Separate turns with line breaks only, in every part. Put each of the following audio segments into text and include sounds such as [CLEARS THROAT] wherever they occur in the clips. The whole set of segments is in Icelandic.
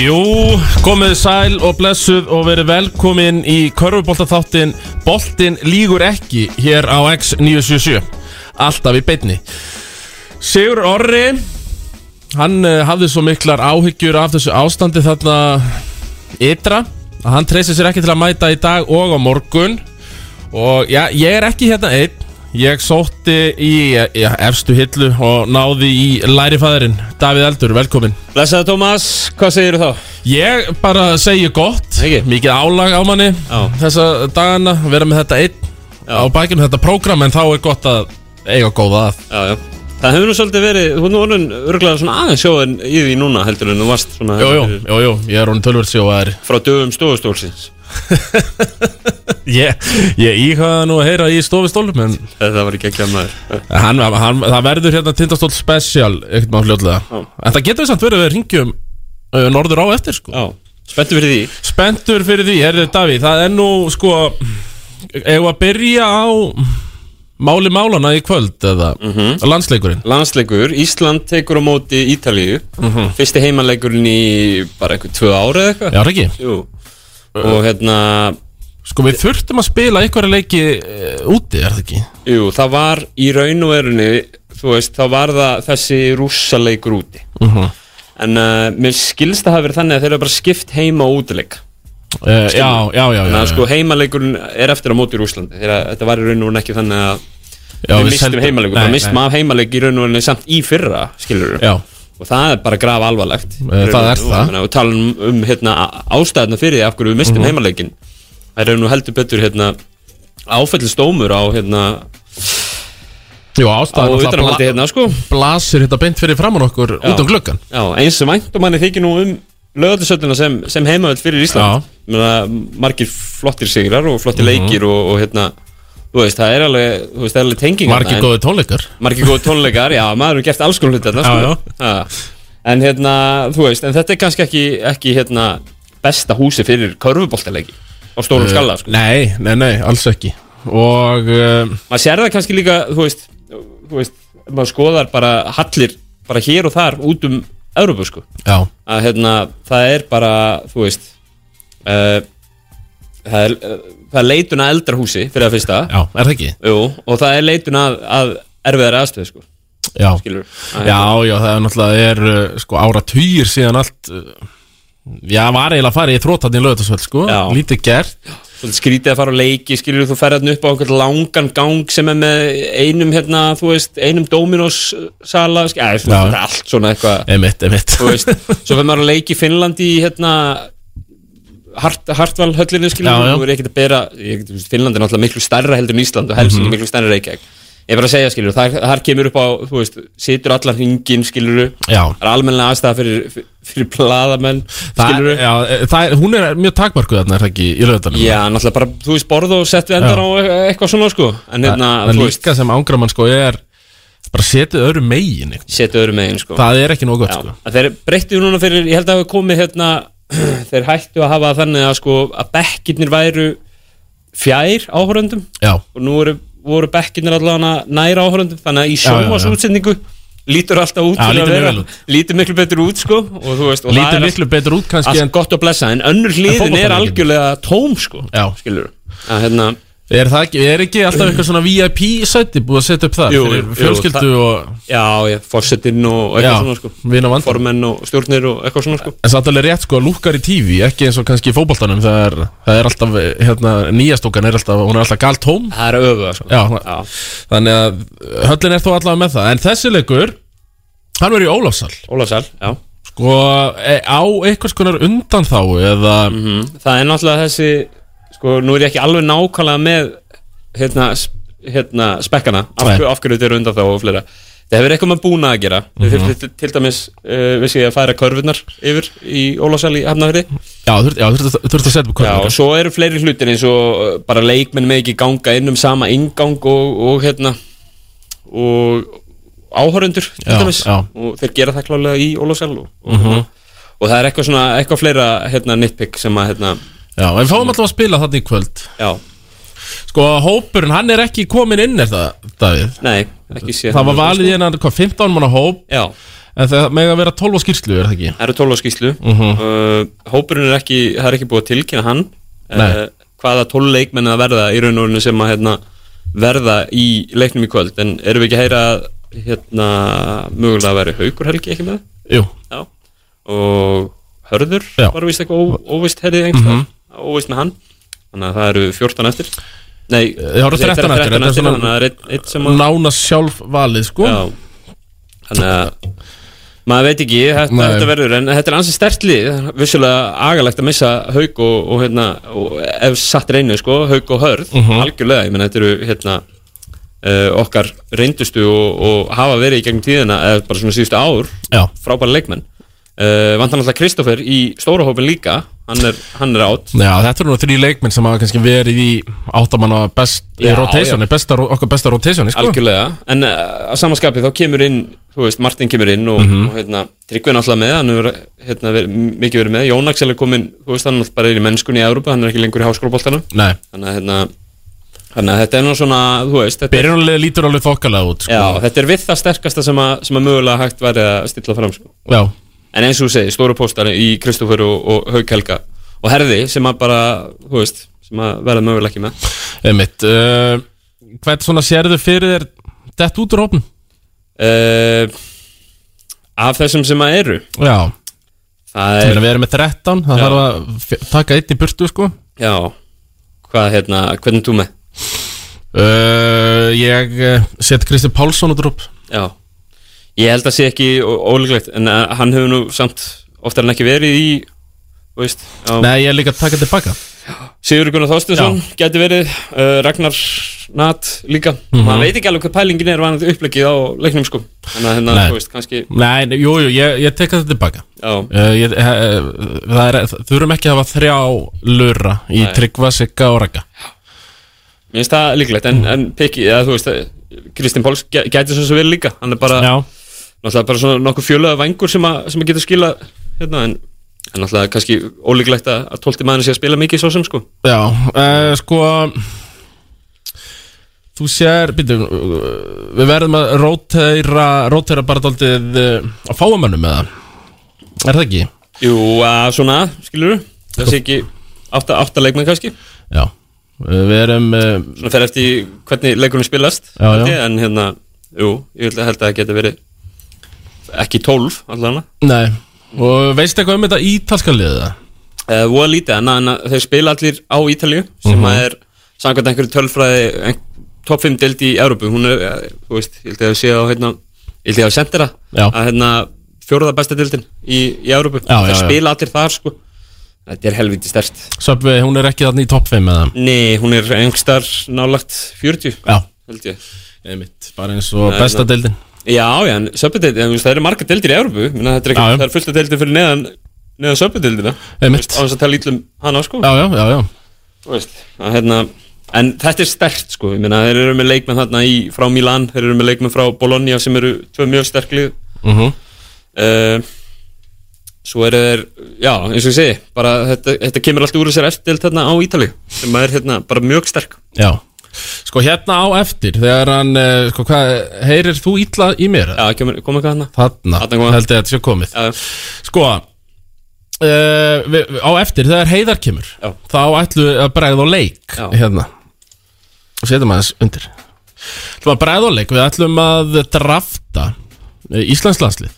Jú, komið sæl og blessuð og verið velkomin í körfuboltaþáttin Boltin lígur ekki hér á X977 Alltaf í beinni Sigur Orri Hann uh, hafði svo miklar áhyggjur af þessu ástandi þarna ytra að hann treysi sér ekki til að mæta í dag og á morgun og já, ég er ekki hérna einn Ég sótti í já, efstu hillu og náði í lærifæðurinn Davíð Eldur, velkomin
Blessaði Tómas, hvað segir þú þá?
Ég bara segi gott
Ekki?
Mikið álag á manni
Já.
Þessa dagana vera með þetta einn Á bækinu þetta prógram En þá er gott að eiga góða að
Já, já Það hefur nú svolítið verið, hún er orðin örglega svona aðeins sjóðin í því núna heldur en þú varst svona
Jú, jú, jú, jú, ég er honum tölvöld sjóðaðir
frá dögum stofustólsins
[LAUGHS] Ég, ég íhvaða nú að heyra í stofistólum En
Þetta var ekki ekki að maður
hann, hann, það verður hérna tindastól special Ekkert maður hljóðlega
Já.
En það getur samt verið að við ringjum uh, Norður á eftir sko
Já, spenntu fyrir því
Spendur fyrir því, herðu Davíð Það er nú sko Ef að byrja á Máli málana í kvöld eða landsleikurinn
Mhm. Landsleikur, Ísland tekur á móti Ítalíu Fyrsti heimaleikurinn í bara eitthvað tvö ára eða eitthvað
Mhm. Já, Riki,
Jú Og hérna,
sko við þurftum að spila einhverja leiki uh, úti, er það ekki?
jú, það var í raun og verunni Þú veist, þá var það þessi rússaleikur úti
Uh -huh.
En uh, mér skilst það hafi verið þannig að þeir eru bara skipt heima og útileik
uh, já, já, já, já,
Þannig að sko heimaleikurinn er eftir á móti í Rúslandi Þegar þetta var í raun og verið ekki þannig að
já
við
seldum-
mistum heimaleikur
Nei,
Það mistum
nei.
af heimaleik í raun og verið samt í fyrra skilur
Já,
Og það er bara graf alvarlegt
Eh, það er það. Mhm.
Og, og tala um, um hérna, ástæðna fyrir því af hverju við mistum heimaleikin Það er nú heldur betur hérna, áfællstómur á hérna,
jú,
á
ástæðan náttúrulega
utanhaldi hérna sko
blasir þetta beint fyrir framann okkur
Já.
út um gluggan
Já, eins sem væntum hann þykir nú um lögaldisöllina sem, sem heimavöld fyrir Ísland
Já. Mhm.
Menna, margir flottir sigrar og flottir leikir og, og hérna þú veist, það er alveg, þú veist, það er alveg tenging
Margir
þarna, en-
góði tónleikar
margir góð tónleikar, já, maður hefur gert alls konar hluti þarna,
Já,
sko. Já. en hérna, þú veist, en þetta er kannski ekki, ekki hérna, besta húsi fyrir körfuboltaleiki á stórum skalla,
Eh,
sko
Nei, nei, nei, alls ekki Og uh,
maður sér það kannski líka, þú veist þú veist, ef maður skoðar bara hallir, bara hér og þar út um Európu, sko
já,
að hérna, það er bara þú veist uh, það, er, uh, það er leitun að eldrahúsi fyrir að fyrsta
já, er það ekki?
Jú, og það er leitun að, að erfiðar aðstöð sko,
Já,
skilur
Já, já, það er náttúrulega er, uh, sko, ára týr síðan allt uh, Já, var eiginlega að fara í þrótarni lögutasvöld sko,
Já.
lítið gert
hérna, Svolítið skrítið að fara á leiki, skilur þú ferð hérna upp á einhvern langan gang sem er með einum hérna, þú veist, einum Dominos sala, skilur, eða svona,
Já.
þetta er allt svona eitthvað,
Emitt, emitt
þú
[LAUGHS]
veist svo fer maður á leiki í Finnlandi í hérna Hart, Hartval höllinni skilur
Já, já.
þú er ekkert að bera ég, þú veist, Finnland er náttúrulega miklu stærra heldur en Ísland og Helsingi
Mhm.
miklu stærra reykjæk ég er bara að segja skilur, þar, þar kemur upp á þú veist, situr allan hringin skilur það
Já,
er almennilega aðstæða fyrir, fyrir, fyrir bladamenn
það,
skilur
já e, það er, hún er mjög takmarkuð þarna, er það ekki, í lögutarni
já, náttúrulega bara, þú veist, borð og sett við endar á eitthvað svona sko en hérna,
Það er
þú veist,
líka sem ángramann sko er bara setið öðru megin einhvern.
setu öðru megin sko
Það er ekki nóg gott
Já,
sko
að þeir breyttu núna fyrir, ég held að hafa komið hérna, [CLEARS THROAT] þeir hættu að hafa þannig að sko að bekkirnir væru fjær áhoröndum
Já,
og nú voru, voru bekkirnir allavega nær áhoröndum þannig að í
já, já.
sjómasútsendingu lítur alltaf út
Já,
fyrir að
lítur mjög
vera-
vel út.
lítur miklu betur út sko og þú veist, og það
lítið
er
miklu betur út
allt,
kannski en
allt gott að blessa en önnur hliðin er
fótboltaleikirnir.
algjörlega tóm sko,
Já.
skilur að hérna
Er það ekki, er ekki alltaf eitthvað svona VIP sæti búið að setja upp það
Jú,
fyrir
jú,
fjölskyldu
það-
og
Já, já, fórsetinn og eitthvað
Já,
svona sko
vin og vandamál.
Formenn og stjórnir og eitthvað svona sko
En samt alveg rétt sko, lúkar í tífi, ekki eins og kannski í fótboltanum, það er, það er alltaf, hérna, nýjastúkan er alltaf, hún er alltaf galt tóm.
Það er öfuða sko
Já,
Já.
þannig að höllin er þó allavega með það. En þessi leikur, hann verður í Ólafsal,
Ólafsal, já
sko, e- á einhvers konar undanþáu eða,
Mhm. Það er náttúrulega þessi sko, nú er ég ekki alveg nákvæmlega með hérna, sp- hérna spekkana af,
Nei.
hver, af hverju þetta eru undan þá og fleira Það hefur eitthvað með búna að gera
Mhm.
mm -hmm. til, til dæmis, uh, vissi ég að færa körfurnar yfir í Ólafsal í Hafnafri
já, þurft, já, þurft, þurft að setja upp
Já, og
kvöldin.
svo eru fleiri hlutir eins og eh, bara leikmenn með ekki ganga inn um sama ingang og, og hérna og áhörundur til
Já,
dæmis
já.
og þeir gera það klálega í Ólafsal og, og, Mhm. og það er eitthvað svona, eitthvað fleira hérna nitpick sem að hérna,
Já, en við fáum alltaf að spila þarna í kvöld.
já
Sko, hópurinn, hann er ekki komin inn er það, Davíð
Nei, ekki sé
Það var valið í hennar, hvað, 15 manna hóp
Já,
En það með að vera 12 skýrslu, er það ekki? Mhm.
það eru 12 á skýslu uh, Hópurinn er ekki, það er ekki búið að tilkynna hann uh,
Nei.
Hvaða 12 leikmenn að verða í raun og rauninu sem að hérna, verða í leiknum í kvöld En erum við ekki að heyra að, hérna, mögulega að vera haukur helgi ekki með?
Jú,
Já Og hörður
Já. Mhm.
var vist eitthvað ó- óvist herrið einhvers mm Óvist með hann Þannig að það eru 14 eftir Nei,
það eru 13 eftir, þetta er svona-
Þannig að það er einn- einn sem að
nána sjálf valið, sko
Já Þannig að maður veit ekki, þetta,
Nei.
þetta verður en þetta er ansið stertlið, vissulega agalegt að missa haug og, og, hérna, og ef satt reynu sko, haug og hörð
Mhm.
algjörlega, ég menn þetta eru hérna, uh, okkar reyndustu og, og hafa verið í gegnum tíðina eða bara svona síðustu ár,
Já.
frábæra leikmenn uh, vantar náttúrulega Kristoffer í stóra hópin líka, hann er, hann er átt
Já, þetta eru nú þrý leikmenn sem hafa kannski verið í áttamanna best,
Já,
já, rotationi, besta, ro- okkar besta rotationi, sko
algjörlega, en uh, að samanskapi þá kemur inn, þú veist, Martin kemur inn og, og hérna, Tryggvin alltaf með hann hefur hérna, verið, mikið verið með, Jón Axel er komin þú veist, hann er náttúrulega bara er í mennskunni í Európa hann er ekki lengur í háskólaboltanum
Nei,
þannig að, hérna, þannig að þetta er nú svona, þú veist þetta, er-
byrjunarlega lítur alveg þokkalega út, sko
já, þetta er við það sterkasta sem að, sem að mögulega hægt væri að stilla fram sko.
já.
en eins og þú segir, stóru póstari í Kristoffer og, og Hauk Helga og Herði sem að bara, þú veist sem að verða mögulega ekki með
Einmitt, uh, hvern svona sérðu fyrir þér dett út úr hópin?
uh, af þessum sem að eru
Já,
það
Ég
er
meina, við erum með 13, það
Já.
þarf að f- taka einn í burtu sko
Já, hvað hérna, hvernig þú með?
uh, Ég eh, set Kristi Pálsson út úr upp
Já, ég held að sé ekki ó- ólíklegt en eh, hann hefur nú samt oftar en ekki verið í, þú veist, já,
Nei, ég er líka að taka tilbaka
Sigur Gunnar Þorstinsson geti verið, uh, Ragnar Nat líka,
Mhm.
maður veit ekki alveg hvað pælingin er vanandi upplegið á leiknum sko, þannig að hérna,
Nei.
þú veist, kannski,
Nei, nei, jú, jú, ég, ég teka þetta tilbaka
já,
uh, ég, uh, Það er, þurfum ekki að hafa þrjá lura í
Nei.
Tryggva, Sigga og Raka
mér finnst það líklegt en, en Piki, eða þú veist, eh, Kristinn Páls ge- gæti svo sem verið líka, hann er bara,
Já,
náttúrulega bara svona nokkuð fjölöða vangur sem, að- sem að geta skila hérna en, en náttúrulega kannski ólíklegt að, að 12 maður sé að spila mikið svo sem sko
já, uh, sko Þú sér, býtum, við verðum að rótera, rótera bara daldið á fáamönnum með það Er það ekki?
Jú, að svona, skilur það sé ekki átta, átta leikmenn kannski
Já, uh, við erum uh,
svona fer eftir í hvernig leikurinn spilast
Já,
held
já.
ég, en hérna, jú, ég held að, held að það geta verið ekki 12 allavega
Nei, og veistu eitthvað um þetta ítalska liða?
uh, voða lítið, en, en þeir spila allir á Ítalju sem
Mhm.
mm er samkvæmt einhverju tölfræði ein, top 5 deild í Európu hún er, eh, þú veist, ég held ég að sé á hérna, ég held ég að sendera
Já.
að hérna, fjóruða besta deildin í, í Európu,
Já, já,
þeir
já.
spila allir þar sko þetta er helviti stert
Söpvi, hún er ekki þarna í topp 5 með það
nei, hún er einhverstar nálagt 40
Já,
held ég
eða mitt, bara eins og
Nei,
besta
nei.
deildin
já, já, en söpudeildin, en þú veist, það eru margar deildir í Európu Minna, þetta er ekki,
Já, já.
það er fullt af deildir fyrir neðan neðan söpudeildina
Eða
Þú
mitt,
veist, á þess að tala ítlum hana sko
já, já, já, já
Þú veist, að hérna en þetta er stert sko, ég meina þeir eru með leikmenn þarna í, frá Milan, þeir eru með leikmenn frá Bologna sem eru tvö mjög sterkli
mm
uh, svo eru þeir já, eins og ég segi, bara þetta, þetta kemur allt úr þessar eftir þarna á Ítali sem er hérna bara mjög sterk
Já, sko hérna á eftir Þegar hann, eh, sko hvað, heyrir þú illa í mér?
já, kemur, kom eitthvað þarna
Þarna,
Þarna kom hann.
held ég að þetta sé komið
já,
Sko uh, við, við- Á eftir, þegar heiðar kemur
Já.
Þá ætlum við að bregða á leik
Já.
Hérna Og setjum aðeins undir Ætlum að bregða á leik, við ætlum að drafta eh, Íslands landslið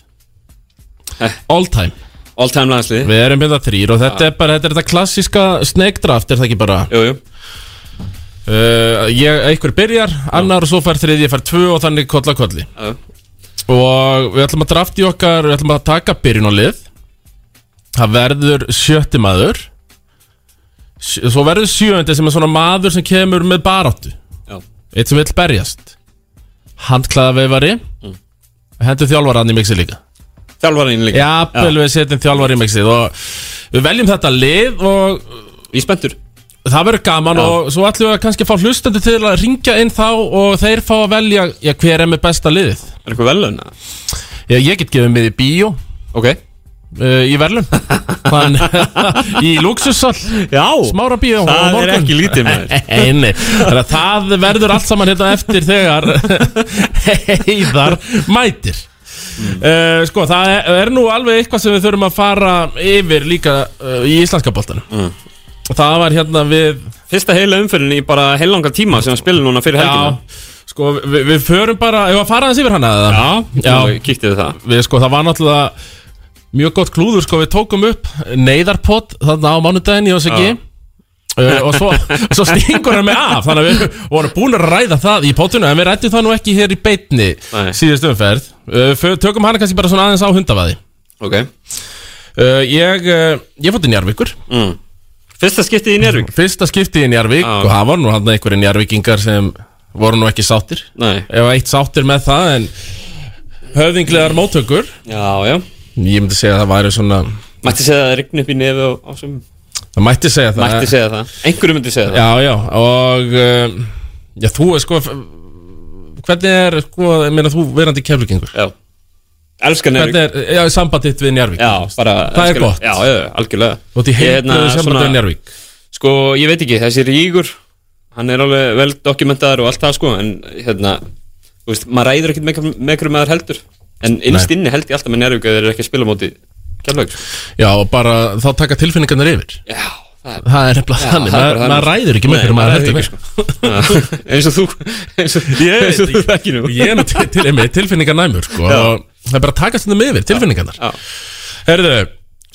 Eh.
All time
all time landslið Ah.
Við erum hérna þrýr og þetta er bara Þetta er þetta klassíska snegdraft, er það ekki bara
jú, jú,
uh, ég, Einhver byrjar, annar og svo fær þriði Ég fær tvö og þannig kolla kolli
já,
Og við ætlum að drafti okkar Við ætlum að taka byrjun og lið Það verður sjötti maður Sj- Svo verður sjöndi sem er svona maður sem kemur með baráttu
já,
Eitt sem vill berjast Handklaða veifari
Mm.
Hendur þjálfara hann í mixi líka
þjálfarinn líka
Jafnvel við setjum þjálfara í mixið Og við veljum þetta lið Og
ég er spenntur,
það verður gaman og svo ætlum við að kannski fá hlustandi til að ringja inn þá og þeir fá að velja já, hver er með besta liðið
er eitthvað velun
Ég, ég get gefið mig í bíó
ok,
uh, í verðlun
[LAUGHS]
Þann, [LAUGHS] í Luxussal
Já,
Smára bíó
það er ekki lítið, maður.
[LAUGHS] Nei, þannig að það verður allt saman hérna eftir þegar heiðar mætir uh, sko, það er, er nú alveg eitthvað sem við þurfum að fara yfir líka uh, í íslenska boltanum það var hérna við
Mm. Fyrsta heila umferðin í bara heilangar tíma sem að spila núna fyrir helgina
já, sko, við, við förum bara, ef að fara aðeins yfir hana eða?
já, já. kíktið við það
við sko, það var náttúrulega mjög gott klúður sko, við tókum upp neyðarpott þarna á mánudaginn í OSG
Já.
uh, og svo, svo stingur hann mig af þannig að við vorum búin að ræða það í pottunum en við rættum það nú ekki hér í beitni
Nei.
síðust umferð uh, fö- tökum hana kannski bara svona aðeins á hundavaði
Ok
uh, ég, uh, ég fótti Njarvíkur
mm. Fyrsta skiptið í Njárvík
fyrsta skiptið í Njarvík
Já.
og það var nú hann einhverju Njarvíkingar sem voru nú ekki sáttir
Nei
ef eitt sáttir með það en höfðinglegar móttökur
Já, já
ég myndi segja að það væri svona
Mætti segja það rigni upp í nefi á, á sem
Það mætti segja það
Mætti segja það Einhverju myndi segja það
Já, já, og um, Já, þú er sko f- Hvernig er, sko, ég meina þú verandi keflugengur
Já Elskan
Hvernig
Njárvík
er, já, samband þitt við Njarvík
Já, bara
Það er
elskan-
gott.
Já, já, algjörlega
Þú ert í
Ég, hérna,
heimluðu samband
svona-
við Njarvík
Sko, ég veit ekki, þessi rígur Hann er alveg vel dokumentaður og allt það sko En hérna, þú veist, maður ræður ekkert með- með hverju maður heldur En innst inni held ég alltaf með Njárvík að þeir eru ekki að spila á móti Keflavík sko.
Já, og bara þá taka tilfinningarnar yfir
Já, það er
Það er nefnilega þannig,
það er
maður
bara
maður
þannig.
ræður ekki með
Nei,
hverju maður
maður
heldur
ræður
með
ekki, sko. [LAUGHS] Já, eins og þú eins og,
Ég-
eins og þú þekki nú
Ég er nú til, til, einmitt tilfinningarnæmur, sko
Já.
og Það er bara að taka stundum yfir, tilfinningarnar
Já.
Herðu,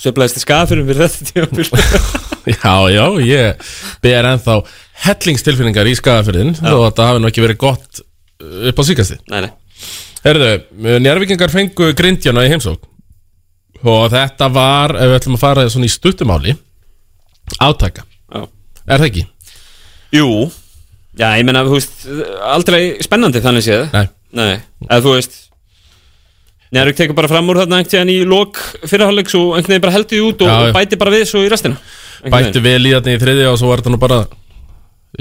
Sveiflaðist í skafurinn fyrir þetta tímabil
[LAUGHS] já, já, ég ber ennþá hellingstilfinningar í skafafyrðin og þetta hafi nú ekki verið gott uh, upp á síkasti
Nei, nei,
Herðu, njárvikingar fengu grindjana í heimsók og þetta var, ef við ætlum að fara svona í stuttumáli átaka,
já
er það ekki?
Jú Já, ég meina, þú veist, aldrei spennandi þannig séð
Nei,
Nei, eða þú veist Njárvík tekur bara fram úr þarna einhvern veginn í lok fyrirháleik svo einhvern veginn bara heldur því út og,
Já, já.
og bæti bara við svo í restina Einhvern
bættu vel í þarna í þriðja og svo var þetta nú bara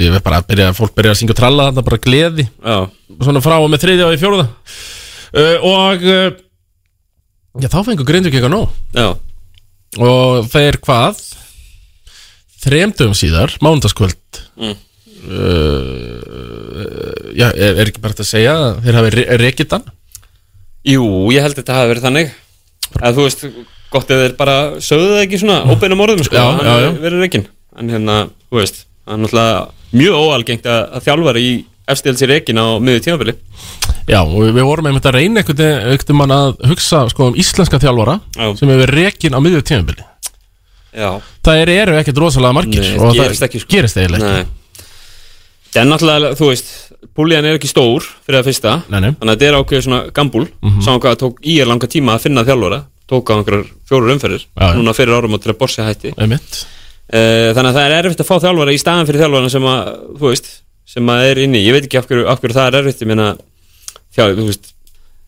ég veit bara að byrja, fólk byrja að syngja og tralla þarna bara gleði,
veginn. Já,
svona frá og með þriðja og í fjóruða uh, og uh, já, þá fengu grindjana ekki nóg
já,
og þeir hvað þremdum síðar mánudagskvöld
Mm.
uh, já, er, er ekki bara þetta að segja að þeir hafi re rekitt hann
jú, ég held að þetta hafi verið þannig eða þú veist, gott ef þeir bara sögðu það ekki svona óbeinum orðum sko,
Mm. Já,
hann
já, já.
er- verið reikin en hérna, þú veist, það er náttúrulega mjög óalgengt að, að þjálfara í efstilsi reikin á miður tímafili
já, og við vorum einmitt að reyna einhvern veginn mann að hugsa sko, um íslenska þjálfara
Já.
sem hefur rekin á miðju tímabili
Já,
það eru ekkert rosalega margir
Nei,
og
gerist
það
ekki, sko.
gerist eiginlega
nei Það er náttúrulega, þú veist, púlíðan er ekki stór fyrir það fyrsta
Nei, Mhm. nei.
Þannig að þetta er ákveðið svona gambúl mm -hmm. Saman hvað það tók í er langa tíma að finna þjálfara Tók á einhverjar fjórar umferðir
Já, já.
Núna fyrir árum og til að borsi hætti
ekki einmitt
Eh, Þannig að það er erfitt að fá þjálfara í staðan fyrir þjálfara sem að, þú veist, sem að er inni Ég veit ekki af hverju, af hverju það er erfitt Ég meina, þjá, þú veist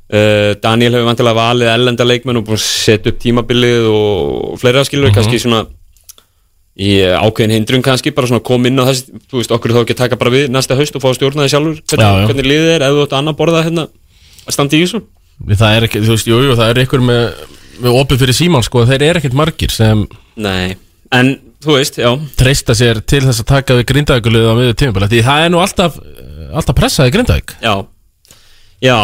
Uh, Daniel hefur vantilega valið ellenda leikmenn og búin að setja upp tímabilið og fleira
Mhm.
skilur kannski svona í eh, ákveðin hindrun kannski bara svona koma inn á þessi, þú veist, okkur er þá ekki að taka bara við næsta haust og fá að stjórna þið sjálfur
Já,
hvernig,
já.
hvernig liðið er, ef þú ætti annað borða hérna að standa í þessu
það er ekki, þú veist, jú, jú, það er ykkur með, með opið fyrir síman, sko, þeir eru ekkert margir sem
Nei, en þú veist, já,
treysta sér til þess að taka við grindaðugulöðu á miður tímabili því það er nú alltaf, alltaf pressaði grindaðug
já Já,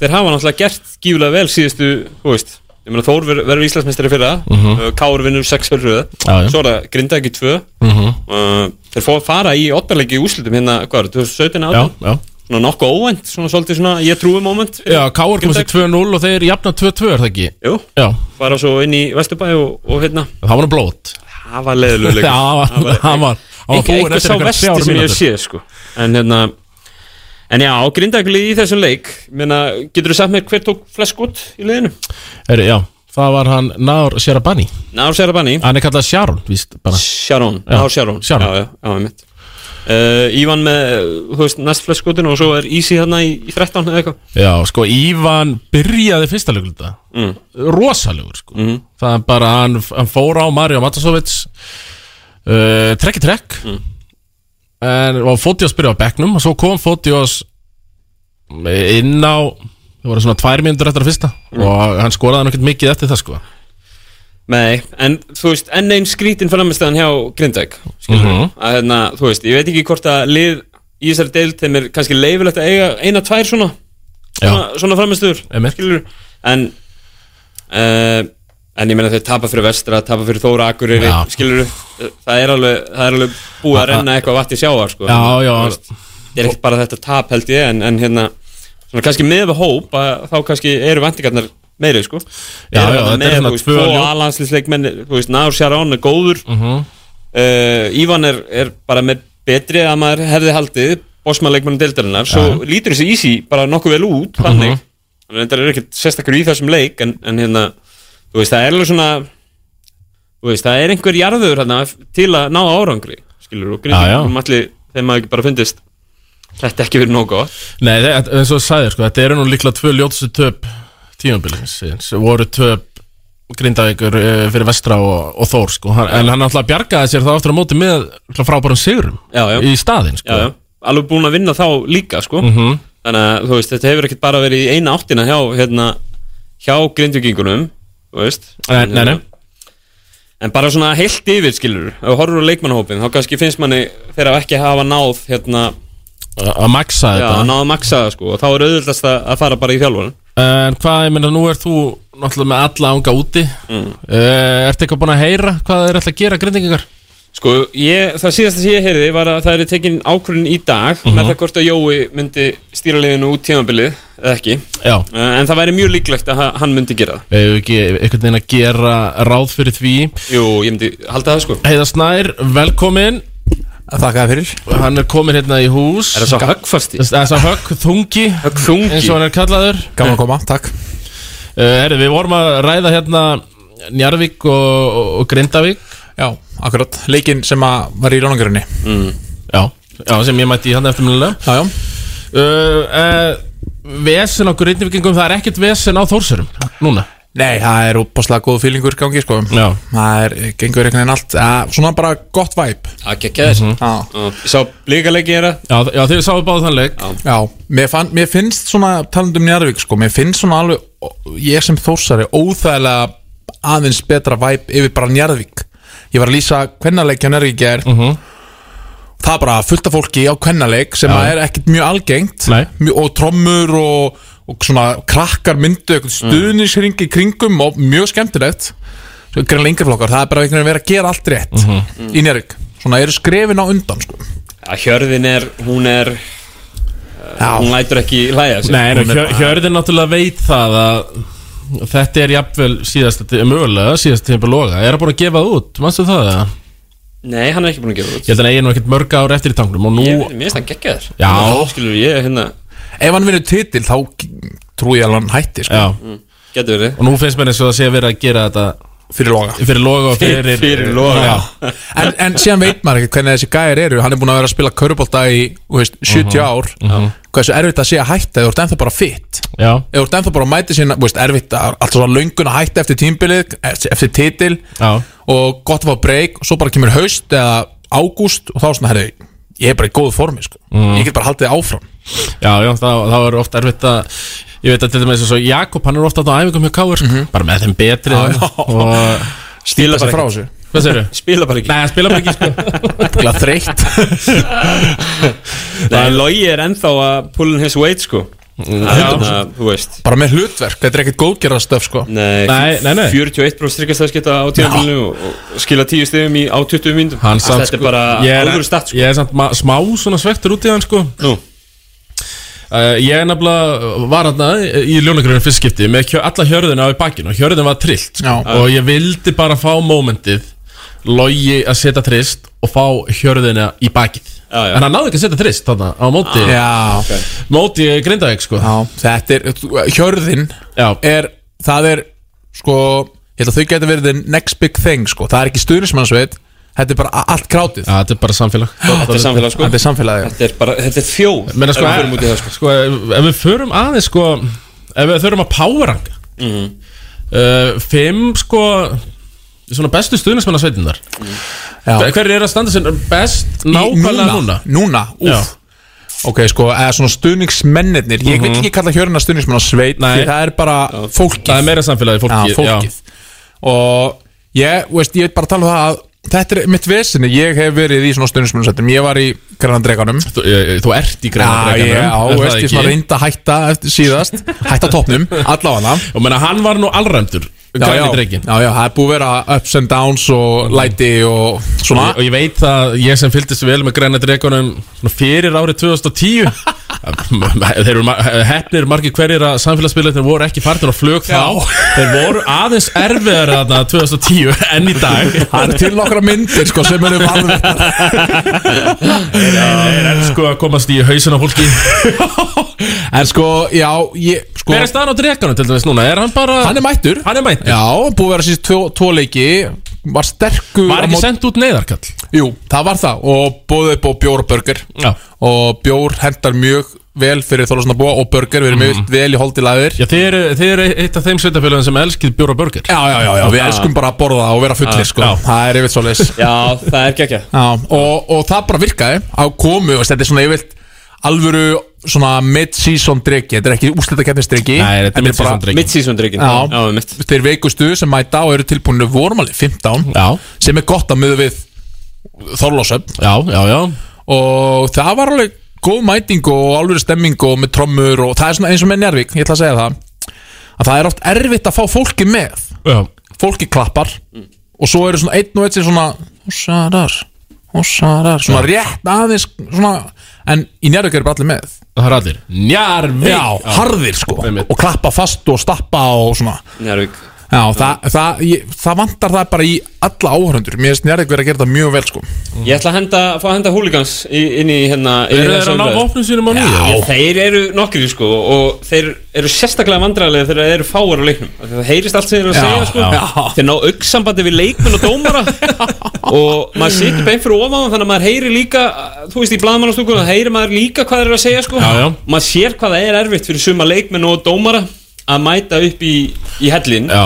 þeir hafa náttúrulega gert gífulega vel síðustu, þú veist ég meina Þór ver- verður Íslandsmeistari fyrra uh Kár vinnur 6 fyrir röð
Mhm. Já, já.
svo er það Grindavík í 2
mm -hmm.
uh, þeir fór fara í oddaleiki í úslitum hérna, hvað er, 2017
Já,
átum
já
svona nokkuð óvænt, svona svolítið svona ég trúi moment
Já, Káur komst í 2-0 og þeir jafna 2-2 er það ekki
Jú,
Já,
fara svo inn í Vesturbæ og, og hérna
það var nú blót
það var
Já,
leiðilegu leikur
hann var- hann var hann var
Einhver-
búinn
einhver
eftir
sá
einhverjar
vesti
þrjár
sem ég
mínútur.
sé sko. en hérna en já, grindaglið í þessum leik Meina, getur þú sagt mér hver tók flest skot í liðinu?
Herri, já, það var hann Náður Sjarabani
Nár Serabani,
Hann er kallað Sjarón, víst bara
Sharon Nár Sharon,
Sharon.
Já, já, já, ég mitt Uh, Ívan með, þú veist, næst flest skotin og svo er Ísi hérna í, í 13 eða eitthvað
Já, sko, Ívan byrjaði fyrsta lögulta
mm.
Rosalegur, sko Það er bara, hann, hann fór á Mario Matasovits uh, Trekki trekk
Mm.
en, Og Fotios byrjaði á bekknum Og svo kom Fotios inn
Mm.
á Það voru svona tvær mínútur eftir að fyrsta Og hann skoraði hann ekkert mikið eftir það, sko
Nei, en þú veist, enn einn skrítin framistæðan hjá Grindavík skilur
Mhm.
að hérna, þú veist, ég veit ekki hvort að lið í þessari deild þeim er kannski leifilegt að eiga eina, tvær svona svona, svona framistöður,
Einmitt.
skilur en uh, en ég meina þau tapa fyrir vestra, tapa fyrir Þóra Akureyri,
Já.
skilur það er alveg, það er alveg búið að renna eitthvað vatni sjáar, sko
Já, já.
Þú veist, það er ekkert bara þetta tap held ég, en, en hérna svona kannski með við hóp, að, þá kannski eru vantingarnar meiri, sko
Já,
Eru
já,
þarna
þetta er
með,
svona
þú veist,
tvö
tvo
ljó-
aðlandslisleikmenn þú veist, Nár Sjarón er góður uh
Mhm.
Ívan er, er bara með betri að maður herði haldið bósmannleikmennum deildarinnar, svo lítur þessi Ísi bara nokkuð vel út,
Mhm.
þannig uh -huh. en er ekkert sérstakur í þessum leik en, en hérna, þú veist, það er alveg svona þú veist, það er einhver jarður hérna til að ná árangri skilur, og
Já, já.
grindum allir þegar maður ekki bara fundist þetta ekki verið nóg gott
Nei, það, eins og þú sagðir sko, þetta eru nú líklega tvö ljótsu töp tímabilins, sem voru töp grindavíkur eh, fyrir vestra og, og þór, sko, hann, en hann alltaf bjargaði sér þá aftur á móti með örugglega frábærum sigurum
Já, já.
í staðinn, sko Mhm.
já, já. alveg búin að vinna þá líka sko. þannig að þú veist, þetta hefur ekkert bara verið í eina áttina hjá hérna, hjá grindvíkingunum þú veist eh,
Nei, Eh, nei, nei.
en bara svona heilt yfir skilur ef við horfum á leikmannahópin, þá kannski finnst manni þeir hafa ekki hafa náð hérna,
að að maksa
já,
þetta
náð að maksa það sko, og þá er auðvitaðst að, að fara bara í þjálfurinn
En hvað, ég meina, nú er þú náttúrulega með alla ánga úti mm. Ertu eitthvað búin að heyra hvað þeir ætla að gera grindingar?
Sko, ég, það síðasta sem ég heyrði var að það eru tekin ákvörðin í dag
Mhm.
með það hvort að Jói myndi stýra liðinu út tímabilið eða ekki
Já
Eh, en það væri mjög líklegt að ha- hann myndi gera það
Við hefum ekki einhvern veginn að gera ráð fyrir því
Jú, ég myndi halda það sko
Heiða Snær, velkomin
Þakka þér fyrir
Hann er komin hérna í hús
Er það svo höggfasti?
Þess að högg þungi eins
Höggþungi
og hann er kallaður
Gaman
[LAUGHS]
að koma, takk
uh, Herri, við vorum að ræða hérna Njarvík og, og, og Grindavík
Já, akkurat, leikinn sem að var í rálangjörunni
Mm.
Já, já sem ég mætti í hann eftir minnilega
Já, já,
uh, uh, Vesen á Grindvíkingum, það er ekkert vesen á Þórsurum Núna
nei, það er útbáslega góð fílingur gangi, sko
Já.
Það er, gengur einhvern veginn allt ja, Svona bara gott væp
Það gekkja þess
Já,
Sá blíkaleiki er það
Já, já þið sáðu báðu þann leik
já mér, fann, mér finnst svona, talandum Njarvík, sko Mér finnst svona alveg, ég sem þósari Óþægilega aðeins betra væp Yfir bara Njarvík Ég var að lýsa kvennaleik hjá Njarvík í gær
Mhm.
það er bara fullt af fólki á kvennaleik sem að er ekkert mjög algengt
Nei.
Mjö- og trommur og, og svona krakkar myndu eitthvað
Mm.
stuðnisringi kringum og mjög skemmtilegt Svo grein lengri flokkar, það er bara einhvern veginn verið að gera allt rétt
Mhm.
í Njörg, svona eru skrefin á undan sko.
Að Hjörðin er, hún er uh, Hún
Já,
lætur ekki hlæja sig
Nei, en hjör, Hjörðin náttúrulega veit það að þetta er jafnvel síðast mögulega, síðast tímpur loga er að búin að gefa það út, mannstu það? eða?
Nei, hann er ekki búin að gefa það
Ég held að það eigi nú ekkert mörg ár eftir í tangnum og nú,
Ég mér finnst það gekkja þess
Já.
Skilur ég hérna
ef hann vinnur titil þá g- trúi ég alveg að hann hætti sko,
já,
Getur Mm, verið
og nú finnst mér eins og það sé að vera að gera þetta
fyrir loga
fyrir loga og fyrir,
Fyrir Loga.
Já.
en, en síðan veit maður ekki hvernig þessi gæjar eru hann er búin að vera að spila körubólta í þú veist,
Mhm.
70 ár hversu erfitt að sé að hætta ef þú ert ennþá bara fitt
Já.
ef þú ert ennþá bara að mæta sína, þú veist, erfitt að- alltaf svona löngun að hætta eftir tímbilið, eftir titil
Já.
og gott að fá breyk og svo bara kemur haust eða ágúst og þá svona, herri, ég er bara í góðu formi sko.
Mm.
ég get bara haldið áfram
já, já, þá, þá er oft erfitt að ég veit að til dæmis eins og Jakob, hann er ofta á æfingum hjá Káur, bara með þeim betri
Já, já.
og,
stíla
bara
sig frá þessu,
hvað segirðu?
Spila bara ekki
Nei, hann spila bara ekki sko
glæð þreytt
[LAUGHS]
Nei, Logi er ennþá að pullin his weight sko Þannig að, þú veist
bara með hlutverk, þetta er ekkert góðgerðastöf sko.
Nei,
Nei, nei, nei.
41 bróð strikastafskipta á tíðanbílinu og, og skila 10 stegum í á 20 mínútum
Hann samt, sko-
Þetta er bara
ég er,
alvöru statt sko
Ég er samt ma- smá svona svektur út í hann sko
Nú,
uh, Ég er nefnilega var hann í ljónagrunum fyrstskipti með hjö, alla hjörðina á í bakinu og hjörðin var trillt sko.
Já.
og ég vildi bara fá mómentið logi að setja trist og fá hjörðina í bakið
Já, já.
en hann náði ekki að setja trist þarna á móti
já,
móti grindaðeg sko
já, þetta er þú- hjörðin
Já.
er, það er sko, ég held að þau geta verið the next big thing sko, það er ekki stuðnismannsveit þetta er bara a- allt krátið
Já, þetta er bara samfélag
þetta er samfélag sko
þetta er samfélagið
Þetta er bara, þetta er þjóð
Menna, sko,
Ef við förum út í það, sko.
sko. ef, ef við förum aðeins sko, ef við þurfum að poweranga
Mhm.
uh, fimm sko svona bestu stuðnismannasveitinnar
Já.
mm. hver er að standa sem best
Í-
nákvæmlega núna,
Núna,
Já.
úf Ok, sko, eða svona stuðningsmennirnir Ég
Mhm.
vil ekki kalla hjörna stuðningsmenn á sveit
Nei.
Því það er bara fólkið
það er meira samfélagi fólki,
Já, fólkið Og Ég, þú veist, ég veit bara að tala um það að Þetta er mitt vesinni, ég hef verið í svona stundismunsettum Ég var í Grænandreganum
Þú, eh, þú ert í
Já,
grænadreganum
ég
er
á,
það
veist, ég
ekki?
svona reyndi að hætta eftir
[LAUGHS]
síðast Hætta á topnum, allavega
Og menna, hann var nú allræmdur
Já, já,
Græni dregin
já, já, það er búið að vera ups and downs og læti og svona
Og ég veit að ég sem fylgdist vel með græna dregunum svona fyrir árið
[LAUGHS]
2010 Þeir eru ma- hefnir margir hverjir að samfélagsbyrðleitin voru ekki fartin á flög þá Þeir voru aðeins erfiðar þarna 2010 enn í
[LAUGHS]
dag
Það er til nokkra myndir sko sem eru varðið
[LAUGHS] Þeir elsku að komast í hausin á fólki
En sko, já, ég, sko
Hver er staðan á dregunum til dæmis núna? Er hann bara
Hann er mættur
Hann er mættur
Já, búið að vera síðan tvo, tvo leiki Var sterkur
Var
á
ekki
mót-
sendt út neyðarkall
Jú, það var það Og búið upp á bjórbörger
Já
Og bjór hendar mjög vel fyrir þólasna búa Og börger, við erum mm. vel í holdi laðir
Mhm. Já, þið eru, þið eru eitt af þeim sveitafélagin sem elskið bjóra börgir
Já, já, já, já, við elskum bara að borða og vera fullir sko
Ah. já.
Það er yfir svo leis
Já, það er ekki ekki
Já, og, og það bara virkaði á komu, veist, þetta er svona yfirlt alvöru svona mid-season drikki, þetta er ekki úslita keppnisdrikki
Nei, þetta er
en
mitt
bara-
síðan dregin
Mid-season drikkin
Já.
já mitt
Þeir veikustu sem mæta og eru tilbúinu vormalið 15
Já.
sem er gott að miða við Þorlásöfn
Já, já, já
og það var alveg góð mæting og alvöru stemming og með trommur og það er svona eins og með Njárvík, ég ætla að segja það að það er oft erfitt að fá fólki með
Já,
fólki klappar og svo eru svona einn og einn sem svona hossarar, hossarar svona rétt aðeins svona, en í njárvík eru bara allir með
það er allir Njarvi
harðir sko
Einmitt.
og klappa fast og stappa og svona
Njárvík
Já, það, það, ég, það vantar það bara í alla áhörundur Mér finnst njárvík verið að gera þetta mjög vel sko
Ég ætla að henda, fá að henda húligans inn í hérna inn í
Eru
þessa
þeir að ná
umræðu.
vopnum sínum á nýja?
Ég- Þeir eru nokkri sko og þeir eru sérstaklega vandræðilega þegar þeir eru fáar á leiknum Af því Það heyrist allt sem þeir eru að
Já,
segja sko
já.
Þeir ná auksambandi við leikmenn og dómara og maður situr beint fyrir ofan þá, þannig að maður heyri líka þú veist í blaðmannastúkunum, þá heyrir maður líka hvað þeir eru að segja sko
Já, já.
Maður sér hvað það er erfitt fyrir suma leikmenn og dómara að mæta upp í, í hellin
Já,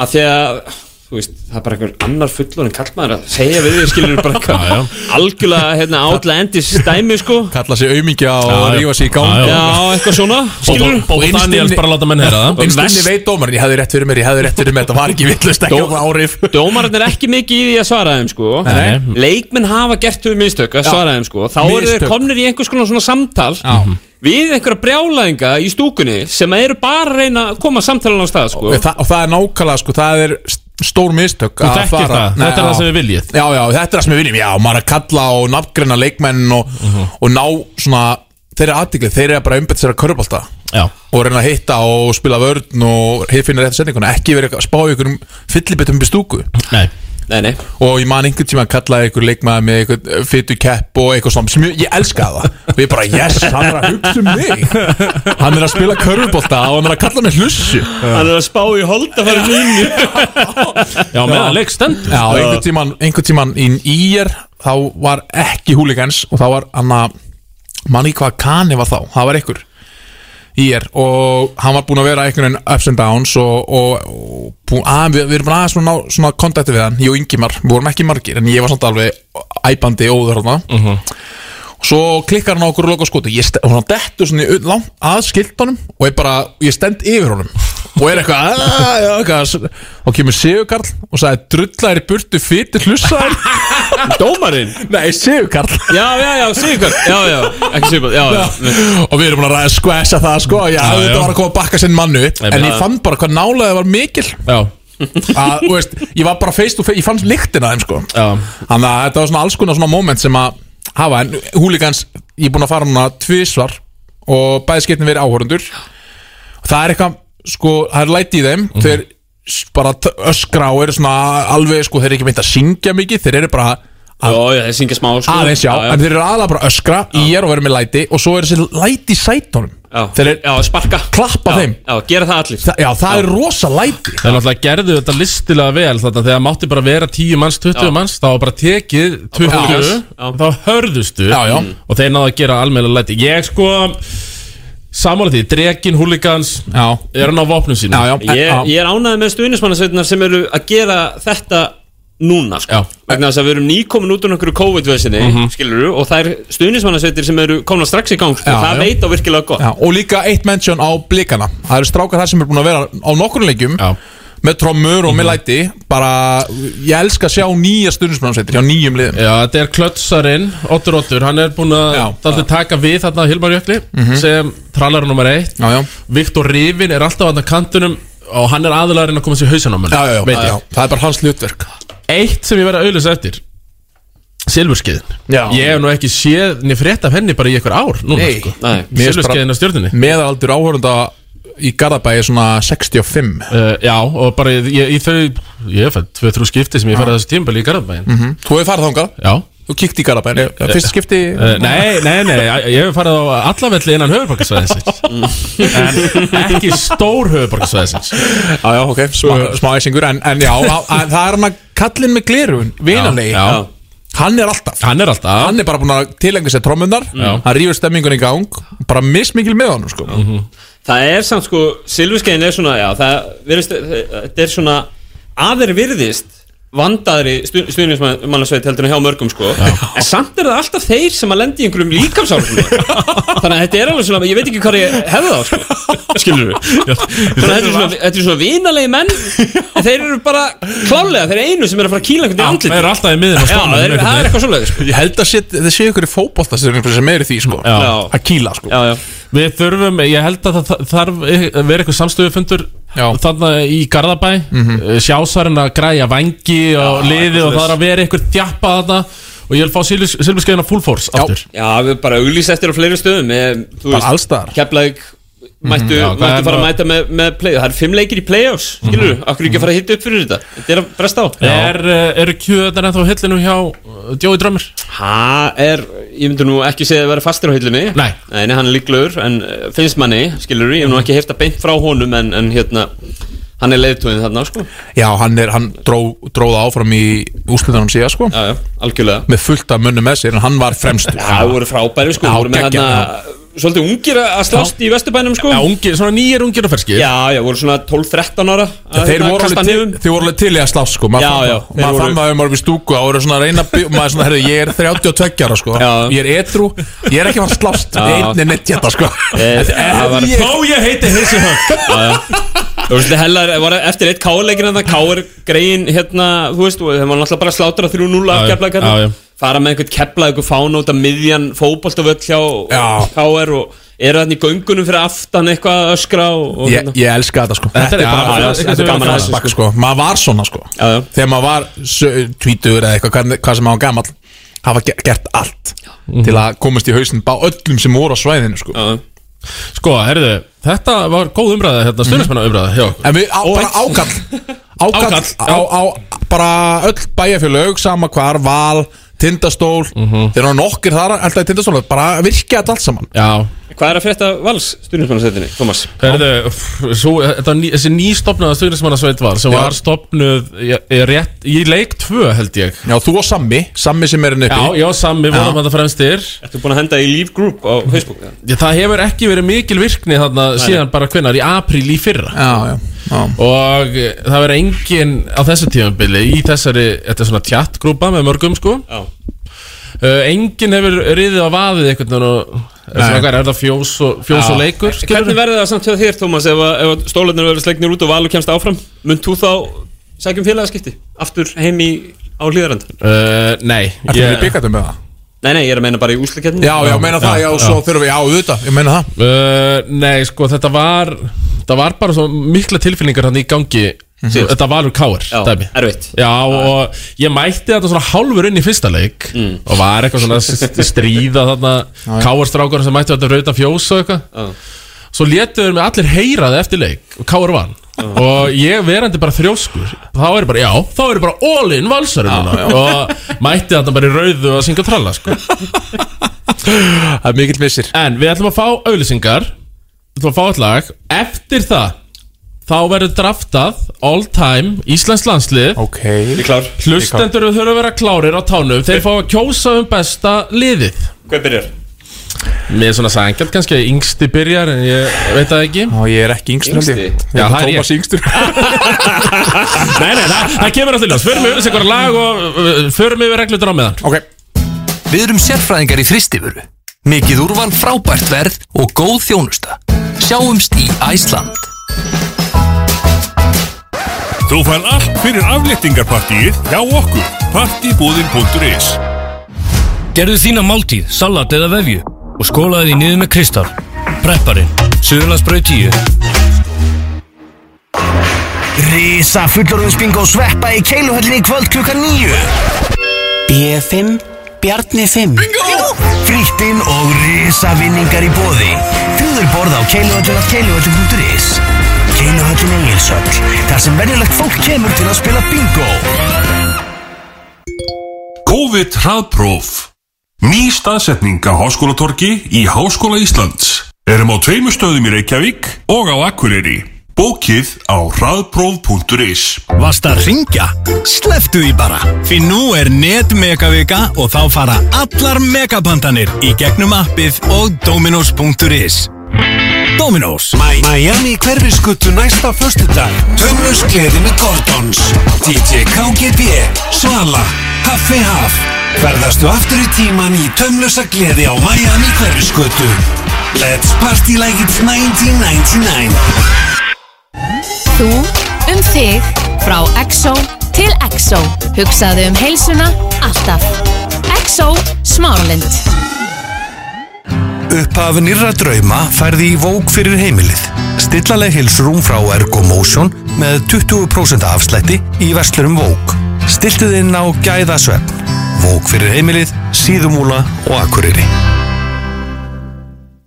að því að þú veist, það er bara einhver annar fullon en kallmaður að segja við því skilur bara
Já, já.
eitthvað algjörlega hérna átla endis dæmi sko
Kalla sig aumingja og
Já, já.
rífa sig í gang
Já,
já, eitthvað svona skilur
Bóta
og innst
Daniels
inni-
bara láta menn heyra það
Einstunni veit dómarinn, ég hefði rétt fyrir mér, ég hefði rétt fyrir mér Þetta var ekki villust, ekki
Dó-
okkur árif
dómarinn er ekki mikið í því að svara þeim sko
Nei.
leikmenn hafa gert þau mistök að
Já.
svara þeim sko þá eru þeir
Mistök.
komnir í einhvers konar svona samtal
Já. Mhm.
við einhverja brjálæðinga í stúkunni sem eru bara að reyna að koma samtalan á stað sko
og það, og það er nákvæmlega sko, það er st- stór mistök
Þú þekkir það, þetta er það sem við viljið.
Já, já, þetta er það sem við viljum, já, maður að kalla og nafngreina leikmenn og,
Mhm.
og ná svona, þeirra aðtikli, þeir eru bara umbyrð sér að körbólta
Já,
og reyna að hitta og spila vörn og hifinna rétt setninguna, ekki verið að spá ykkur um fyllibitum upp í stúku
nei
nei, nei.
og ég man einhvern tíma að kalla ykkur leikmaði með ykkur fytu kepp og eitthvað svona sem ég, ég elska það, og ég bara yes, hann er að hugsa um mig hann er að spila körbólta og hann er að kalla mig hlussu
hann er að spá í holda fyrir mínu
Já, meðan leik stendur
Já, einhvern tíman, einhvern tíman inn í ég þá var ekki húligans og þá var hann að manni hvað kanni var þá, það var einhver í ég og hann var búinn að vera einhvern veginn ups and downs og, og, og búin, að, við, við erum búin aðeins svona, ná- svona kontakti við hann, ég og Ingimar, við vorum ekki margir en ég var samt alveg æpandi óður hann
Mhm.
og svo klikkar hann á okkur loka skotu, ég stend, og hann dettur svona í- langt að skiltunum og ég bara, ég stend yfir honum og er eitthvað "Ah, já, eitthvað." og kemur Sigurkarl og sagði drullar í burtu fyrir hlussaðar
dómarinn
nei, Sigurkarl
Já, já, já, Sigurkarl Já, já, ekki Sigurkarl, já, já
og við erum búin að ræða skvæsa það sko já,
Já, já.
þetta var að koma að bakka sinn mannu en ég
já.
fann bara hvað nálega það var mikil
Já,
að, þú veist, ég var bara face to face, ég fann lyktina af þeim sko
já
þannig að þetta var svona alls konar svona moment sem að hafa, en húligans ég er búin að fara núna tvisvar og bæði skiptin verið áhörundur það er eitthvað, sko, það er læti í þeim
Mhm.
þeir s- bara t- öskra og eru svona alveg, sko, þeir eru ekki meint að syngja mikið, þeir eru bara að
Já, já, þeir syngja smá sko.
aðeins já,
já,
en þeir eru aðalega bara að öskra í er og verið með læti og svo er þessi læti í sætunum
já.
þeir eru
já, sparka
klappa
já,
þeim
Já, gera það allir
Þa, já, það er rosa læti
Þeir náttúrulega gerðu þetta listilega vel Þetta þegar mátti bara vera 10 manns, 20
Já.
manns Þá var bara tekið 20
Já. Já.
Þá hörðustu
Já, já.
Og þeir náðu að gera almennlega læti Ég sko Samála því, drekin, húligans
já,
Er hann á vopnum sínum
já, já,
Ég, ég er ánæðið með stuðnismannasveitinnar sem eru að gera þetta núna sko.
Já.
vegna þess að við erum nýkomin út úr einhverju COVID-vesinni mm
Mhm.
og það er stuðnismannasveitir sem eru komna strax í gang sko.
Já,
það
já.
veit á virkilega gott
Já, og líka eitt mention á blikana Það eru strákar þar sem er búin að vera á nokkur leikjum
Já. Mhm.
með trommur og með læti bara, ég elska að sjá nýja stundismannsveitir hjá nýjum liðum
Já, þetta er klötsarinn, Otur Otur Hann er búinn að
Já, Mhm.
dálítið taka við þarna Hilmar Jökli sem trallar nummer eitt
já, já,
Viktor Rivin er alltaf hann að kantunum og hann er aðlarinn að koma sér í hausan á mönnum,
já, já,
veit
já,
ég.
já. það er bara hans hlutverk
Eitt sem ég verið að auðlýsa eftir Silfurskeiðin
Já.
Ég hef nú ekki séð niður frétt af henni bara í einhver ár núna,
Nei.
sko.
Nei.
Mér finnst bara-
Silfurskeiðin á stjórninni
meðaldur áhörunda í Garðabæi er svona 65
uh, Já, og bara í, í þau Ég hef fætt tvö, þrjú skipti sem ég farið þessu tímabæli í Garðabæin
Mhm. þú hefur farið þangað,
Já
þú kíkt í Garðabæi fyrst skipti
Uh, nei, nei, nei, ég- ég hef farið á allafelli innan
[LAUGHS]
höfuborgarsvæðinsins En ekki stór höfuborgarsvæðinsins
já, já, ok, smá, smá æsingur en, en já, á- að, það er hann að kallin með glerun vinanlegi,
Já, já.
hann er alltaf
Hann er alltaf
hann er bara búin að tilengja sér trommunar hann rífur stemmingun í gang bara mismikil með honum sko
Mhm. Það er samt sko, silfurskeiðin er svona, já, það virðist, þetta er svona aðeir virðist vandaðri stuðnismannasveit heldur en hjá mörgum sko en samt er það alltaf þeir sem að lendi í einhverjum líkamsárflum þannig að þetta er alveg svona, ég veit ekki hvað ég hefði það sko skilur við þannig að þetta er svona, þetta er svona vinalegi menn en þeir eru bara klálega, þeir eru einu sem eru að fara að kýla einhvern í
Það
andlit
er alltaf í miðin á
já,
spánum
það er, það er eitthvað svoleiðis sko.
[LAUGHS]
ég held að sé, það sé ykkur í fótbolta sem er sem er í því sko
Já.
að kýla sko
já, já,
Við þurfum, ég held að það það þarf eh, að vera eitthvað samstöðufundur
Já. Mhm.
Þannig í Garðabæ mm Sjásarinn að græja vangi og liði og það er að vera eitthvað þjappa þarna Og ég vil fá silfurskeiðina full force aftur
já, við bara auglýst eftir á fleiri stöðum með, þú
bara
veist,
allstar
Keflæk
Mhm.
mættu,
Já, það Mhm.
mættu
er
fara að
nú-
mæta með, með play það er fimm leikir í play-offs, skilur þú, akkur ekki að fara að hitta upp fyrir þetta, þetta er að bresta á
er, eh, Eru kjöðan ennþá á hillinu hjá eh, Joey Drömmur?
það er, ég myndi nú ekki segja að vera fastir á hillinu
Nei.
nei hann er líklegur en eh, finnst manni, skilur þú, ég hef nú ekki hefta beint frá honum en, en hérna hann er leiðtóðin þarna, sko já,
já, hann er, hann dró, dróða áfram í úslitunum síðan sko
já, algjörlega
með fullt af munum með sér en hann var fremstur
það voru frábæri, sko,
Já,
voru með
geggjað,
þarna svolítið ungir að að slást í vesturbænum, sko
Já, ungi, svona nýjir ungir og ferskir
já, já, voru svona 12-13 ára að,
Þeir
hérna,
voru,
kasta
alveg til,
hnífum.
þeir voru alveg til í að slást sko Maður
Já,
fann-
já, þeir
Maður
voru-
fann maður maður við stúku og voru svona að reyna að bjó- maður er svona, herri, ég er 32 ára sko
Já.
Ég er etru, ég er ekki að fara að slást
Já.
Einni neitt hérna sko
Eh, það var-
ég-
Ó, ég heiti Hissi Högg
Þú veist, hellar, var eftir eitt káleikin en það káir greiðin hérna, þú veist, og þeim var náttúrulega bara að slátra 3-0 af
Já, já,
keflaði
já, já.
fara með einhvern keflaði, einhvern fána út af miðjan fótboltavöll hjá
Já.
káir og eru þarna í göngunum fyrir aftan eitthvað að öskra og, hérna. og
Ég, ég elska þetta sko
Þetta er bara-
bara-
þetta er
þetta er
gaman
bara
að
flashback sko Maður var svona sko
Já, já.
Þegar maður var sö- tvítugur eða eitthvað hvernig- Hvað sem maður var gamall Hafa ge- gert allt Til að komast í hausinn Bá öllum sem voru á svæðinu sko
Já,
Sko, herðu, þetta var góð umræða
Mhm.
hérna, stundismennu umræða hjá okkur
En við á, bara ákall
[LAUGHS]
Ákall
Ákall, já.
á, á, Bara öll bæjarfélög Sama hvar Val Tindastól
Mhm.
Þeir eru nokkir þar Alltaf í tindastól Bara virkja þetta allt saman
Já,
Hvað er að frétta vals stundismannasetinni, Thomas?
herðu, pff, svo, þetta, ný, þessi nýstopnaða stundismennasveit var sem
Já.
var stopnuð í, í, rétt, í leik 2 held ég
Já þú og Sammi Sammi sem er henni
Já,
uppi
já, sami, vorum þetta fremstir
Ertu búin að henda í Leave Group á Facebook? eða?
Ég, Það hefur ekki verið mikil virkni þarna síðan bara hvenar í apríl í fyrra
já, já, já.
Og eh, það verið engin á þessu tímabili í þessari, þetta er svona tjattgrúpa með mörgum sko
Já,
uh, Engin hefur riðið á vaðið einhvern veginn og er
Nei.
svona hvað, er það fjós og, fjós og leikur skilurðu?
Hvernig verður það samt hjá þér, Thomas, ef, að- ef stólarnir verður slegnir út og valur kemst áfram? Munt þú þá sækjum félagaskipti? Aftur heim í á hlýðarand?
Uh, nei
Ertu yeah. við byggatum með það?
Nei, nei, ég er að meina bara í úsleikjarni
Já, já, meina það, já, svo þurfum við, já, auðvitað, ég meina það
uh, Nei, sko, þetta var Það var bara svo mikla tilfinningar hann í gangi
Síðast.
Þetta var úr káir
Já,
dæmi
erfitt.
Já, og ég mætti þetta svona hálfur inn í fyrsta leik
Mm.
Og var eitthvað svona st- stríða þarna Káarstrákur sem mætti þetta rauta fjós og eitthvað
Já.
Svo létuður mig allir heyraði eftir leik Og káir vann Og ég verandi bara þrjóskur Þá er ég bara, já, þá er ég bara all in valsari núna Og mætti þetta bara í rauðu að syngja tralla, sko
Það er mikill vissir
En við ætlum að fá auðlýsingar Við ætlum að fá eitt lag Eftir það Þá verður draftað All time Íslands landslið
Ok
Ég er klár
Hlustendur þurfa að vera klárir á tánum Þeir fá að kjósa um besta liðið
Hvað byrjar?
Mér er svona sængjald kannski að yngsti byrjar En ég veit það ekki
Já, ég er ekki yngstur held ég.
Yngsti.
Ég
Já,
er
það er ég.
Tómas yngstur
[LAUGHS] Nei, nei, það, það kemur alltaf ljós Förum við auðlýsingar á lag og uh, förum við reglutur á meðan
Ok
Við erum sérfræðingar í frystifuru. Mikið úrval frábært verð og góð þjónusta. Sjáumst í Æsland.
Þú fær allt fyrir afléttingarpartíið hjá okkur partibúðin.is
Gerðu þína máltíð, salat eða vefju og skólaði því niður með Kristal. Prepparinn, Suðurlandsbrau 10.
Risa fullorðinsbingo sveppa í keiluhöllinni í kvöld klukkan 9 B5 Bjarni 5 Bingo! Frýttin og risa vinningar í bóði Trúður borð á keiluhöllin af keiluhöllin.is Keiluhöllin Egilshöll Þar sem venjulegt fólk kemur til að spila bingo
COVID hraðpróf Ný staðsetning á Háskólatorgi í Háskóla Íslands Erum á tveimur stöðum í Reykjavík og á Akureyri Bókið á hraðpróf.is
Vast að ringja? Sleftu því bara Því nú er netmegavika og þá fara allar megapantanir í gegnum appið og dominos.is Dominos
Miami hverfiskutu næsta föstudag Tömlust gleði með Gordons DJ KGB Svala Haffi Haf Verðastu aftur í tíman í tömlusa gleði á Miami hverfiskutu Let's party like it's 1999
Þú um þig frá EXO til EXO. Hugsaðu um heilsuna alltaf. EXO Smáralind.
Upphaf nýrra drauma færði í vók fyrir heimilið. Stillaleg hilsrúm frá Ergo Motion með 20% afslætti í verslurum vók. Stiltu þinn á gæðasvefn. Vók fyrir heimilið, síðumúla og akureyri.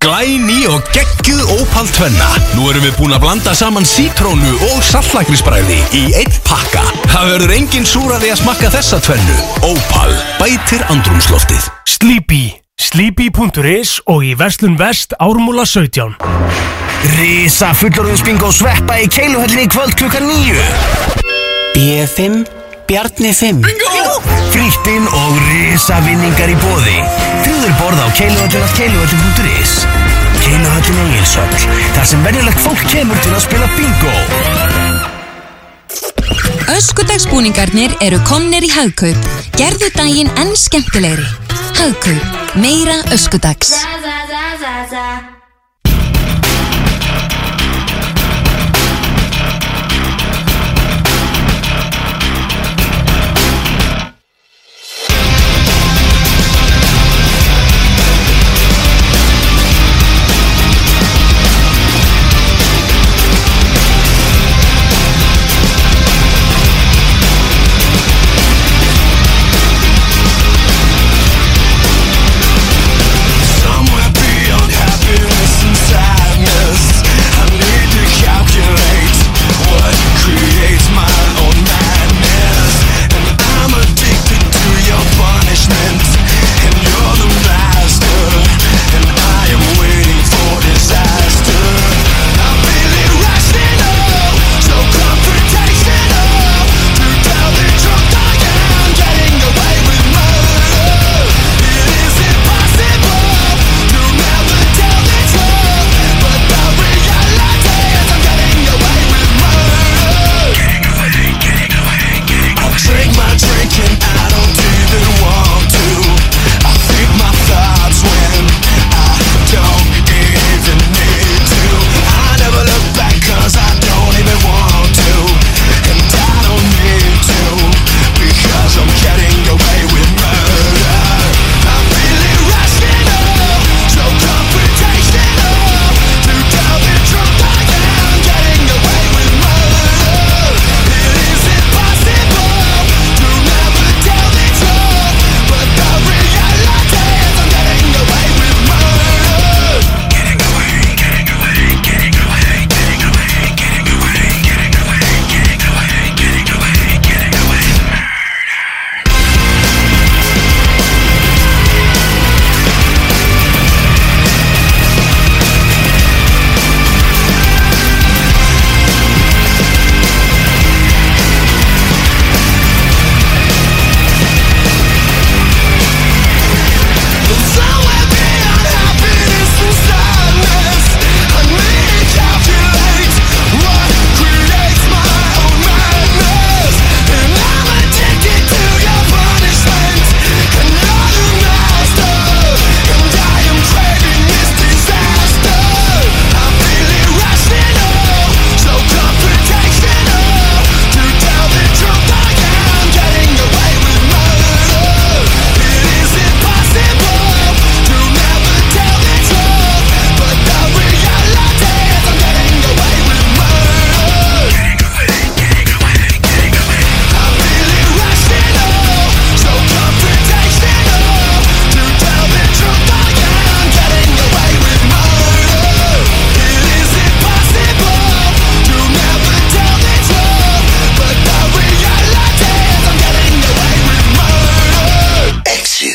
Glæni og geggjuð ópal tvenna Nú erum við búin að blanda saman sítrónu og saltlæknisbræði í einn pakka Það verður engin súraði að smakka þessa tvennu Ópal, bætir andrumsloftið
Sleepy Sleepy.is og í Verslun Vest Ármúla 17
Risa fullorðinsbingo sveppa í keiluhöllinni í kvöld klukkan 9 B5 Bjarni 5 Bingo! Frýttin og risa vinningar í bóði Trúður borð á keiluhöllin af keiluhöllin.is Keiluhöllin Egilshöll Þar sem venjulegt fólk kemur til að spila bingo
Öskudagsbúningarnir eru komnir í Hagkaup. Gerðu daginn enn skemmtilegri. Hagkaup. Meira öskudags.
Somewhere beyond happiness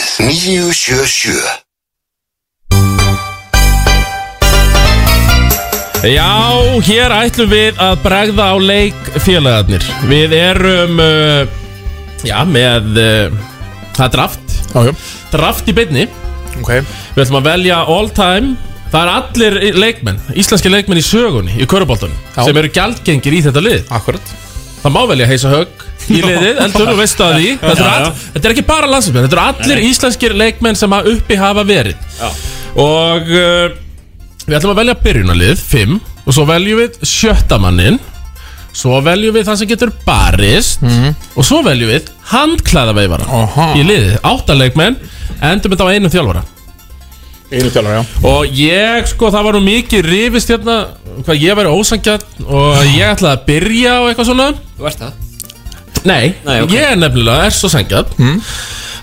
977
Já, hér ætlum við að bregða á leikfélagarnir Við erum, uh, já, með, uh, það er draft
Já, já
Draft í beinni
Ok
Við ætlum að velja all time Það er allir í- leikmenn, íslenski leikmenn í sögunni, í köruboltunum
Já.
Sem eru gjaldgengir í þetta lið
Akkurat
Það má velja heisa högg í liðið, eldur og veistu að því Þetta,
Já,
er,
já.
all, þetta er ekki bara landsleikmenn, þetta eru allir íslenskir leikmenn sem að uppi hafa verið
Já.
Og uh, við ætlum að velja byrjunarlið, 5 Og svo veljum við sjöttamannin Svo veljum við það sem getur barist Og svo veljum við handklæðaveifara
Aha.
í liðið Átta leikmenn, endum þetta á einum þjálfara
Einu tjálfur, já
Og ég, sko, það var nú mikið rifist hérna Hvað ég væri ósangjarn Og ég ætlaði að byrja og eitthvað svona
Þú ert það
Nei,
Nei, ok.
ég er nefnilega, er svo sengjað
Mm.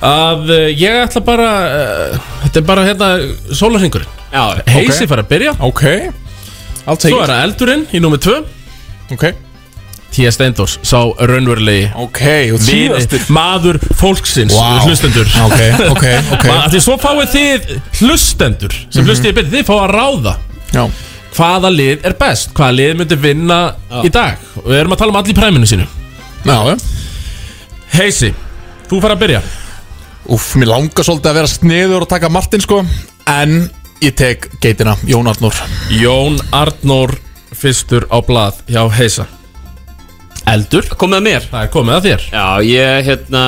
að uh, ég ætla bara uh, þetta er bara hérna sólarhingurinn,
Já,
heisi fara að byrja
Ok I'll take
svo er það eldurinn í númer 2
it Ok
T.S. Steindors, sá raunverulegi
Ok, og
vinur,
síðastur
maður fólksins
Vá.
hlustendur
Ok, ok,
[LAUGHS]
ok Mhm.
Ma- af Því svo fáið þið hlustendur sem hlustið er byrja, þið fáið að ráða
Já
hvaða lið er best, hvaða lið myndi vinna í dag og við erum að tala um allir í præminu sínu
Já, já
Heisi, þú fara að byrja
Úff, mér langar svolítið að vera sniður og taka Martin sko En ég tek geitina, Jón Arnór
Jón Arnór fyrstur á blað hjá Heisa Eldur
komið að mér
Það er komið að þér
Já, ég, hérna,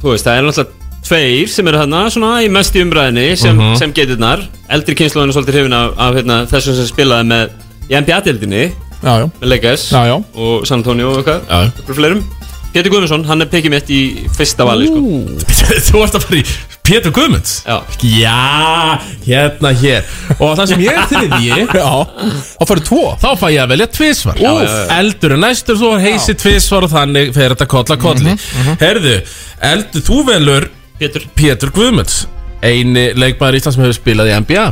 þú veist, það er náttúrulega tveir sem eru hérna svona í mest í umræðinni sem,
Mhm.
sem geitirnar eldri kynnslóðinu svolítið hrifin af, af hérna, þessum sem spilaði með í NBA-deildinni
Já, já,
með Lakers
já, já
og San Antonio og eitthvað,
Já.
okkur fleirum Pétur Guðmundsson, hann er pekið mitt í fyrsta vali sko.
Uh. [LAUGHS] Þú ert að fara í Pétur Guðmunds
Já.
Já, hérna hér Og það sem ég er þriðji [LAUGHS]
Já, þá fyrir tvo
Þá fæ ég að velja tvisvar já, Eldur er næstur, þú er heisi tvisvar og þannig fer þetta kolla kolli Herðu, Eldur, þú velur
Pétur,
Pétur Guðmunds Eini leikmaður Íslands sem hefur spilað í NBA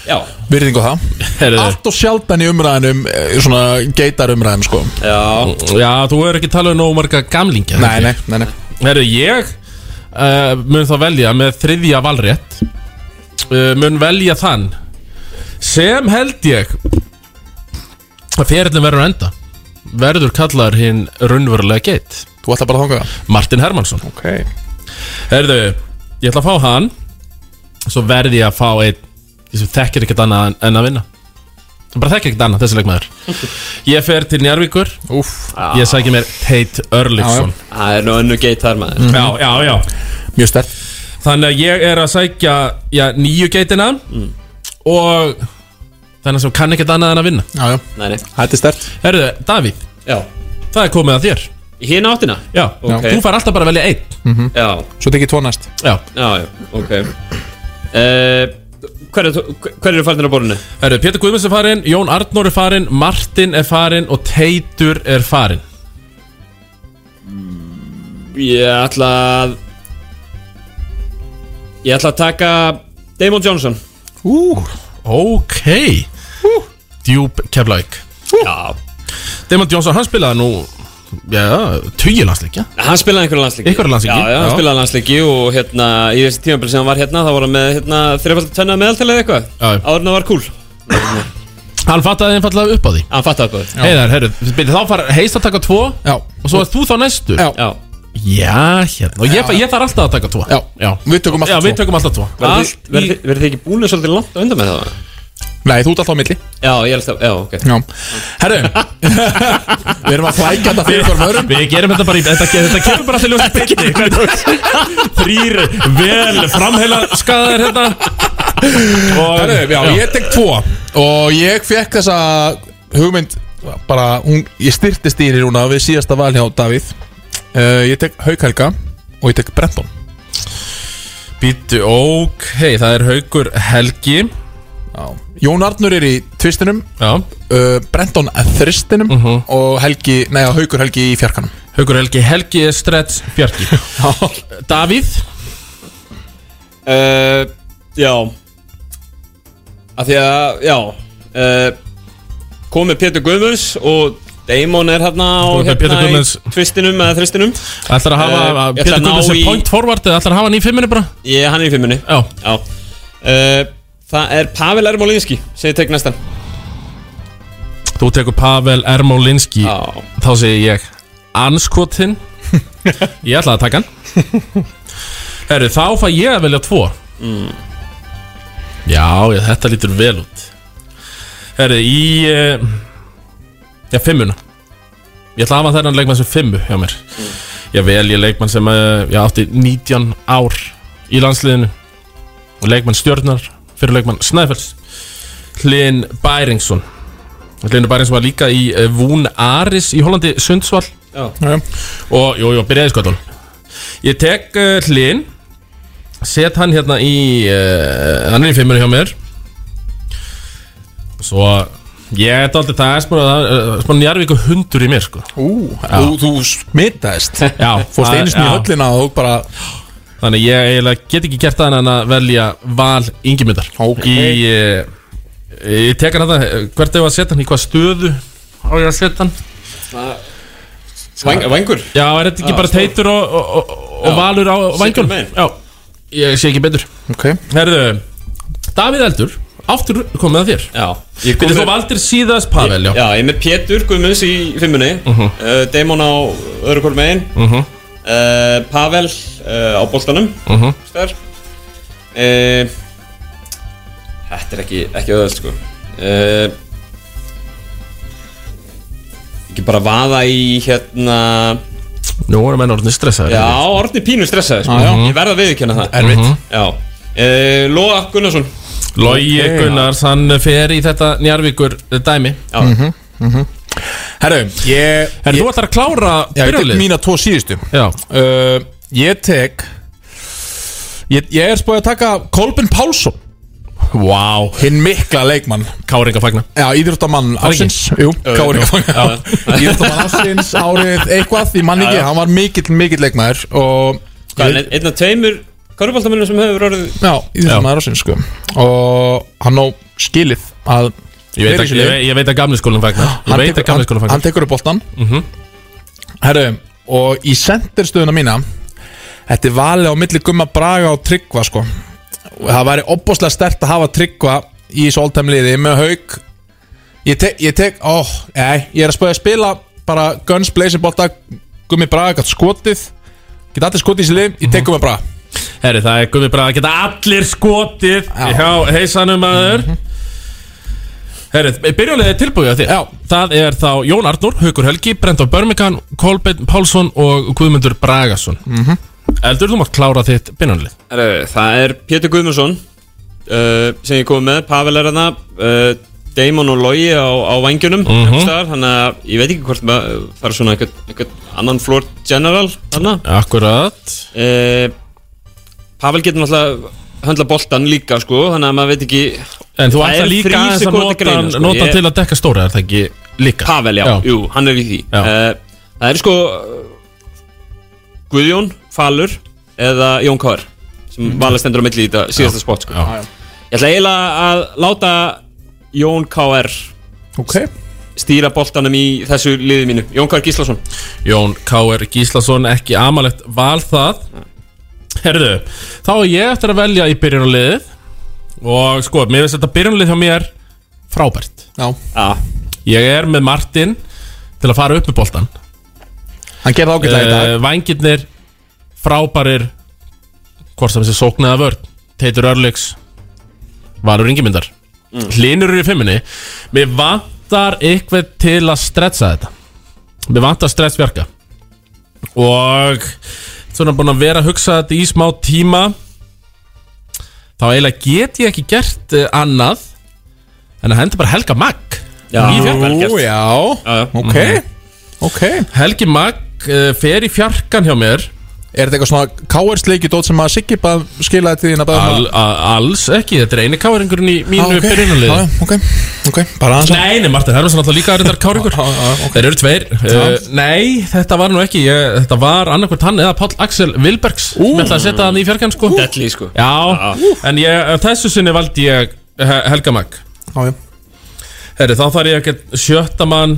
já,
Virðingu það
Herðu,
Allt og sjaldan í umræðinum, eh, svona geitar umræðum sko
já
já, þú er ekki talað um nógu marga gamlingja
Nei, nei, nei, nei
Herru, ég uh, mun þá velja með þriðja valrétt uh, mun velja þann sem held ég að fyrirlin verður á enda verður kallar hinn raunverulega geitt
Þú ætla bara að þanga
Martin Hermansson
Ok
Herru, ég ætla að fá hann svo verði ég að fá einn ég sem þekkir ekkert annað en- en að vinna Hann bara þekkir ekkert annað, þessi leikmaður Ég fer til Njarvíkur
Úff
Ég sæki mér Tate Örliksson
það er nú önnu geit þar maður
Já, já, já
Mjög stert
Þannig að ég er að sækja já, nýju geitina
Mm.
og þannig sem kann ekkert annað en að vinna
Já, já
Nei, nei,
Þetta er stert
Herðu, Davíð,
já,
það er komið að þér
hinn áttina
Já,
Ok.
þú fær alltaf bara að velja einn
Já,
Mhm. Svo tek ég tvo næst
Já,
já, já, ok uh, Hver er, hver eru fælnir á borðinu?
herðu, Pétur Guðmunds er farinn, Jón Arnór er farinn, Martin er farinn og Teitur er farinn
Ég ætla að Ég ætla að taka Damon Johnson
Ok Djúb keflaug
Já
Damon Johnson, hann spilaði nú Já, tugjilansleikja
Hann spilaði einhverja landsleiki
Einhverja landsleiki,
Já, já, hann
já.
spilaði landsleiki og hérna í þessi tímabili sem hann var hérna þá var hann með hérna þreifald tönna meðaltalið eitthvað
Já, já.
Áður en það var kúl
Hann fattaði einfallega upp á því
Hann fattaði hvað þetta.
Heiðar, herru, byrju, þá far heist að taka tvo
Já
og svo er þú þá næstur
Já.
Já
Já, hérna Og ég, ég þarf alltaf að taka tvo
Já. Við tökum alltaf
Já, við
tvo.
tökum alltaf tvo
Allt
Allt
Verði verði þið ekki búinu svolítið langt á undan með það?
Nei, þú ert alltaf á milli
Já, ég er alltaf, já, ok
Já Herru [LAUGHS] Við erum að flækja þetta fyrir hvorm örum
Við gerum þetta bara í Þetta, þetta kemur bara til ljósa byrni [LAUGHS] Þrýr vel framheila skadaðir hérna Og
Herru, já, ég tek tvo Og ég fekk þessa hugmynd Bara, hún, ég styrtist í hún Við síðasta val hjá Davíð uh, Ég tek Hauk Helga Og ég tek Brenton
Býtu, ok Það er haukur Helgi
Jón Arnur er í tvistinum
Já Mhm.
uh, Brenton að þristinum Og Helgi, neða Haukur Helgi í fjarkanum
Haukur Helgi Helgi er stretch Bjarki Davíð
uh, Já Af því að, já uh, Komið Pétur eh, Guðmunds og Damon er hérna
Þú
og
ert með Pétur
hérna
Guðmunds.
í tvistinum eða þristinum
Ætlar að
Eh,
hafa
ég ætla
Pétur
að ná
Guðmunds sem
í-
point forward eða ætlar að hafa hann í fimminu bara
Ég, hann er í fimmunni Já, Já. Eh, Það er Pavel Ermolinski sem ég tek næstan
Þú tekur Pavel Ermolinski Þá segi ég
[LAUGHS]
Anskotin Ég ætla að taka hann Herru, þá fæ ég að velja tvo
mm.
Já, já, þetta lítur vel út Herri, í uh, Já, fimmuna Ég ætla að hafa þennan leikmann sem fimmu hjá mér Ég vel ég leikmann sem uh, Ég átti 19 ár í landsliðinu Og leikmann stjörnar Fyrir leikmann Snæfells Hlyn Bæringsson Hlynur Bæringsson var líka í uh, Vún Aris Í Hollandi Sundsvall
Já.
Og, jú, jú, byrjaði skoðan Ég tek uh, Hlyn Set hann hérna í uh, Hann er í fimmur hjá mér Svo Ég er aldrei það er smá- það er Spána Njarvík og hundur í mér sko Ú,
þú- smitaðist [LAUGHS]
Já
Fórst einu sinni í
já.
höllina og bara
Þannig ég eiginlega get ekki gert það en að velja Val Ingimundar okay. Í eh, Ég tek hann þetta, hvert er að setja hann, í hvað stöðu á ég að setja hann
Væng- Vængur?
Já, er þetta ekki
Ah,
Já,
bara
Ah, stór.
teitur og, og, og, og
Já.
valur á
Sigur
vængjum?
megin.
Já, ég sé ekki betur
okay.
Herðu, Davíð Eldur, aftur komið að þér
Já,
ég
kom
komið
með-
Þú valdir síðast Pavel, já
Já, ég er með Pétur Guðmunds í fimmunni uh
Mhm.
Damon á öðru hvort megin
Mhm.
Eh, Pavel uh, á boltanum
Mhm.
Stær uh, Þetta er ekki, ekki öðvöld sko uh, Ekki bara vaða í hérna
Nú erum enn orðinni stressaður
Já, orðni pínu stressaði sko.
Ah, já.
Ég verða að viðurkenna það
Erfitt. Mhm.
Já uh, Lóa Gunnarsson
Logi
Ok.
Gunnars, hann fer í þetta njarvíkur dæmi
Já mm -hmm.
Herru, Mhm. ég
Herru, þú ætlar að klára
Já, ég tek
byrjunarliðið.
mína tvo síðustu
Já
uh, Ég tek Ég, ég er spóið að taka Kolbin Pálsson
Vá wow.
Hinn mikla leikmann
Káringa fagna
Já, íþróttamann
Var ekki?
ásins
Jú,
Jú, Káringa [LAUGHS]
jú.
fagna Íþróttamann ásins árið eitthvað Ég man
Já,
ekki,
já.
hann var mikill, mikill leikmaður Og
Hvað, er einn af tveimur Köruboltamennum sem hefur orðið
Já, íþróttamann ásins sko Og hann á skilið að
Ég veit,
vera í
að,
þessu
ég,
liði.
veit, ég veit að gamli skólinn fagnar Ég
Hann
veit
tekur-
að gamli skólinn
hann, hann
fagnar
tekur upp boltan
Mhm.
Herru, og í senderstöðuna mína Þetta er valið á milli gumma Braga og Tryggva sko og það væri opbóslega stert að hafa Tryggva í þessu all-time liði með haug ég tek, ég tek, ó, nei ég er að spöða að spila bara Guns Blazing bolta, gummi Braga gætt skotið geta allir skotið í þessu lið,
Mhm.
ég tek gummi Braga
Herri, það er gummi bara að geta allir skotið Já, heisanum aður
Mhm.
Herri, byrjulegið er tilbúið að þér Já. Það er þá Jón Arnur, Haukur Helgi, Brenda Börmikan, Kolbeinn Pálsson og Guðmundur Bragason
Mhm.
Eldur, þú mátt klára þitt byrjunlið
Herru, Það er Pétur Guðmundsson uh, sem ég kom með, Pavel er hana uh, Damon og Logi á, á vangjunum
Mhm.
mm þannig að ég veit ekki hvort maður fara svona einhvern, einhvern annan floor general hana
Akkurat
uh, Pavel getur náttúrulega höndla boltan líka sko, þannig að maður veit ekki
En þú
Það
ætlar
er
líka
þrír
aðeins að
sekúndur
nota,
greina, sko.
nota
Ég-
til að dekka stóra, er það ekki líka?
Pavel, já, jú, hann er í því
Já.
uh, Það er sko eh, Guðjón, Falur eða Jón Kár sem mm. valið stendur á milli í þetta síðasta spot sko.
Mhm. Já.
Ég ætla eiginlega að láta Jón K.R.
Okay.
stýra boltanum í þessu liði mínu Jón K.R. Gíslason
Jón K.R. Gíslason ekki amalegt val það Herðu, þá er ég eftir að velja í byrjunarliðið og sko, mér finnst þetta byrjunarlið hjá mér frábært
Já.
Ég er með Martin til að fara upp með boltan
Hann gerði ágætlega í dag.
Vængirnir, frábærir hvort sem þessi sóknaða vörn Teitur Örlíks Valur Ingimundar mm. Hlinur eru í fimmunni Mér vantar eitthvað til að stretsa þetta Mér vantar stretsverka Og Svona búin að vera að hugsa þetta í smá tíma Þá eiginlega get ég ekki gert eh, annað En að henda bara Helga Magg
Já,
Í Fjarka.
vel gert.
Já, ok Ok
Helgi Magg uh, fer í fjarkan hjá mér
Er þetta eitthvað svona káersleiki dót sem að Siggi bara skilaði til þín að
Al, a, Alls ekki, þetta er eini káringurinn í mínu
Ah,
okay.
ok.
byrjunarliði
Ah, ok, ok, bara aðeins að-
Nei, nei, Martin Hermansson alltaf líka reyndar káringur Þeir eru tveir uh, Nei, þetta var nú ekki ég, Þetta var annarkvært hann eða Páll Axel Vilbergs Ú, sem ætlaði að setja hann í fjarkan sko
Deadly sko
Já, en ég, eh, þessu sinni valdi ég He- Helga Magg
Ah, Já, já
Herri, þá þarf ég að geta sjötta mann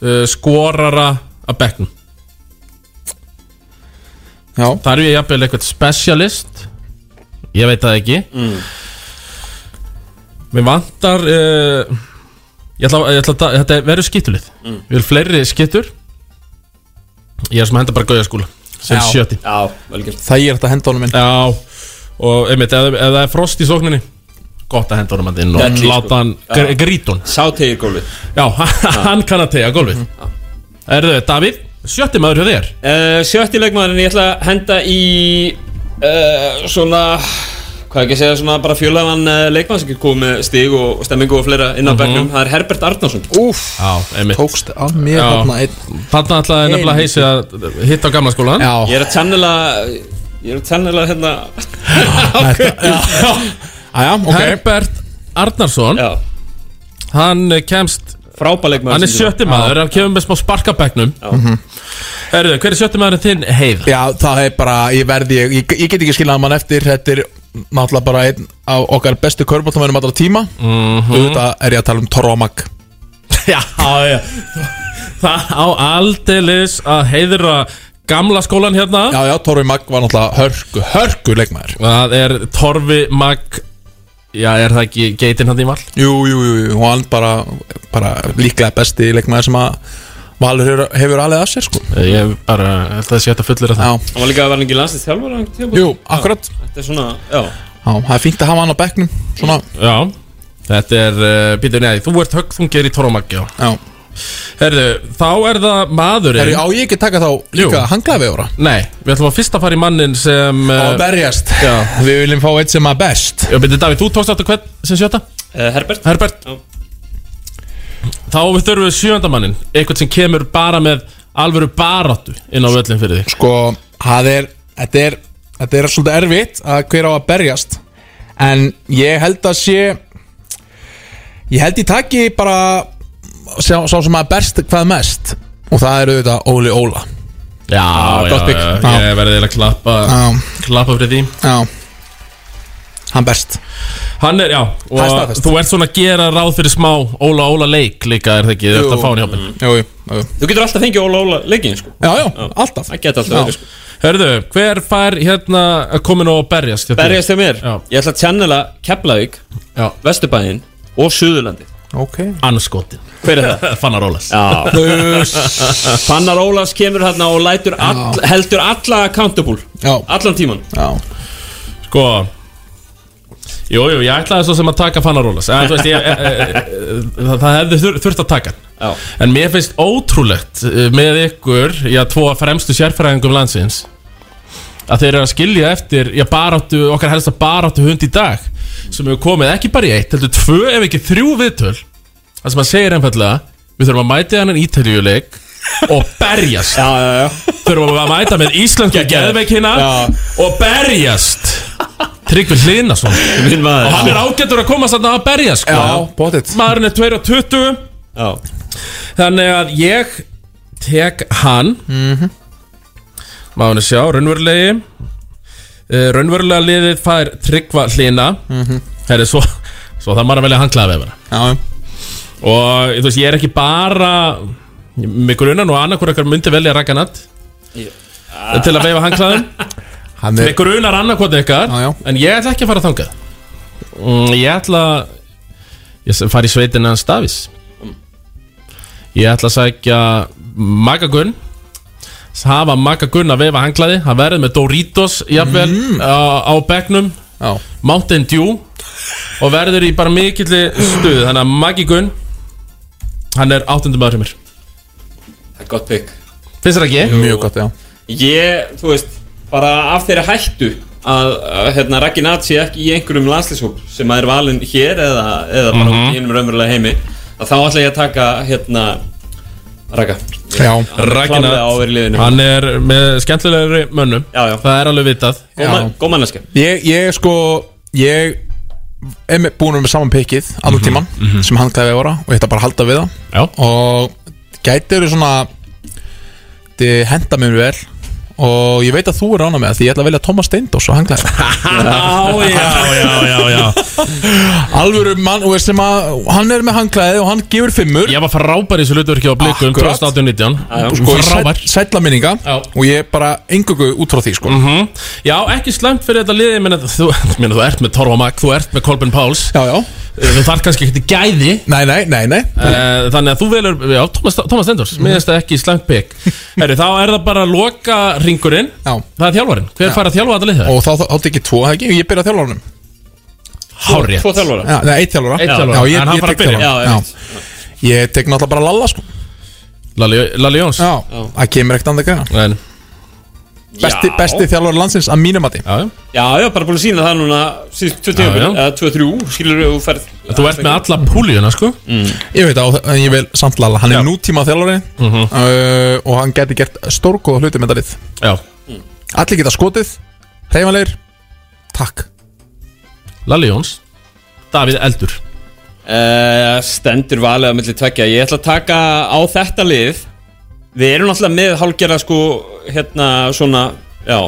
uh, skorara að bekknum
Já
Þar er ég jafnvel eitthvað specialist Ég veit það ekki
Mm.
Mér vantar uh, ég ætla, ég ætla, að ta- Þetta verður skitulið
Mm.
Við erum fleiri skittur Ég er sem að henda bara gauja skúla Sem
Já.
sjötti
Já, velgjört
Það ég er þetta að henda honum inn
Já Og einmitt, ef, ef það er frost í sókninni Gott að henda honum að inn Og
Delli, sko.
láta hann gr
Já.
grítun
Sá tegir gólfið Mhm.
Já, [LAUGHS] hann kann að tega gólfið Erðu, Davíð, sjötti maður hjá þér
uh, Sjötti leikmaðurinn ég ætla að henda í uh, Svona Hvað ekki að segja, svona bara fjölaðan uh, leikmann sem getur komið með stig og og stemmingu og fleira
Mhm.
inn á bekknum Það er Herbert Arnarsson
Úf,
Já, einmitt
tókst að mér
Já.
hérna einn
Þarna ætlaði nefnilega heisi að hitta á gamla skólan
Já,
Ég er að tannlega Ég er að tannlega
[LAUGHS]
hérna
aðja, ok
Herbert Arnarsson
Já,
Hann eh, kemst,
frábæ leikmaður
hann er
sem getur-
sjötti maður Hann kemur með smá sparkabegnum Herðu, hver er sjötti maðurinn þinn heiða?
Já, það er bara, ég verði, ég, ég, ég get ekki skilnað mann eftir Þetta er náttúrulega bara einn af okkar bestu körbóltamennum allra tíma mm
Mhm.
Þetta er ég að tala um Toromag
Já, [LAUGHS] já Það á aldeilis að heiðra gamla skólan hérna
Já, já, Toromag var náttúrulega hörku, hörku leikmaður
Það er Torfi Mag Já, er það ekki geitinn hann í val?
Jú, jú, jú, jú, og hann bara, bara líklega besti leikmaður sem að Valur hefur, hefur alveg að sér, sko
Eh, Ég hef bara, held að það sé hægt að fullir að það
Já,
Hann var líka að vera ekki landslið þjálfur
jú, akkurat
Þetta er svona, já
Já, það er fínt að hafa hann á bekknum, svona
Já, þetta er, uh, býtur neði, þú ert högþungir í Torfi Mag, já
Já,
Herðu, þá er það maðurinn
Herri, á ég ekki taka þá líka
Jú.
hanglafi ára
Nei, við ætlum að fyrst að fara í mannin sem
Á að
uh,
berjast Við viljum fá eitt sem að best
Já, byrju Davíð, þú tókst áttu hvern sem sjötta?
Eh, Herbert
Herbert
Já.
Þá við þurfum við sjöndamannin Eitthvað sem kemur bara með alvöru baráttu inn á völlin fyrir þig
Sko, það er Þetta er, þetta er svolítið erfitt að hver á að berjast En ég held að sé Ég held ég taki bara Sá, sá sem að berst hvað mest Og það eru auðvitað Óli Óla
Já, já,
Ah, gott pick. Já.
Ég verði eiginlega að klappa
Já.
Klappa fyrir því
Já Hann best
Hann er, já
Það er
Og
staðfest.
þú ert svona að gera ráð fyrir smá Óla Óla leik líka er það ekki Þú ert
Jú.
að fá hann hjá mig
Jú, jú, jú
Þú getur alltaf fengið Óla Óla leikinn sko
Já, já, alltaf
Það geta alltaf
Já.
verið sko
Hörðu, hver fær hérna að koma nú og berjast? hjá þér?
Berjast hjá mér
Já.
Ég ætla að tjannela Keflavík
Já,
Vesturbæinn og Suðurlandi
Ok
anskotin
Hver er það?
[LAUGHS] Fannar Ólas
Já Fannar Ólafs kemur hérna og lætur all, heldur alla accountable
Já.
Allan tíman
Já
Sko Jú, jú, ég ætlaði svo sem að taka Fannar Ólas en, þú veist, ég, e, e, e, Það það hefði þur, þurft að taka hann
Já
En mér finnst ótrúlegt eh, með ykkur Já, tvo fremstu sérfræðingum landsins Að þeir eru að skilja eftir Já, baráttu, okkar helst að baráttu hund í dag Sem hefur komið ekki bara í eitt Heldur tvö ef ekki þrjú viðtöl Það sem að segir einfallega Við þurfum að mæta hann en ítaljuleik Og berjast
[LAUGHS] Já, já, já
Þurfum að mæta með íslenska geðveikina Og berjast Tryggvi Hlinason
Minn maður
Og hann er ágættur að komast þarna að berja sko
Já, bóttið
Maðurinn er 22
Já
Þannig að ég tek hann mm -hmm. Mánu sjá, raunverulegi uh, Raunverulega liðið fær Tryggva Hlina mm -hmm. Herri, svo, svo það maður að velja hanklaði vefana
Já, já
Og þú veist, ég er ekki bara Mig grunar nú annað hvort eitthvað myndi velja Ragnat Til að veifa hanklaðum
Hann
Mig grunar annarkotni ykkar
Já, já.
En ég ætla ekki að fara þangað mm, Ég ætla Ég s- fara í sveitina hans Davís Ég ætla að sækja Magagun Hafa Magagun að veifa hanglaði Hann verður með Doritos jafnvel, á, á bekknum
Mm. Já
Mountain Dew Og verður í bara mikilli stuð Þannig að Magigun Hann er áttundum maður hjá mér
Það er gott pick
Finnst þér ekki?
Mjög gott, já
Ég, þú veist, bara af þeirra hættu að, að hérna, Raginat sé ekki í einhverjum landslýshóp sem að er valinn hér eða, eða
Mhm.
bara mm -hmm. hennum raunverulega heimi að þá ætla ég að taka hérna Raga
Já,
Ragnar,
Klárlega á að vera í liðinu.
hann er með skemmtilegri mönnum
Já, já.
Það er alveg vitað
Góð góð manneskja
Ég, ég sko Ég er með- búin með saman pikkið Allan tíman Sem hann gæði ára Og ég ætla bara að halda við það
Mhm, Já.
Og gæti eru svona Þið henda mér vel Og ég veit að þú er rána með það, Því ég ætla að velja Thomas Steindós og hanglaði
[LAUGHS] Já, já, já, já, já
Alvöru mann, þú veist sem að Hann er með hanglaði og hann gefur fimmur
Ég var frábær í þessu hlutverki á um blikum
Akkurat.
2018-19
Sko, í
Frábær
sæll- sælla minninga Og ég er bara engungu út frá því sko
Mhm. Já, ekki slæmt fyrir þetta liði Minna, þú, [LAUGHS] minna, þú ert með Torfa Mag, þú ert með Kolben Páls Eh,
Já, já
Þú þarf kannski ekki gæði
Nei, nei, nei, nei
Eh, Þannig að þú velur, já, Thomas, Thomas Endors Mér finnst það ekki slæmt bygg Herri, þá er það bara að loka ringurinn
Já.
Það er þjálfarinn, hver fær að þjálfa þetta lið
Og þá átti ekki tvo, það ekki Ég byrja þjálfarunum
Hárið
Tvo þjálfara
Já, nei, eitt þjálfara
Einn þjálfara,
Já, ég,
en hann
ég
fara
tek
að byrja.
þjálfara
Já,
Já. Ég tek náttúrulega bara Lalla sko
Lalli Lalli Jóns
Já, það kemur ekkert andað greina
En,
Besti,
Já.
besti þjálfari landsins að mínu mati
já, já.
Já, já, bara búin að sína það núna síðust tvö tíma,
já.
eða tvö, þrjú, skilur þú ferð
Þú ert með alla púlíuna, sko
Mm.
Ég veit á, en ég vil samt Lalla Hann er nútíma þjálfari
Mhm.
uh, Og hann geti gert stórgóða hluti með þetta lið
Já,
Allir geta skotið Hreyfanleir Takk
Lalli Jóns Davíð Eldur
Uh, stendur valega millir tveggja Ég ætla að taka á þetta lið Við erum náttúrulega með hálgerða sko Hérna svona Já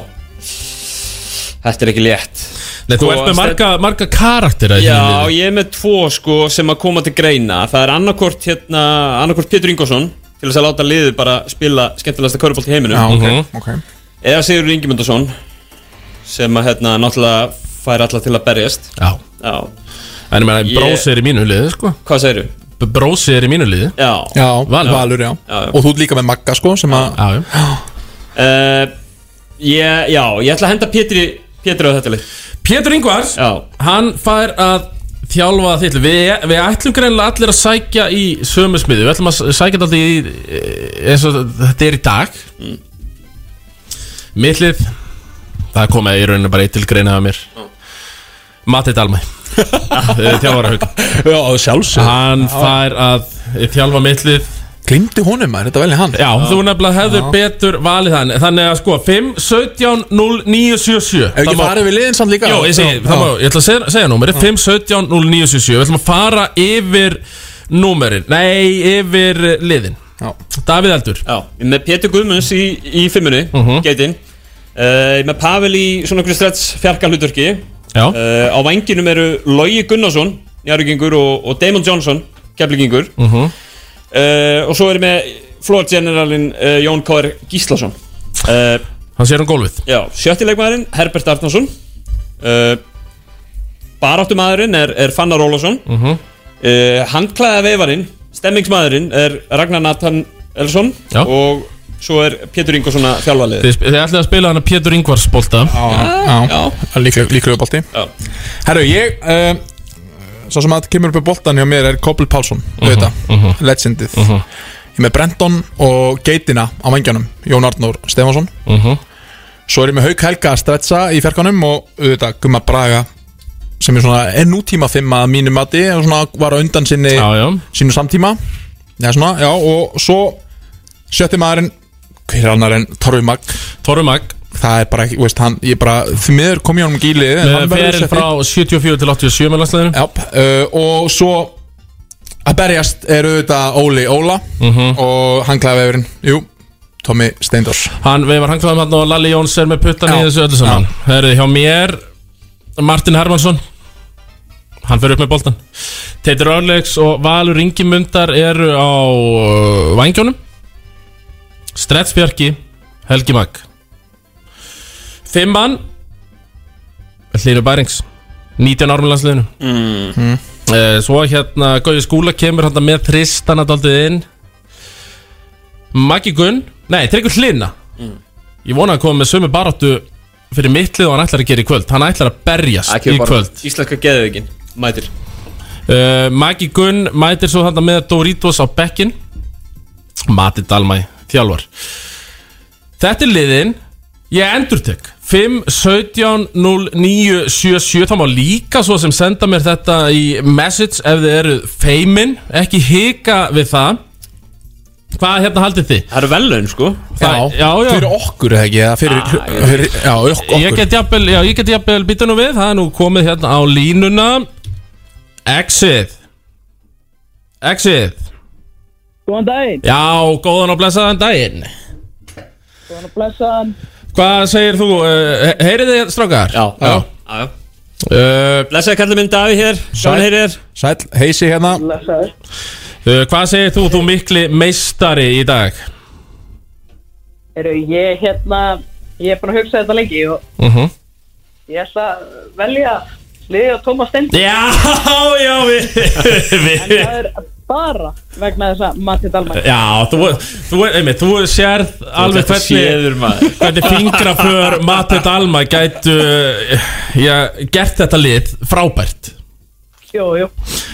Þetta er ekki létt
Nei, þú
Sko,
ert með
Steinn-
marga, marga karaktera í þínu
Já,
liði.
ég er með tvo sko sem að koma til greina Það er annarkort hérna Annarkort Pétur Ingosson Til þess að láta liðið bara spila skemmtilegasta körubolt í
ok,
heiminum
Mhm.
ok
Eða Sigur Ingimundarsson Sem að hérna náttúrulega fær alla til að berjast
já.
Já,
En ég meina,
Ég-
brósi er í mínu liði, sko
hvað segirðu?
B- Brósi er í mínu liði
Já,
Já,
Valur.
Valur, já.
Já, já.
Og þú ert líka með Magga sko sem að
Já, já
Uh, ég, já, ég ætla að henda Pétri Pétri á þetta lið
Pétur Ingvars
Já,
Hann fær að þjálfa þitt lið. við, við ætlum greinlega allir að sækja í sömu smiði Við ætlum að s- sækja þetta alltaf í eh, eins og þetta er í dag mm. Mittlið Það komið í rauninu bara eitt til greinaða mér Matti [LAUGHS] Dalmæ Þjálfara hug
Já, sjálfsög
Hann fær að þjálfa mittlið
Glimti honum maður, þetta velja hann
Já, þú nefnilega hefður betur valið hann Þannig að sko, 5, 17, 0, 9, 7, 7
Ef ekki farið við liðin samt líka
Jó, ég segi, það má, ég ætla að segja, segja númeri 5, 17, 0, 9, 7, 7 Við ætlum að fara yfir númerin Nei, yfir eh, liðin
Já.
Davíð Eldur
já, með Pétur Guðmunds í, í fimmunni, uh
Mhm.
geitin uh, Með Pavel í svona okkur strets fjarka hlutverki
Já,
uh, Á vænginum eru Logi Gunnarsson, njárugingur og, og Damon Johnson, keflingingur uh
Mhm.
Og svo eru með Floor Generalin uh, Jón Kóður Gíslason uh,
hann sér um gólfið
Já, sjötti leikmaðurinn Herbert Arnason uh, Baráttumaðurinn er, er Fannar Ólafsson uh
Mhm.
-huh. uh, Handklæða veifarinn Stemmingsmaðurinn er Ragnar Nathan Elsson
Já.
Og svo er Pétur Ingvarsson að þjálfa liðið
Þið, sp- þið ætlið að spila hann að Pétur Ingvars bolta
Já, já Líklega, líklega bolti
Já.
Herru, ég uh, Svo sem að kemur upp í boltan hjá mér er Koppel Pálsson
Mhm,
Þú veit það, legendið Ég er með Brenton og Geitina á vangjanum Jón Arnór Stefansson
Mhm.
Svo er ég með Hauk Helga að stretsa í fjarkanum Og auðvitað Gumma Braga Sem er svona er nútíma fimm að mínu mati Og svona var á undan sinni
Já, já,
sínu samtíma Já, svona, já, og svo sjötti maðurinn Hver annar en Torfi Magg
Torru Mag
Það er bara ekki, þú veist, hann, ég bara Því miður kom ég honum ekki í liðið en hann verður
Ferinn
sjötti.
frá 74 til 87 með landslæðinu
Já, uh, og svo að berjast eru auðvitað Óli Óla og hann klæði vefurinn, jú, Tommy Steindors
Hann veifar hanglaðum hann og Lalli Jóns er með puttan í
Já.
þessu öllu saman Herðu, hjá mér Martin Hermansson Hann fyrir upp með boltan Teitur Örlegs og Valur Ingimundar eru á uh, vangjónum Stretsbjörki Helgi Mag Fimmann Hlynur Bærings 19 árum í landsliðinu mm. Svo hérna Gauði Skúla kemur hérna með Tristan að daldið inn Maggi Gunn Nei, Tryggur Hlynna
Mm.
Ég vona að koma með sömu baráttu fyrir mittlið og hann ætlar að gera í kvöld Hann ætlar að berjast
Það kemur
í
bara
kvöld
Íslenska geðveikin, mætir
uh, Maggi Gunn mætir svo þarna með Doritos á bekkin Mati Dalmæ, þjálfar Þetta er liðin Ég endur tek 5, 17, 0, 9, 7, 7 Það má líka svo sem senda mér þetta í message ef þið eru feimin Ekki hika við það Hvað hérna haldið þið?
Það eru vellaun sko
Það- já, já.
Fyrir okkur eða ekki, eða fyrir, fyrir já, ok- okkur
Ég get jafnvel, já, ég get jafnvel býta nú við Það er nú komið hérna á línuna Exit Exit
Góðan daginn,
Já, góðan og blessaðan daginn
góðan og blessaðan
Hvað segir þú? Uh, heyrið þið strákar? Já, Eh,
já, já. Blessaði kallið minn Davíð hér Sjón heyrið þér
Sæll, heisi hérna
Blessaður
Uh, hvað segir þú? Þú mikli meistari í
[LAUGHS]
dag
Eru ég hérna Ég er búin að hugsa þetta lengi og
uh -huh.
ég ætla að velja liðið á Tómas Stendur
Já, já, við,
En
við
það er bara vegna þess að Matti Dalmar
Já, þú, þú, einmitt, þú sérð alveg
þetta séður,
hvernig, hvernig fingraför Matti Dalma gætu já, gert þetta lið frábært
Jú, jú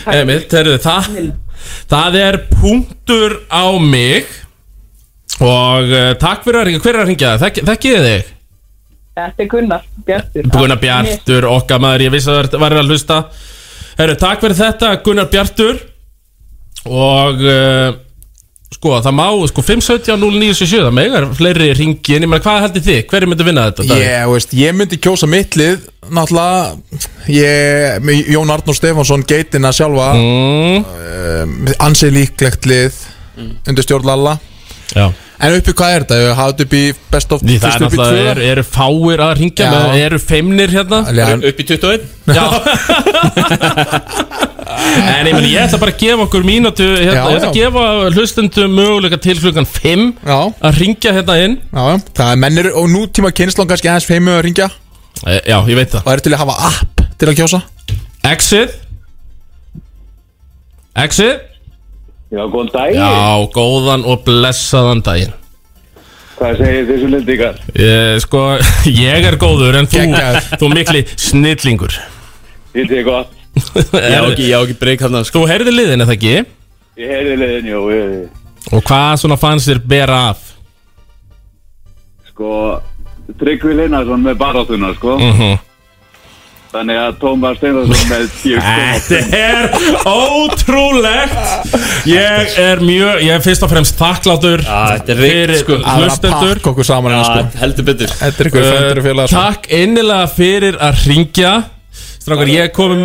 einmitt, heyrðu, það, það er punktur á mig og uh, takk fyrir að ringja, hver er að ringja? Þekk, þekkið þið þig?
Þetta er Gunnar Bjartur
Gunnar Bjartur, okkar maður, ég vissi að það var að hlusta Herru, takk fyrir þetta Gunnar Bjartur Og uh, sko, það má, sko, 570-0977 Það megar fleiri ringi inn Ég meina, hvað heldur þið? Hverju myndu vinna þetta? Davíð?
Ég, veist, ég myndi kjósa mittlið Náttúrulega ég, með Jón Arnór Stefánsson geitina sjálfa Eh,
mm.
Ansi líklegt lið Undir stjórn Lalla
Já.
En uppi hvað er þetta? Ég hafði þetta upp í best of
Það er
fyrst upp í
náttúrulega,
tvö.
eru, eru fáir að ringja
Já.
með, Eru feimnir hérna?
Alveg,
Upp í 21
[LAUGHS]
Já En ég, meni, ég ætla bara að gefa okkur mínútu hérna,
Já,
Ég ætla að
já.
gefa hlustendum möguleika til klukkan 5
Já.
Að ringja hérna inn
Já, já, það er mennir og nútíma kynnslón kannski aðeins feimu að ringja
e, Já, ég veit það
Og eru til að hafa app til að kjósa
Exit Exit
Já, góðan daginn
Já, góðan og blessaðan daginn
Hvað segir þessu lindíkar?
e, Sko, [LAUGHS] ég er góður en þú,
Geggjaður.
þú mikli snillingur
Ég sé gott
Já,
ekki, já, ekki sko. breyk hann
Þú heyrði liðin eða ekki
Ég heyrði leiðin, jú ég,
Og hvað svona fannst þér bera af
Sko, Tryggvi Linarsson með baráttuna, sko
Mhm.
Þannig að Tómas Steinarsson með 10
Þetta er ótrúlegt Ég er mjög, ég er fyrst og fremst þakklátur
Þetta er reynd sko
hlustendur
okkur saman
Já, heldur betur
Þetta
uh, Takk innilega fyrir að ringja Strákar, ég komum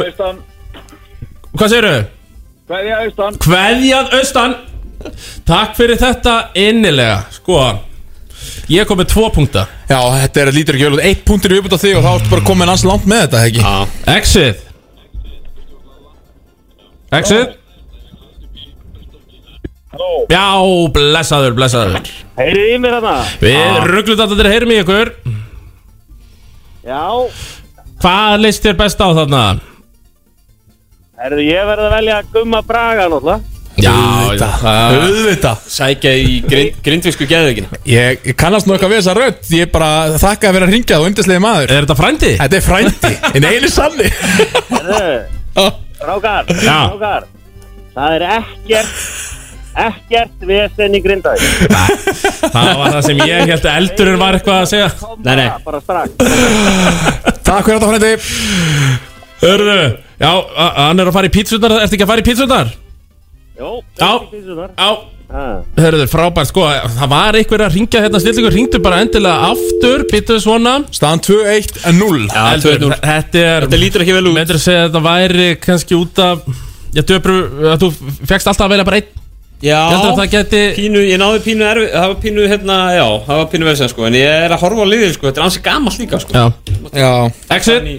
Hvað segirðu?
Hvað er austan?
Kveðjað austan Takk fyrir þetta innilega Sko Ég kom með tvo punkta
Já, þetta er lítur ekki vel út Eitt punktur í uppbútt á þig og þá ertu bara komin hans langt með þetta, ekki?
Já Exit Exit Já, blessaður, blessaður
Heyrið í mér hérna. hana?
Við ah. rugglum þetta til að heyrum í ykkur
Já,
Hvað leist þér best á þarna?
herðu ég verði að velja Gumma Braga náttúrulega
Já,
Auðvita
Sækja í grind, grindvisku geðveikin
Ég, ég kannast nú eitthvað við þessa rödd Ég bara þakka að vera að ringja þú undislegi maður
Er þetta frændi?
Þetta er
[LAUGHS]
frændi, en einu sanni
Herðu, rákar,
Já.
rákar Það er ekkert, ekkert vesen í grindaði
Það var það sem ég held að eldurinn var eitthvað að segja
Nei, nei
Bara strax
Takk fyrir þetta frændi
Hörru, já, a- hann er að fara í pítsunar Ertu ekki að fara í pítsunar?
Jó,
já, já Hörru, frábært, sko, það var einhver að ringja hérna Snillingur ringdu bara endilega aftur Býttu svona
Staðan 2-1-0
Já,
2-1-0.
Þetta er
Þetta lítur ekki vel út.
Þetta er að segja að þetta væri kannski út af Já, döpru, að þú fegst alltaf að velja bara einn
Já
Ég held að það geti
Pínu, ég náði pínu erfi Það var pínu hérna, já Það var pínu verðsæðan sko En ég er að horfa á liðið sko Þetta er ansi gamalt líka sko
Já,
Já
Exit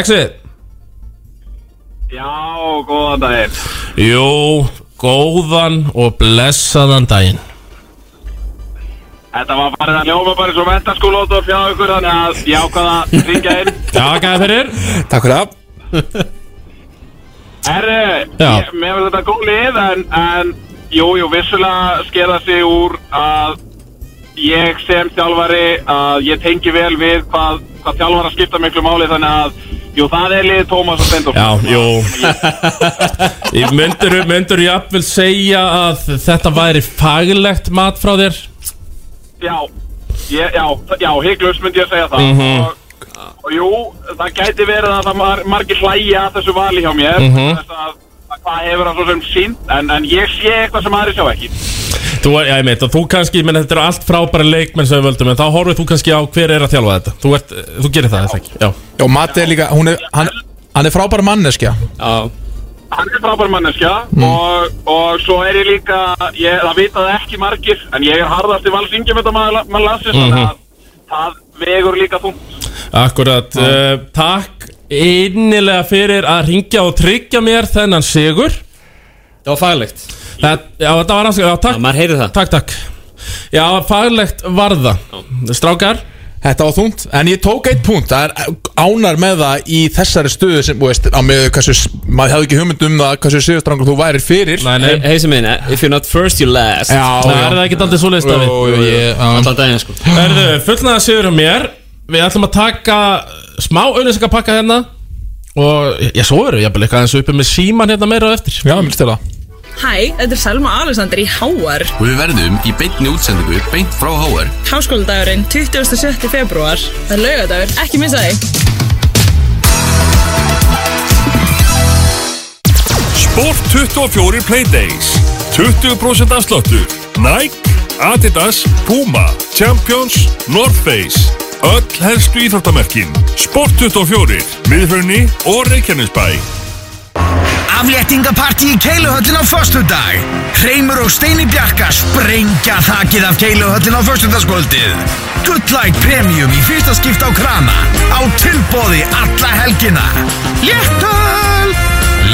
Exit
Já, góðan daginn
Jú, góðan og blessaðan daginn
Þetta var bara það ljóma bara svo mentaskólót og fjá ykkur þannig að ég ákvaða að ringja inn
Já, gæði fyrir
Takk fyrir það
[LAUGHS]
Herri,
Já.
ég- mér finnst þetta góð lið en, en jú, jú, vissulega sker það sig úr að ég sem þjálfari að ég tengi vel við hvað, hvað þjálfara skipta miklu máli þannig að jú, það er lið Tómas og Stendur
Já, jú Ég myndur, myndur jafnvel segja að þetta væri faglegt mat frá þér
Já, ég, já, já, hygglust myndi ég að segja það
Mhm.
og, og jú, það gæti verið að það mar, margir hlæja að þessu vali hjá mér
Mhm.
þess að, að hvað hefur það svo sem sínt en, en ég sé eitthvað sem aðri sjá ekki
Þú, já, ég meit, og þú kannski, menn þetta eru allt frábæra leikmenn sem við völdum En þá horfið þú kannski á hver er að þjálfa þetta Þú, ert, þú gerir það, er það ekki Já,
Já, Matti er líka, hún er, hann, hann er frábær manneskja
Já
hann er frábær manneskja
Mm.
og, og svo er ég líka, ég, það vita það ekki margir en ég er harðast í valsingjum þetta maður, maður lasir þannig
Mhm.
að það vegur líka þungt
Akkurat, uh, takk innilega fyrir að ringja og tryggja mér þennan sigur Það var faglegt Það, já, þetta var rannsaka, já, takk Já, maður heyrði það Takk, takk Já, faglegt var það Strákar
Þetta var þungt, en ég tók eitt punkt Það er eh, ánar með það í þessari stöðu sem, þú veist, á með hversu maður hefði ekki hugmynd um það hversu sigurstrangur þú væri fyrir Eh,
Nei, nei. He- heisi minn, if you're not first, you're last
Já,
Það er það ekki daldið svo leist af
Jú, jú, jú, Allan daginn sko
Erðu, fullnaða sigur á mér Við ætlum að taka eh, smá auðlýsingapakka hérna Og, já, svo verður við jafnvel eitthvað eins og uppi með síman hérna meira á eftir
Já, mér stila
Hæ, þetta er Selma Alexander í HR.
Og við verðum í beinni útsendingu beint frá HR
Háskóladagurinn 27. februar. Það er laugadagur, ekki missa því.
Sport 24 Playdays 20% afsláttur Nike, Adidas, Puma Champions, North Face Öll helstu íþróttamerkin Sport 24, Miðfjörni og Reykjanesbæ
Afléttingapartí í Keiluhöllin á föstudag Hreimur og Steini Bjarka sprengja þakið af Keiluhöllin á föstudagskvöldið Gullæk Premium í fyrsta skipt á krana Á tilbóði alla helgina Léttöl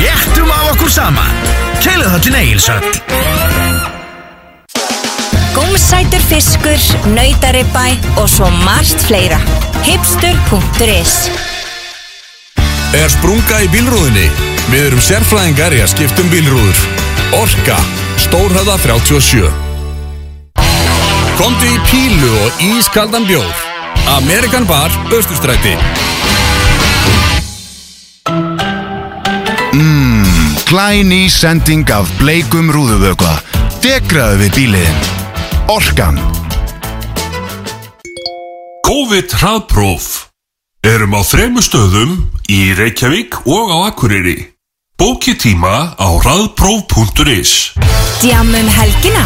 Léttum á okkur saman Keiluhöllin Egilsöld
Gómsætur fiskur, nautaribæ og svo margt fleira. Hipster.is
Er sprunga í bílrúðinni? Við erum sérfræðingar í að skiptum bílrúður Orka, Stórhöða 37 Komdu í pílu og ískaldan bjór Amerikan Bar, Östustræti
Mmm, glæný sending af bleikum rúðuvökva. Degraðu við bíliðin. Orkan.
COVID hraðpróf Erum á þremur stöðum í Reykjavík og á Akureyri Bóki tíma á hraðpróf.is
Djamum um helgina.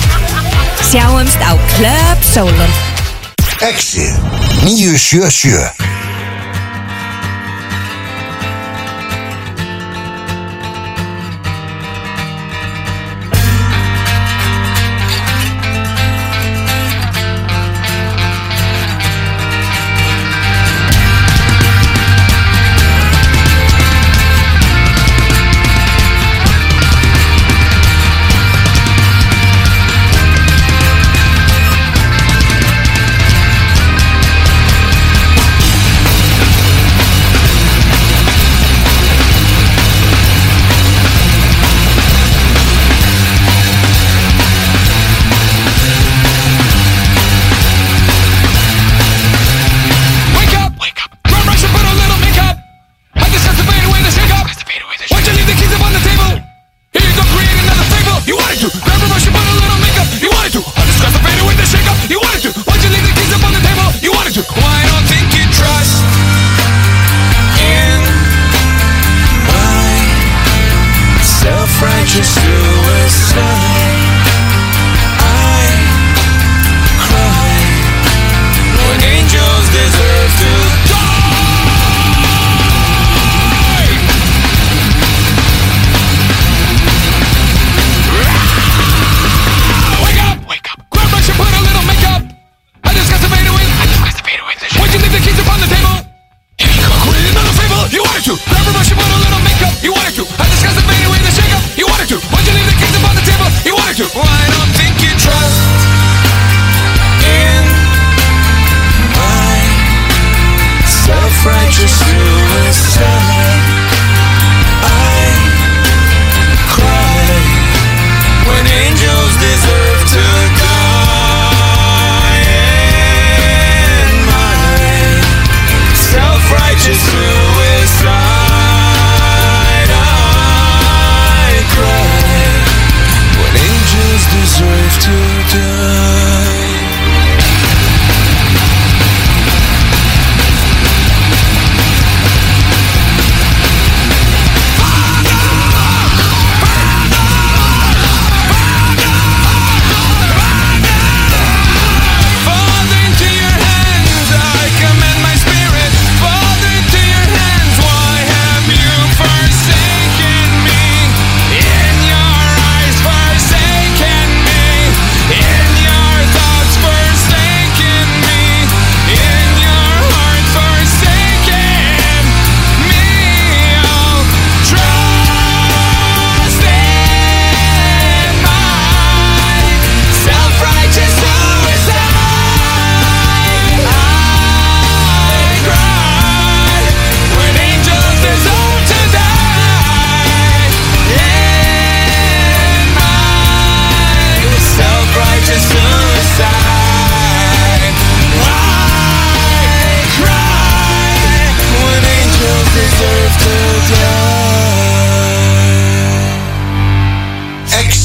Sjáumst á Club Solon.
Exið 977
Wake up! Run, rush, and put a little makeup! I just have to fade away this hiccup! Why'd you leave the keys up on the table? Here you go, create another fable! You wanted to! Grab a brush and put a little makeup! You wanted to! I just got to fade away the shakeup! You wanted to! Why'd you leave the keys up on the table? You wanted to! Why don't think you trust in my self-righteous suicide? I cry when angels deserve to die. Wake up! Wake up! Grab brush and put a little makeup. I just got to fade away. I just got to fade away. Why'd you leave the keys upon the table? Here you go, create another fable. You wanted to. Grab brush and put a little makeup. You wanted to. I just got to fade away the shakeup. You wanted to. Why'd you leave the keys upon the table? You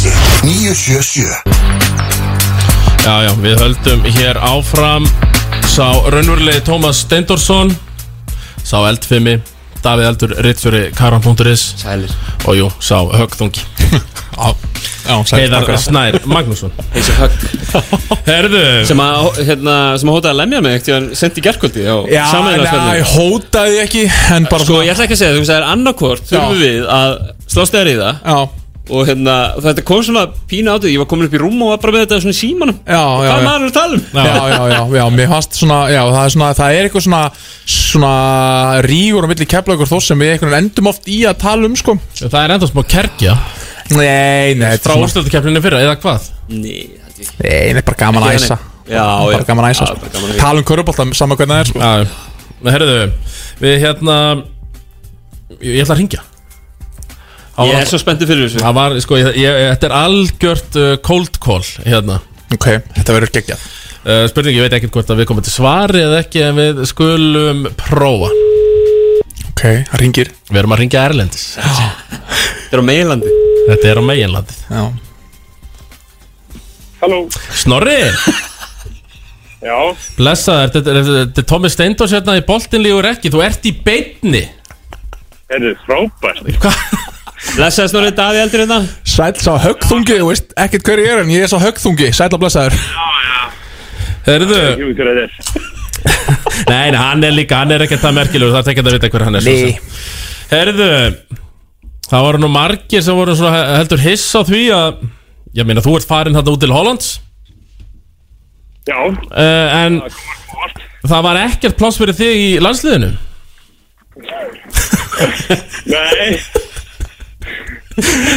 977
Já, já, við höldum hér áfram Sá raunverulegi Tómas Steindorsson Sá eldfimi Davíð Eldur, Rittfjöri, Karan.is Sælir Og jú, sá högþungi Já,
sælir.
Heiðar
Takk.
Snær
[LAUGHS]
Magnússon
Þessi högg
Herðu
Sem að, hérna, sem að hótaði að lemja mig eftir hann sendi gerkvöldi á
Já, nei,
sameiginarspjallinu.
ég hótaði ekki En bara
Sko, ég ætla ekki að segja, þú veist, það er annarkvort þurfum
Já.
við að slást eða ríða Já Og hérna, þetta kom svona pína á því, ég var komin upp í rúm og var bara með þetta svona í símanum Já,
já,
Hvað
já.
maður er að tala um?
Já, já, já, já, mér fannst svona, já, það er svona, það er eitthvað svona, svona rígur á milli keflaugur þó sem við einhvern veginn endum oft í að tala um, sko.
Það er enda smá kerkja.
Nei, nei, þetta
Frá
er svona,
úrstöldakeflinu fyrra, eða hvað?
Nei, þetta
nei, það er bara gaman að
Ekki
æsa.
þannig. Já,
Bara
já.
gaman að æsa,
Já,
sko.
bara gaman að-
Tala um körubólta, saman hvernig það er, sko.
Já, já. herðu, við hérna Ég, ég ætla að ringja
Ég er svo spenntið fyrir þessu
Það var, sko, ég, ég, þetta er algjört uh, cold call hérna
Ok, þetta verður geggjað
uh, Spurning, ég veit ekkert hvort að við komum til svari eða ekki En við skulum prófa
Ok, það ringir
Við erum að ringja Erlendis Þetta
er á meginlandi
Þetta er á meginlandi
Já
Halló
Snorri,
Já,
blessaður, þetta er- þetta er- þetta er Tommi Steindors hérna í boltinlígur ekki Þú ert í beinni
þetta er frábært
Blessaði snorri Daði eldur hérna
Sæll sá högþungi, þú veist, ekkert hver ég er en ég er sá högþungi, sæll að blessaður
Herðu
Jú, hver er þetta?
Nei, nei, hann er líka, hann er ekkert það merkilegur Það er ekkert að vita hver hann er svo
Nei.
sem. Herðu Það voru nú margir sem voru svona heldur hiss á því að Ég meina, þú ert farin þarna út til Hollands
Já
uh, En það var ekkert pláss fyrir þig í landsliðinu
Nei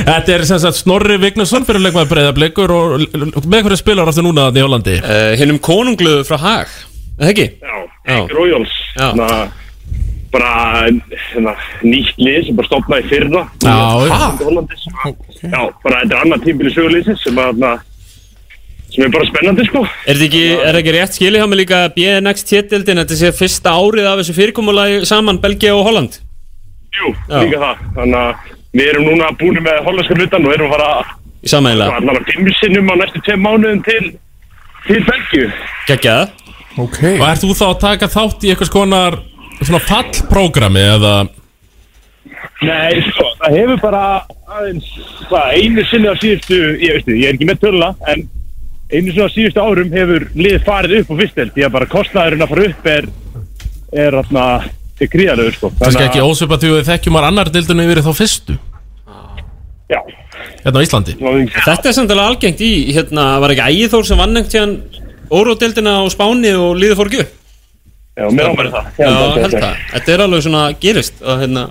Þetta er sem sagt Snorri Vignesson fyrir leikmaður breyðablikur og l- l- með hverju spilar áttu núna þarna í Hollandi
uh, Hinnum konunglu frá Hag Það ekki?
Já, Egg Royals Þannig að bara hérna, nýtt lið sem bara stopnaði fyrra
Já,
já Já, bara þetta er annar tímpil í söguleysi sem að hérna, sem er bara spennandi sko
Er þetta ekki, er það ekki rétt skilið hjá mig líka að BNX tétildin, þetta sé fyrsta árið af þessu fyrirkomulagi saman Belgia og Holland?
Jú,
Já.
líka það Þannig að við erum núna búin með hollenska hlutan og erum að fara
Í samæðilega
allar að fimm sinnum á næstu tveim mánuðum til til Belgíu
Gægjað
okay.
Og ert þú þá að taka þátt í eitthvað skonar svona fallprógrami eða
Nei, sko, það hefur bara aðeins, hvað, einu sinni á síðustu, ég veist þið, ég er ekki með töluna, en einu sinni á síðustu árum hefur lið farið upp á fyrstelt, því að bara kostnaðurinn að fara upp er, er þarna, er gríðarlegur, sko.
kannski ekki ósvipað því við þekkjum að annar deildinu yfir þá fyrstu
Já
Hérna á Íslandi
Þetta er samt alveg algengt í, hérna, var ekki Ægið Þór sem vann einhvern tíðan óródeildina á Spáni og liðið fór gjöf?
Já, mér ámæri það.
Já,
Ég held að þetta
held
sé.
það. Þetta er alveg svona gerist að, hérna,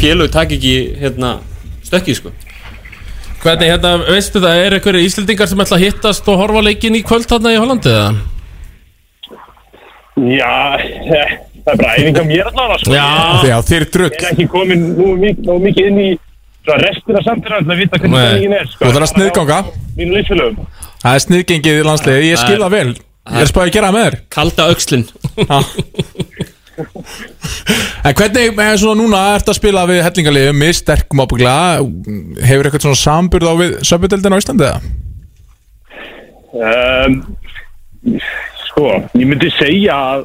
félög takk ekki, hérna, stökkið, sko.
Hvernig, hérna, veistu það, er einhverju Íslendingar sem ætla að hittast og horfa á leikinn í kvöld þarna í Hollandi eða?
Já, eh, það er bara æfinga mér allavega, sko.
Já.
Já, þeir eru drull.
Ég er ekki komin nú mikið, nú mikið inn í svona restina samfélag til að vita hvernig
Nei.
stemmingin er, sko.
Þú þarf að sniðganga.
Mínu liðfélögum.
Það er sniðgengið í landsliði, ég skil það vel Ég er spáðið að gera það með þér
Kalda aukslin
En hvernig, eh, svona núna, ertu að spila við hellingarliðum, mjög sterkum ábygglega Hefur eitthvað svona samburð á við söpudeldin á Íslandi eða?
um, sko, ég myndi segja að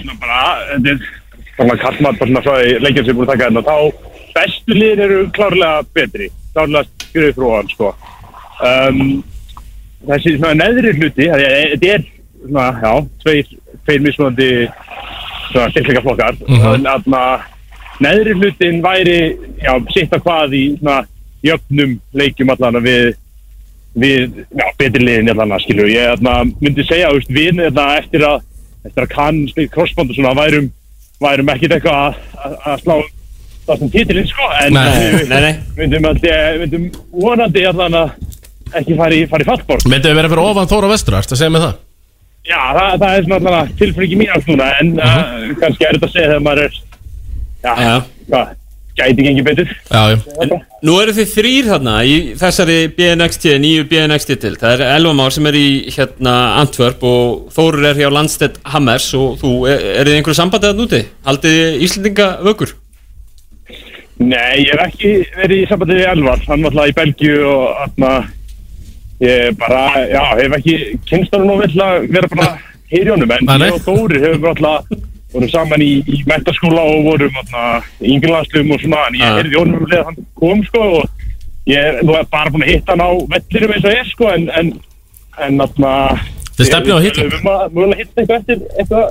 svona bara, þetta er þannig að kalla maður bara svona frá leikjum sem er búin að taka hérna þá bestu liðir eru klárlega betri klárlega skriðu frúan sko. um, þessi svona neðri hluti það er- þetta er svona, já, tveir, tveir mismunandi svona styrkleika flokkar mm
Mhm.
en aðna neðri hlutin væri já, sitt að hvað í svona jöfnum leikjum allan að við við, já, betri liðin allan að skilju ég þarna, myndi segja, þú veist, við þarna, eftir að, eftir að kann spil crossband og svona værum, værum ekkit eitthvað að- að- að slá það sem titilinn sko en
Nei,
við-
nei, nei.
myndum, alltaf, myndum vonandi allan að ekki fara í, fara í fallbort
Myndum við vera fyrir ofan Þóra Vestur, ertu að segja mig það?
já, það, það er svona allan að tilfringi mín alls núna en
Mhm.
uh kannski er þetta að segja þegar maður er já, hvað, gæti gengið betur
Já, já
En nú eru þið þrýr þarna í þessari BNXT, nýju BNXT til Það er Elva Már sem er í hérna Antwerp og Þórur er hjá Landstedt Hammers og þú, er, er þið einhverju sambandi þarna úti? Haldið þið Íslendinga vökur?
Nei, ég hef ekki verið í sambandi við Elvar, hann var alltaf í Belgíu og atna, ég bara, já, hef ekki kynstunum og vill að vera bara hér í honum, en ég og Dóri hefum bara alltaf vorum saman í, í metaskóla og vorum í yngirlandslum og svona en ég
Ah.
heyrði í honum um leið að hann kom sko og ég er nú er bara búin að hitta hann á vellirum eins og er sko en en, en atna,
Þið stefnið á að hitta hann?
Við erum að mögulega hitta eitthvað eftir eitthvað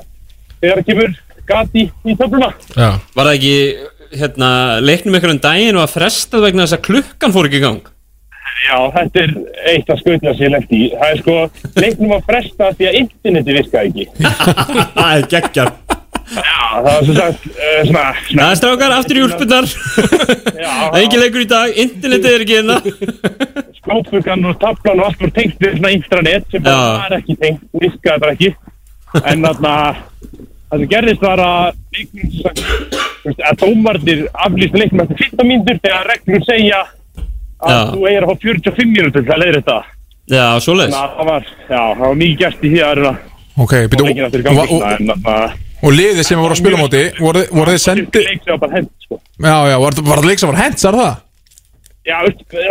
þegar það kemur gat í, í töfluna
Já.
Var það ekki hérna, leiknum ykkur um daginn og að frestað vegna þess að klukkan fór ekki í gang
Já, þetta er eitt af skautna sem ég lent í það er sko, leiknum að fresta því að interneti virkaði ekki
[LAUGHS] Það er geggjart
Já, það var svo sagt uh, svona, svona
Það er strákar, aftur í úlpunnar [LAUGHS] Ekki leikur í dag, internetið er ekki hérna
[LAUGHS] skópfugan og taflan og allt voru tengt við svona intranet sem bara
Já.
var ekki tengt, virkaði bara ekki en þarna það sem gerðist var að leiknum sem sagt, þú veist, að dómarnir aflýst leiknum eftir 15 mínútur þegar reglur segja að
Já.
þú eigir að fá 45 mínútur til að leiða þetta
Já, svoleiðis
þannig að það var, já, það var mikið gert í því að reyna
Ok,
og
byrju,
leikinn aftur í
og,
gangi
og,
svona, en þarna
og liðið sem voru að spila á móti voru, voru þið sendi
leik sem var bara hent sko.
Já, já, var, var það leik sem var hent, sær það?
Já,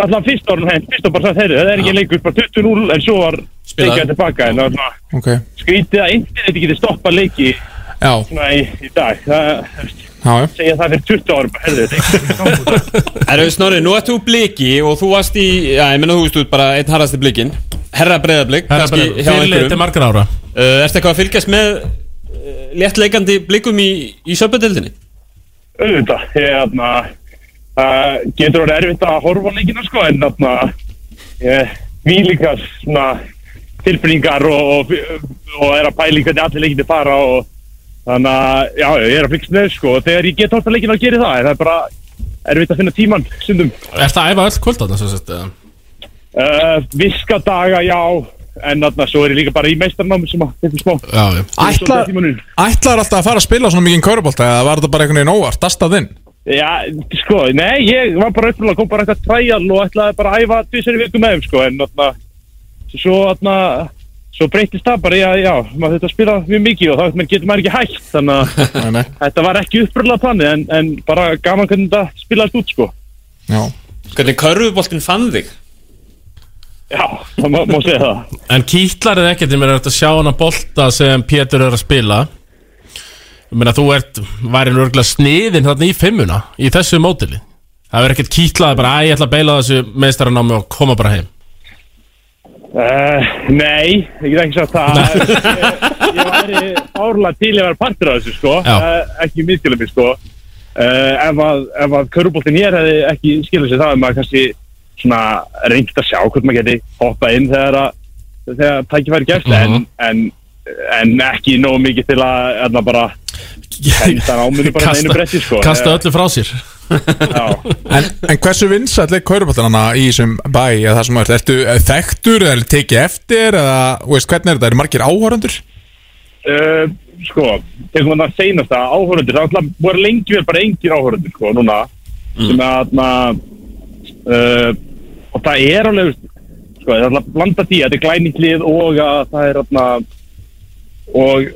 alltaf fyrst árun hent, fyrst var bara sagt, heyrðu, það er ekki leikur, bara 20-0 en svo var
Spilaði.
leikjað tilbaka en þarna
Ok,
skrítið að interneti getur stoppað leiki
já,
svona í, í dag það,
já, já
segja það fyrir 20 árum bara, herðu, þetta er ekki
Erðu Snorri, nú ert þú bliki og þú varst í, já, ég menna þú veist út bara einn harrasti blikin Herra breyðablik,
Herra Breiðablik, fyrirliði til margra ára.
uh, Ertu eitthvað að fylgjast með uh, léttleikandi blikum í, í söpöldildinni?
auðvitað ég, þarna, uh, getur orðið erfitt að horfa á leikina sko en þarna ég, vílíka svona tilbringar og, og, og er að pæli hvernig allir leikinni fara og þannig að já, ég er að fylgst með þessu, sko og þegar ég get horfa leikina að gera það en það er bara erfitt að finna tíman stundum
Er það æfa öll kvöld þarna sem sagt? eða?
uh, viska daga já en þarna svo er ég líka bara í meistarnámi sem að þetta smá
Já, já
Ætlar, ætlar alltaf að fara að spila svona mikið körbólta eða var þetta bara einhvern veginn óvart, dastað inn?
Já, sko, nei, ég var bara upplega kom bara eitthvað træjal og ætlaði bara að æfa tvisari viku með þeim, sko, en atna, svo, atna, svo breytist það bara, já, já, maður þetta spila mjög mikið og þá getur maður ekki hægt, þannig
að
þetta var ekki uppbröðlega planið, en, en bara gaman hvernig þetta spilaðist út, sko.
Já
Hvernig körfuboltinn fann þig?
Já, það má, má segja það.
En kýtlar er ekkert, ég meina, þetta sjá hana bolta sem Pétur er að spila Ég meina, þú ert, væri nörgulega sniðin þarna í fimmuna, í þessu mótili Það verður ekkert kýtlað, bara, æ, ég ætla að beila þessu meistaranámi og koma bara heim
Uh, nei, ég get ekki sagt það. ég, ég væri árlega til að vera partur af þessu, sko,
Já.
uh, ekki miskjölu mig, sko. uh, ef að, ef að köruboltin hér hefði ekki skilað sér það ef maður kannski svona reynd að sjá hvort maður geti hoppað inn þegar að þegar tækifæri gefst
Mhm.
en, en, en ekki nóg mikið til að erna bara henda náminu bara með einu bretti sko
kasta öllu frá sér
En, en hversu vinsall er körbóltan hana í þessum bæ eða það sem er, ertu eh, þekktur eða er tekið eftir eða, þú veist, hvernig er þetta, eru margir áhörundur?
uh, sko, tegum við það seinasta áhörundir, það var alltaf- voru lengi vel bara engin áhörundir sko, núna sem að na, uh, og það er alveg sko, það er alltaf blanda því að þetta er glænýtlið og að það er na, og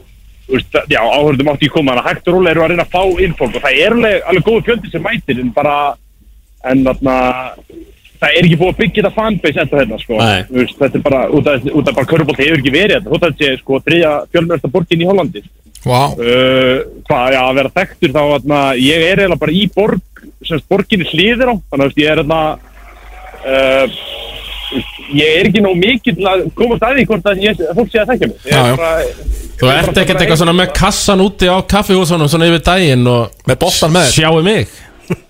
úst, já, áhörundum átti ekki koma, þannig að hægt og rólega eru að reyna að fá inn fólk og það er alveg, alveg góð fjöldi sem mætir en bara en þarna það er ekki búið að byggja þetta fanbase enda hérna sko
Nei.
Þú veist, þetta er bara, út af, út af bara körubolt hefur ekki verið þetta, út af þessi sko þriðja fjölmjörsta borgin í Hollandi
Vá
uh, hvað, já, að vera þekktur þá, þarna, ég er eiginlega bara í borg semst borginni hliðir á, þannig að þú veist, ég er þarna uh, ég er ekki nóg mikið til að komast að því hvort að ég, fólk sé að þekkja mig Ég er
Já, já.
bara-
Þú ert ekkert eitthvað svona með kassan úti á kaffihúsunum svona yfir daginn og
Með boltan með þér?
Sjáu
[LAUGHS]
mig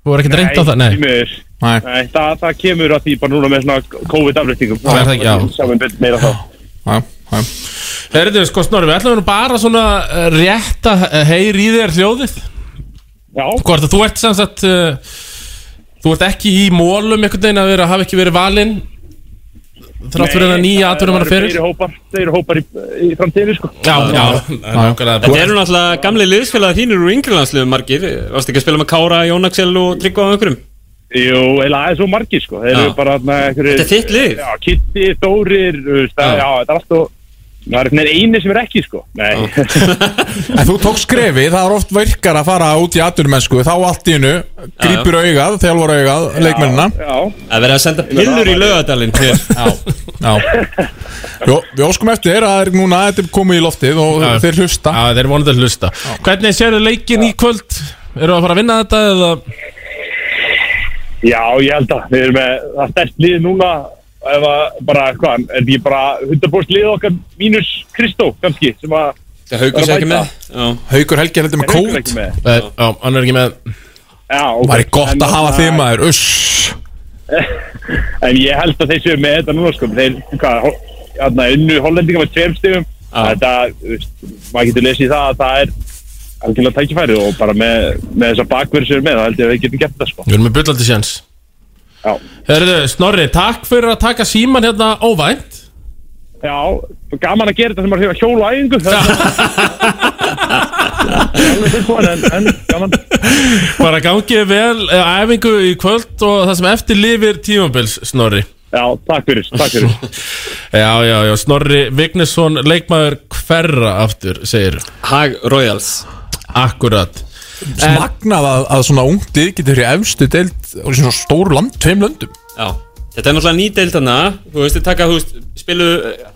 Þú er ekkert reynd á það, nei
því miður.
Nei.
Nei, það, það kemur að því bara núna með svona COVID-aflýstingum
Það er það ekki, já.
Sjáum við meira þá
Já, já
Herðu, sko Snorri, við ætlum nú bara svona eh, rétt að eh, heyra í þér hljóðið
Já
Hvort að þú ert sem sagt uh, Þú ert ekki í mólum einhvern veginn að vera, hafa ekki verið valinn Þrátt fyrir
Nei,
það nýja
það
atvinnum hann
eru
að fyrir
fleiri hópar, Þeir eru hópar í, í framtíðinu sko
Já, já, nákvæmlega
Þetta eru náttúrulega gamli liðsfélagar þínir úr yngrilandsliðum margir Varst ekki að spila með Kára, Jón Axel og Tryggva og einhverjum?
Jú, eða aðeins og margir sko Þeir eru
Já.
bara með einhverju
Þetta er þitt lið?
Já, Kitty, Dórir, þú veist, það-
Já.
já, þetta er allt og Það er einhvern veginn eini sem er ekki sko Nei
En þú tók skrefi, það er oft verkar að fara út í atvinnumennsku Þá allt í hennu, grýpur augað, þjálfur augað, leikmennina
Já
Að vera að senda pillur í laugadalinn til
Já Jó, Við óskum eftir þér að það er núna, þetta er komið í loftið og
Já.
þeir hlusta
Já, þeir vonandi að hlusta Hvernig sérðu leikin í kvöld? Eru að fara að vinna þetta eða
Já, ég held að við erum með það stærst lið núna ef að bara, hvað, er því bara 100% lið okkar mínus Kristó kannski sem að
Það haugur
var að
sér ekki
mæta.
með Já.
Haukur Helgi heldur með
Er Haukur
kót
ekki með?
Eh, Já, hann er ekki með
Já, ok.
Það er gott
En uh,
að hafa
þarna-
þig maður, uss
[LAUGHS] En ég held að þeir séu með þetta núna sko Þeir, hvað, hérna, unnu hollendinga með tveim stigum Þetta, þú veist, maður getur lesið í það að það er algjörlega tækifæri og bara með, með þessa bakverð sem er með, þá held ég að við getum gert það sko
Við erum með byllandi séns
Já
Herðu, Snorri, takk fyrir að taka síman hérna óvænt
Já, gaman að gera þetta sem maður hefur að hjóla á æfingu Það er alveg tilbúin en, en gaman
Bara gangið vel eh, á æfingu í kvöld og það sem eftir lifir tímabils, Snorri
Já, takk fyrir, takk fyrir
[LAUGHS] Já, já, já, Snorri Vignesson, leikmaður hverra aftur, segir
Hag Royals
Akkurat
Smagnað að, að svona ungdið getur fyrir efstu deild og svona stór land, tveim löndum
Já, þetta er náttúrulega ný deild hana Þú veist, þið taka, þú veist, spilu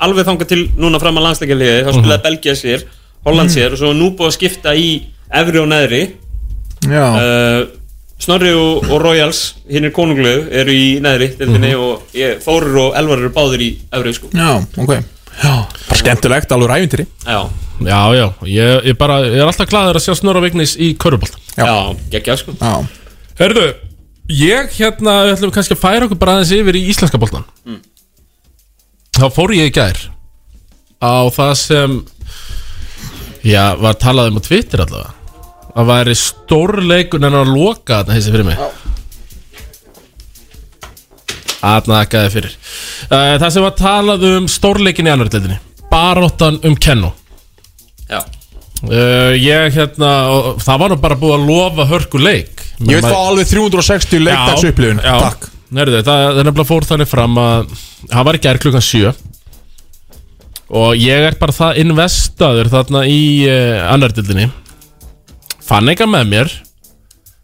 alveg þangað til núna fram að landsleikjaliði Þá spilaði
Mhm.
Belgia sér, Holland sér og svo er nú búið að skipta í efri og neðri
Já
uh, Snorri og, og Royals, hinn er konunglu, eru í neðri deildinni og ég, Þórir og Elvar eru báðir í efri sko
Mhm. Já, ok Já, bara skemmtilegt, alveg ræfintýri
Já,
Já, já, ég, ég bara, ég er alltaf gladur að sjá Snorra Vignes í körubalt
Já,
geggja sko
Já
Herðu, ég hérna, við ætlum kannski að færa okkur bara aðeins yfir í íslenska boltan
Mm.
Þá fór ég í gær á það sem, já, var talað um á Twitter allavega Það væri stórleikun en að loka þarna þessi fyrir mig Aðna þakkaði fyrir Eh, Það sem var talað um stórleikin í annar deildinni Baróttan um Kenno
Já
Ég hérna, og það var nú bara búið að lofa hörkuleik
Ég veit fá alveg 360 leikdags upplifun
Já, já.
Takk
Nærðu, það, það er nefnilega fór þannig fram að hann var í gær klukkan 7 og ég er bara það investaður þarna í uh, annardildinni fann eitthvað með mér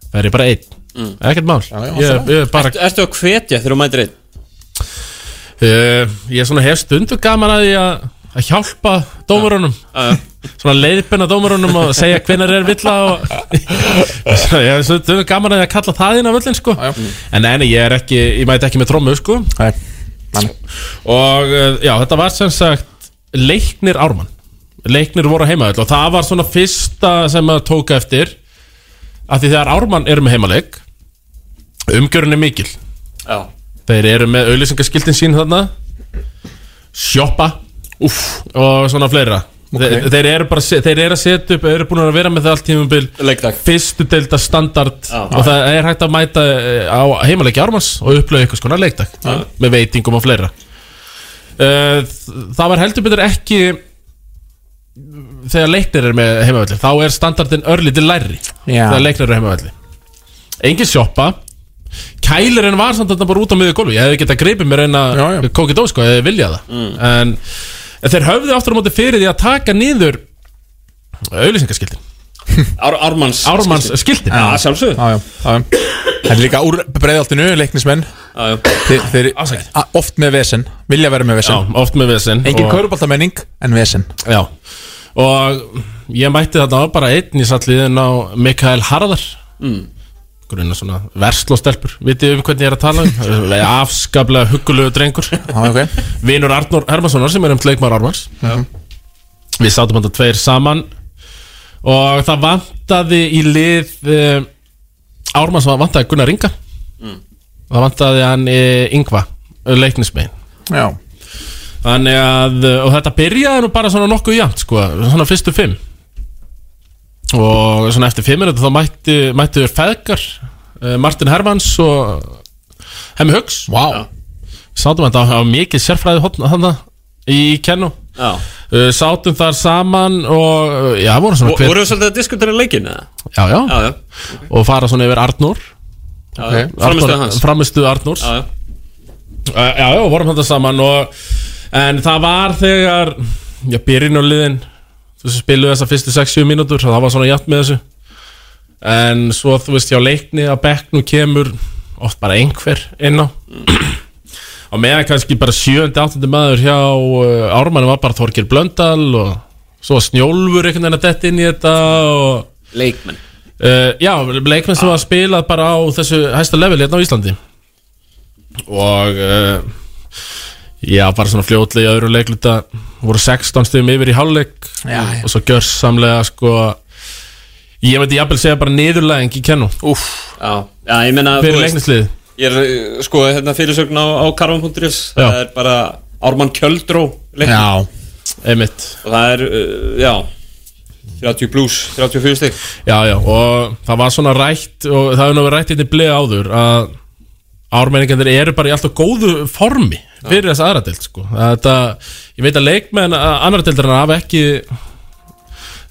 það er ég bara einn
Mm.
ekkert mál
já,
ég, ég, bara,
Ertu, ertu að hvetja þegar þú mætir einn?
uh, ég svona hef stundu gaman að ég að að hjálpa dómarunum svona leiðbina dómarunum og segja hvenar er villa og ég hef stundu gaman að ég að kalla það inn á völlin sko en neini, ég er ekki, ég mæti ekki með trommu sko
Nei,
og uh, já, þetta var sem sagt leiknir Ármann leiknir voru á heimaðall og það var svona fyrsta sem maður tók eftir af því þegar Ármann eru með heimaleik umgjörun er mikil
Já.
þeir eru með auðlýsingaskiltin sín þarna sjoppa Uff. og svona fleira Þe, þeir eru bara se- þeir eru að setja upp eru búin að vera með það allt tímumbil fyrstu delta standard og það er hægt að mæta eh, á heimaleiki Ármanns og upplöðu eitthvað skona leikdag með veitingum og fleira Eh, það var heldur betur ekki þegar leiknir er með heimavalli þá er standardin örlítið læri
Já.
þegar leiknir er heimavalli engin sjoppa kælirinn var samt þarna bara út á miður gólfi ég hefði getað greipið mér eina kókið dós sko, ég hefði viljað það
Mm.
en, en þeir höfðu aftur á móti fyrir því að taka niður auðlýsingaskildin
Ár, Ármanns
Ármanns skiltin
Já, sjálfsögðu
Já, já, já, já. Það er líka úr breiðaltinu, leiknismenn
já.
Þeir, þeir a- oft með vesen, vilja vera með vesen
Já, oft með vesen
Engin
og-
og... köruboltamenning, en vesen
Já Og ég mætti þarna á bara einn í salliðin á Mikael Harðar
Mm.
Grunna svona verslóstelpur Vitið um hvernig ég er að tala um Það er Afskaplega huggulegu drengur
okay.
Vinur Arnór Hermanssonar sem er um leikmar Ármanns Við sátum hann tveir saman Og það vantaði í lið eh, Ármanns var- vantaði Gunnar Inga
Mm.
Það vantaði hann eh, Ingva Leiknismein
Já
Þannig að, og þetta byrjaði nú bara svona nokkuð jæmt sko, svona fyrstu fimm Og svona eftir fimm minúti þá mætti, mættu þér feðgar eh, Martin Hermans og Hemmi Hugs
Vá wow.
Sátum þetta á, á mikið sérfræði hotn þannig í kennu
Já.
Eh, Sátum þar saman og, eh, já, voru svona
Og voru svolítið að diskutera leikin eða?
Já, já,
Já, já.
Og fara svona yfir Arnór
Já, já. Frammistöðu hans.
Framistuð Arnórs
Já, já.
Eh, Uh, já, já, vorum þetta saman og En það var þegar já, byrjun og liðin þú veist, spiluðu þessa fyrstu 6-7 mínútur það var svona jætt með þessu en svo þú veist, hjá leikni að bekknu kemur oft bara einhver inn á á meðan kannski bara 7-8 maður hjá uh, Ármann var bara Þorgir Blöndal og svo Snjólfur einhvern veginn að detta inn í þetta og Eh,
leikmenn
já, leikmenn sem var spilað bara á þessu hæsta level hérna á Íslandi og uh, já, bara svona fljótlega í öðru leikluta voru 16 stöðum yfir í hálfleik
Já, já.
og svo gjörsamlega sko ég myndi jafnvel segja bara niðurlæðing í kennu Úf,
já, já, ég meina
Fyrir
þú veist,
leiknislið.
Ég er, uh, sko, hérna fyrirsögn á, á karvan.is Það
Já.
er bara Ármann Kjöldró leiknir.
Já, einmitt
Og það er, uh, já 30 plus, 34 stig
Já, já, og það var svona rætt og það hefur nú verið rætt einnig bleið áður að ármenningarnir eru bara í alltaf góðu formi fyrir þessa aðra deild sko. Þetta, ég veit að leikmenn annar deildarinn hafa ekki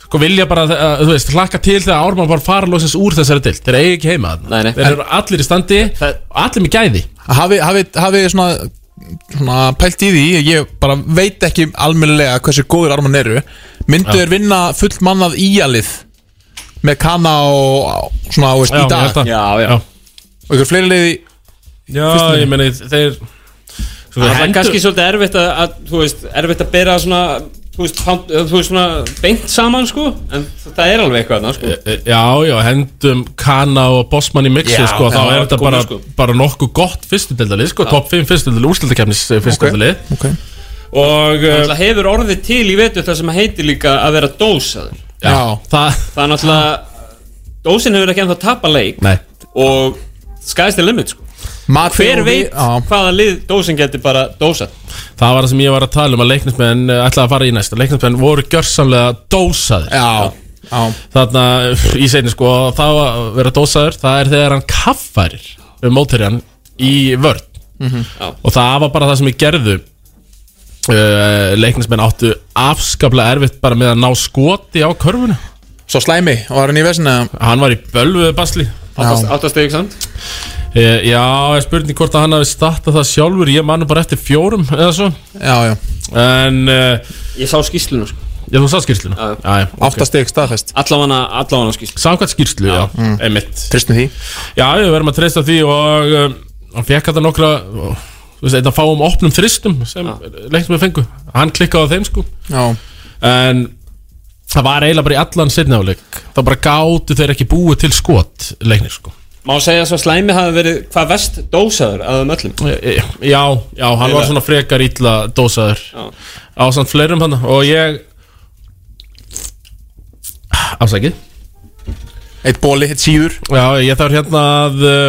sko vilja bara, að, þú veist, hlakka til þegar ármann bara fara lóksins úr þessari deild þeir eigi ekki heima þarna,
nei.
þeir eru allir í standi og allir með gæði
Hafi, hafi, hafi svona, svona pælt í því Ég bara veit ekki almennilega hversu góður arman eru Myndu
Já.
þeir vinna full mannað íalið Með kana og svona á veist
Já,
í
ég held
dag
að. Já, já.
Og ykkur fleiri leiði
Já, ég meni, þeir Svo
Það er
hendur-
kannski svolítið erfitt að, að þú veist, erfitt að bera svona þú veist, fant- þú veist svona beint saman sko, en það er alveg eitthvað þarna, sko.
Já, Eh, já, hendum Kana og Bossmann í mixi,
Já,
sko, þá
já,
er þetta
komið,
bara,
sko.
bara nokkuð gott fyrstudildalið, sko,
Já.
topp 5 fyrstudildalið, úrslutakefnis fyrstudildalið.
Okay.
Og
Það
eh,
náttúrulega hefur orðið til í vetur það sem heitir líka að vera dósaður
Já, það
Það er náttúrulega Dósin hefur ekki ennþá tapa leik
Nei.
Og skæðist er limit sko. Hver veit hvaða lið dósin getur bara dósað
Það var það sem ég var að tala um að leiknismenn eh, ætlaði að fara í næsta Leiknismenn voru gjörsamlega dósaðir
Já, já.
Þarna í seinni sko þá að vera dósaður Það er þegar hann kaffarir um mótherjan í vörn
Mhm.
Já.
Og það var bara það sem ég gerðu uh, Leiknismenn áttu afskaplega erfitt bara með að ná skoti á körfuna
Svo slæmi, var hann í vesina?
Hann var í bölvuðu basli
Áttast- Áttast eða ekki samt
Eh, Já, ég spurning hvort að hann hafi startað það sjálfur Ég manum bara eftir fjórum eða svo
Já, já
En eh,
Ég sá skýrsluna sko.
Já, þú sá skýrsluna Já, já
Átta stig staðfest
Allavega allavega skýrslu
Samkvæmt skýrslu, já, einmitt
Tristum því
Já, við verðum að treysta því og um, hann fekk þetta nokkra og, þú veist, þetta fáum opnum þristum sem lengt með fengu Hann klikkaði á þeim sko
Já.
En það var eiginlega bara í allan seinnáleik Það bara gátu þeir ekki búið til skot leiknir sko
Má segja svo slæmi hafi verið hvað vest dósaður að þeim öllum
Já, já, hann var svona frekar illa dósaður á samt fleirum hann og ég afsækið
Eitt bóli, eitt síður
Já, ég þarf hérna að uh,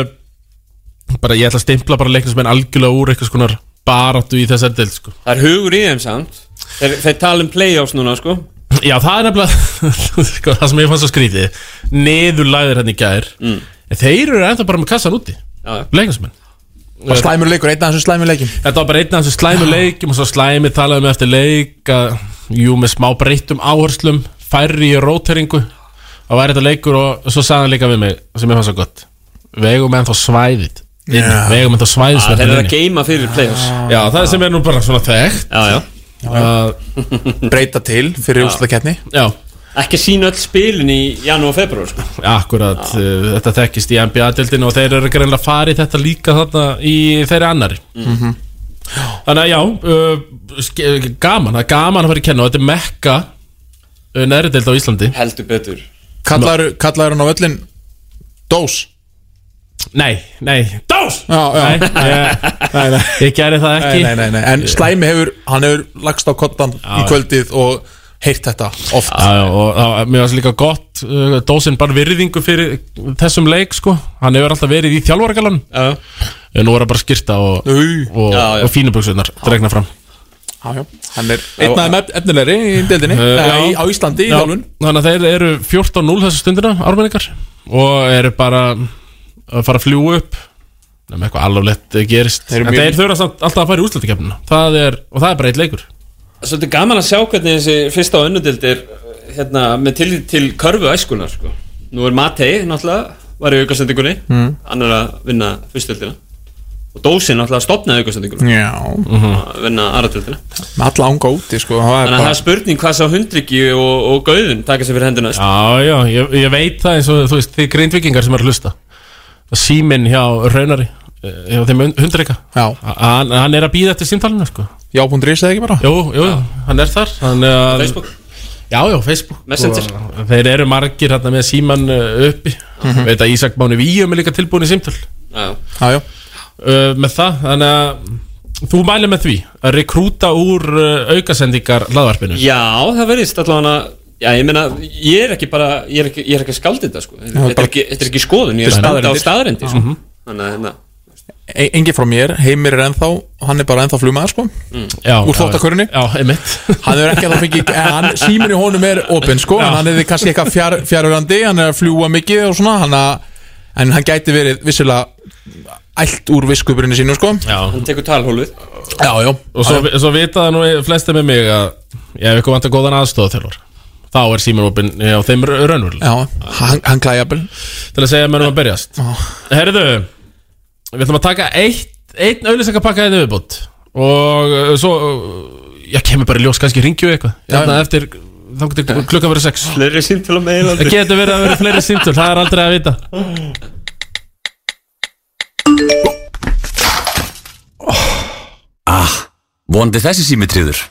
bara ég ætla að stimpla bara leiknismenn algjörlega úr eitthvað skonar baráttu í þessar del sko.
Það er hugur í þeim samt Þeir, þeir tala um playoffs núna sko.
Já, það er nefnilega [LAUGHS] sko, það sem ég fannst svo skrítið neðurlæðir hérna í gær
Mm.
en þeir eru ennþá bara með kassan úti leiknismenn
Bara slæmur leikur, einn af þessum slæmur leikin
Þetta var bara einn af þessu slæmu leikjum og svo slæmi talaðum við eftir leik að, jú, með smá breyttum áherslum færri í róteringu þá væri þetta leikur og svo sagði hann líka við mig sem ég fannst svo gott vegum ennþá svæðið inni,
Já.
vegum ennþá
Að Ah, Þeir
svæðisverðin
eru að geima fyrir playoffs
hérna Já, það er sem er nú bara svona þekkt
Já, já
[LAUGHS] Breyta til fyrir úrslitakeppni.
Já
Ekki sína öll spilin í janúar og februar sko.
Akkurat, uh, þetta þekkist í NBA-dildinu og þeir eru greinlega farið þetta líka þarna í þeirri annari
Mm.
Mhm.
Þannig að já, uh, ske- gaman, það er gaman að fara í kennu og þetta er mekka uh, neðri dild á Íslandi
Heldur betur
Kallaður kallaður hann á völlin Dós
Nei, nei, dós
Já, já [LAUGHS]
Nei, ég- ég gerði það ekki.
Nei, nei, nei, nei. En slæmi hefur, hann hefur lagst á kottan í
já.
kvöldið og heyrt þetta oft
Já, já, og á, mér varst líka gott uh, dósin bara virðingu fyrir þessum leik sko, hann hefur alltaf verið í þjálfargalan
Já
En nú er það bara skýrta og, og,
Já, já.
og fínuböksunar dregna fram
Já, já, hann er einn af þeim ef- efnilegri í deildinni
Uh,
Eh,
uh,
já.
á Íslandi í
Já,
þjálfun
Þannig að þeir eru 14-0 þessu stundina, ármenningar Og eru bara að fara að fljúa upp Nefnum eitthvað alveg gerist
Þeir eru
En
mjög-
þeir þurfa samt alltaf að fara í úrslutakefnina Það er, og það er bara eitt leikur
Svolítið gaman að sjá hvernig þessi fyrsta og önnudildir hérna, með til, til körfu æskunar sko. Nú er Matei náttúrulega var í aukasendingunni
Mm.
annar að vinna fyrstildina og dósin alltaf stopnaði aukastendingur
Já.
Mhm.
að vinna aðratöldina
með alla ánga úti sko, það er
Þannig að það
bara,
er spurning hvað sá hundryggi og, og gauðun taka sér fyrir hendina sko.
Já, já, ég, ég veit það eins og þú veist, þið grindvikingar sem er að hlusta Síminn hjá Raunari eh, hjá þeim hundreika hann, hann er að býða eftir símtalinu sko.
Já, búin drýst það ekki bara
Jú, jú, hann er þar hann,
Facebook?
Já, já, Facebook
Messenger.
Og Þeir eru margir hérna með síman uppi
Mhm.
Veit að Ísak Máni Víum er líka tilbúin í símtal
Já,
já
uh, Með það, þannig að þú mælir með því að rekrúta úr uh, aukasendingar hlaðvarpinu
Já, það verðist allavega Já, ég meina, ég er ekki bara Ég er ekki, ég er ekki að skaldi þetta, sko
Já,
Þetta er
bara-
ekki, þetta er ekki skoðun, ég er
Þetta er
að staðreyndir á
staðreyndir.
staðrendi, sko
Mhm.
Þannig að, hérna
e- engin frá mér, Heimir er ennþá hann er bara ennþá flugmaður sko
Mm.
Já,
úr
já,
þóttakörunni
Já, einmitt
[LAUGHS] hann er ekki að það fengi eh, hann, símur í honum er opinn sko en hann er kannski eitthvað fjár, fjárurandi hann er að fljúa mikið og svona hann að, en hann gæti verið vissilega allt úr viskuburinu sínu sko
já.
Hann tekur talhóluð
já, já
Og svo, svo vita það nú flesti með mig að ég hef eitthvað vantar góðan aðstofa Þá er símarópin á þeim raunvöld
Já, hann, hann klæjabil
Til að segja að mönnum að berjast Herðu, við ætlum að taka eitt, einn auðlýsingapakka eða viðbútt Og uh, svo, uh, já, kemur bara í ljós kannski ringju eitthvað
Já,
Þannig
já.
að eftir, þá getur klukkan verið sex
Fleiri símtöl á meðil
Það getur verið að vera fleiri símtöl, það er aldrei að vita
Ah, vonandi þessi símitriður.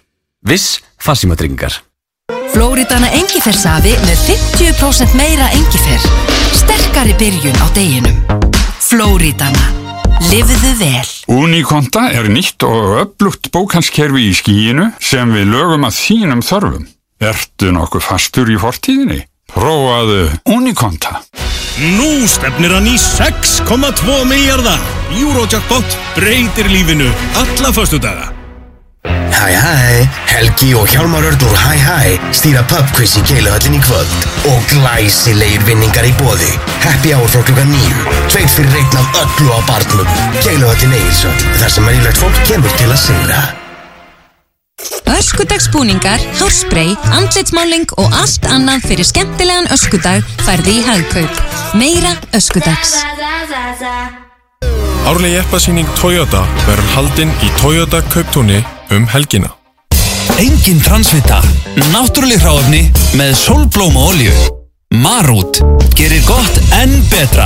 Viss farsímatryggingar.
Flóridana engifersafi með 50% meira engifer. Sterkari byrjun á deginum. Flóridana. Livðu vel.
Unikonta er nýtt og öflugt bókalskerfi í skíinu sem við lögum að þínum þörfum. Ertu nokkuð fastur í fortíðinni? Prófaðu Unikonta.
Nú stefnir hann í 6,2 miljardar. Eurojackpot breytir lífinu alla föstudaga.
Hæ hæ, Helgi og Hjálmar Örn úr Hæ hæ stýra pubquiz í keiluhöllin í kvöld og glæsilegir vinningar í bóði. Happy hour frá klukkan nýju, tveir fyrir reikn af öllu á barnum. Keiluhöllin Egilsson, þar sem venjulegt fólk kemur til að sigra.
Öskudagsbúningar, hárspray, andlitsmáling og allt annað fyrir skemmtilegan öskudag færði í hagkaup. Meira öskudags.
Árleg jeppasýning Toyota verður haldinn í Toyota kauptúni um helgina.
Engin transvita Náttúruleg hráefni með sólblóma olju Marút Gerir gott enn betra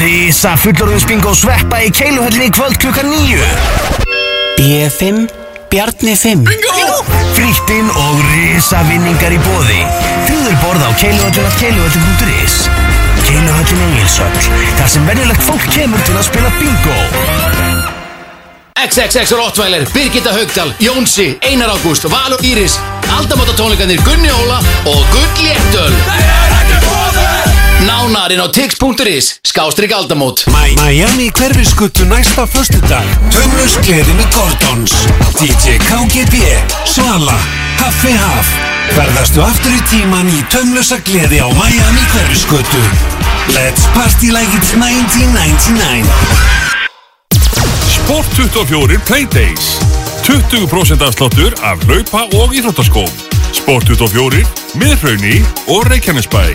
Rísa fullorðinsbing og sveppa í keiluhöllin í kvöld klukkan nýju. BFM Bjarni 5 Bingo! Fríttinn og risa vinningar í bóði Þrjúður borð á keiluhöllin af keiluhöllin.is Keiluhöllin Egilsöll Þar sem venjulegt fólk kemur til að spila bingo
XXX Rottweiler, Birgitta Haugdal, Jónsi, Einar Ágúst, Valur Íris, Aldamóta tónleikarnir Gunni Óla og Gull Léttöl. Nánarinn á tix.is, skástrík aldamót.
Miami hverfiskutu næsta föstudag Tönnus gleðinu Gordons DJ KGB Svala Haffi Haf Ferðastu aftur í tíman í tönnlösa gleði á Miami hverfiskutu Let's party like it's 1999
Sport 24 Playdays 20% afsláttur af hlaupa og íþróttaskóm Sport 24, Miðhraunni og Reykjanesbæ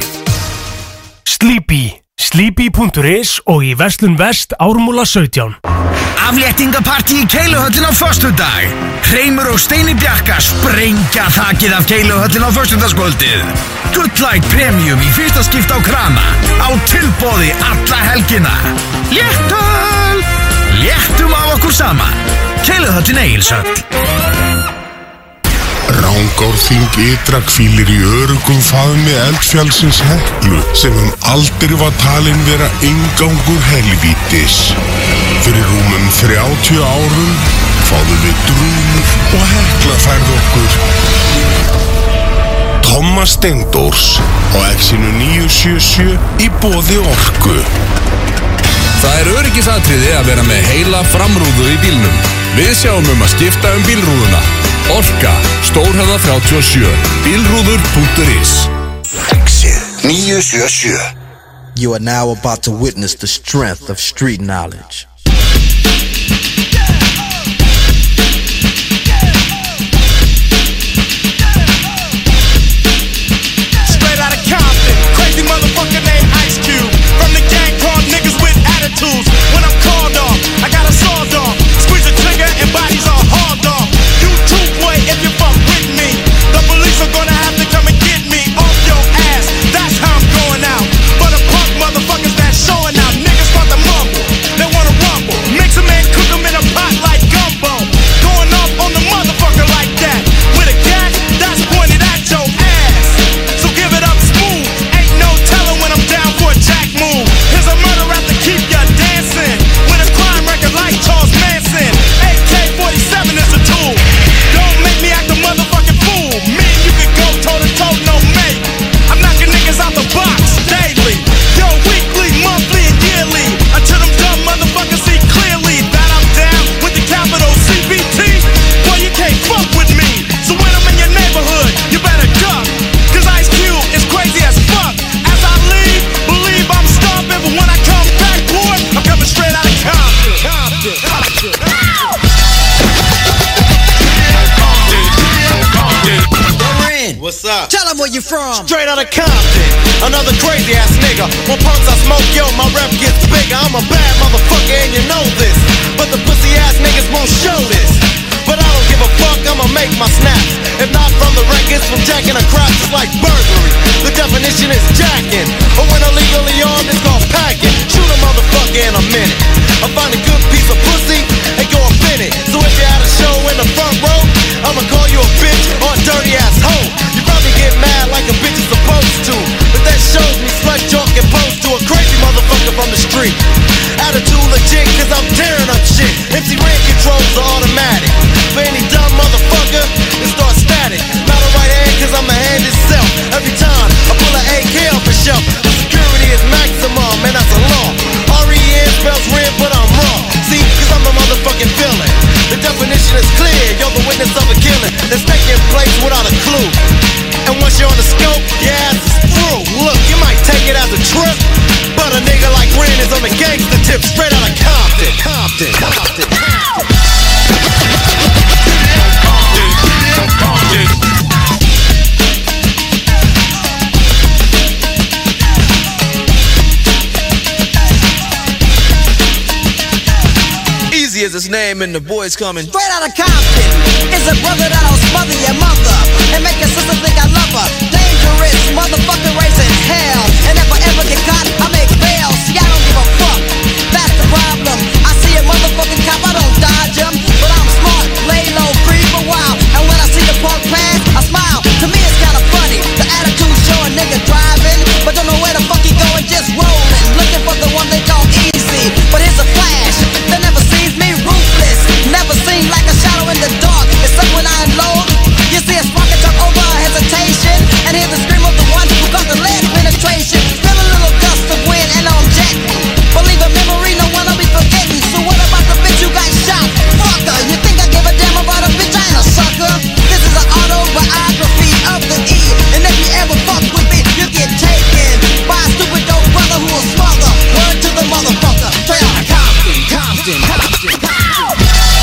Sleepy Sleepy.is og í Vestlun Vest Ármúla 17
Afléttingapartí í keiluhöllin á föstudag Hreimur og Steini Bjarka sprengja þakið af keiluhöllin á föstudagskvöldið Gullæk Premium í fyrsta skipt á krana Á tilbóði alla helgina Léttöl Léttum á okkur saman Keiluhöllin Egilsöld
Rángárþing ytra kvílir í örugum faðmi eldfjálsins heklu sem um aldrei var talin vera eingangur helvítis. Fyrir rúmum 30 árum fáðum við drúmur og hekla færð okkur. Thomas Steindors á exinu 977 í bóði orku.
Það er öryggisatriði að vera með heila framrúðu í bílnum. Við sjáum um að skipta um bílrúðuna. Orka, Stórhæða 37, bílrúður.is
977 You are now about to witness the strength of street knowledge.
Straight out of Compton, crazy motherfucker named Ice Cube. From the gang called niggas with attitudes. When I'm called off, What's up? Tell them where you from. Straight out of Compton. Another crazy ass nigga. When punks I smoke, yo, my rep gets bigger. I'm a bad motherfucker and you know this. But the pussy ass niggas won't show this. But I don't give a fuck, I'ma make my snaps. If not from the records, from jacking a crop, it's like burglary. The definition is jacking. But when illegally armed, it's called packing. Shoot a motherfucker in a minute. I find a good piece of pussy and go up in it. So if you had a show in the front row, I'ma call you a bitch or a dirty ass hoe. You probably get mad like a bitch is supposed to. But that shows me slut talk and pose to a crazy motherfucker from the street. Attitude legit, cause I'm tearing up shit. MC Rain controls are automatic. For any dumb motherfucker, it starts static. Not a right hand, cause I'm a hand itself. Every time I pull an AK off the shelf, the security is maximum, and that's a law. R-E-N spells red, but I'm wrong. See, cause I'm a motherfucking villain. The definition is clear, you're the witness of a killing that's taking place without a clue. And once you're on the scope, your ass is through. Look, you might take it as a trip, but a nigga like Ren is on the gangster tip straight out of Compton. Compton. Compton.
Easy as his name and the boys coming.
Straight out of Compton is a brother that'll smother your mother and make your sister think I love her. Dangerous motherfucker raising hell. And if I ever get caught, I make bail. See, I don't give a fuck. That's the problem. I see a motherfucking cop, I don't dodge him. But I'm smart, lay low, creep a while. And when I see the punk pass, I smile. To me, it's kinda funny. The attitude show a nigga driving, but don't know where the fuck he going, just rolling. Looking for the one they call easy. But here's a flash that never sees me ruthless. Never seen like a shadow in the dark, except when I unload. You see a spark and jump over a hesitation, and hear the scream of the one who got the lead penetration. Feel a little gust of wind, and I'm jetting. Believe a memory, no one will be forgetting. So what about the bitch who got shot? Fucker, you think I give a damn about a bitch? I ain't a sucker. This is an autobiography of the E, and if you ever fuck with me, you get taken by a stupid dope brother who will smother. Word to the motherfucker, straight out of Compton, Compton, Compton.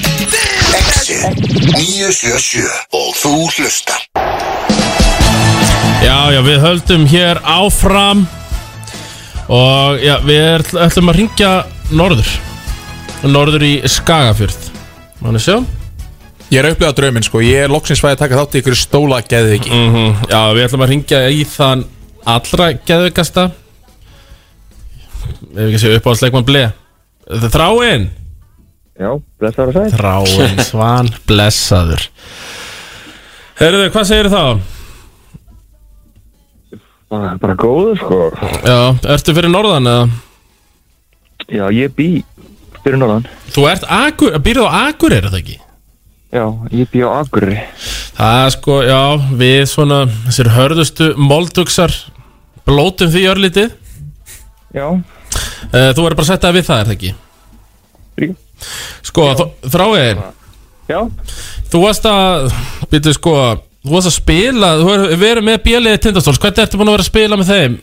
Exit 977 og þú hlustar
Já, já, við höldum hér áfram Og já, við ætl- ætlum að ringja norður Norður í Skagafjörð Mánu sjá
Ég er upplegað drauminn sko, ég er loksins fæði að taka þátt í ykkur stóla geðið ekki
mm -hmm. Já, við ætlum að ringja í þann allra geðvikasta Ef ekki að segja uppáhaldsleikmann ble Þráin
Já, blessaður að segja
Þráin Svan, blessaður Herðu, hvað segir þá?
bara, bara góður sko
Já, ertu fyrir norðan eða?
Já, ég bý fyrir norðan
Þú ert akur, býrðu á akur er það ekki?
Já, ég bý á Akurri
Það er sko, já, við svona þessir hörðustu moldugsar blótum því örlítið
[LAUGHS] Já
Eh, Þú verður bara að setja við það, er það ekki?
Rík.
Sko, þ- þráin
Já
Þú varst að, býtu sko Þú varst að spila, þú hefur verið með bjöliði tindastóls Hvernig ertu búin að vera að spila með þeim?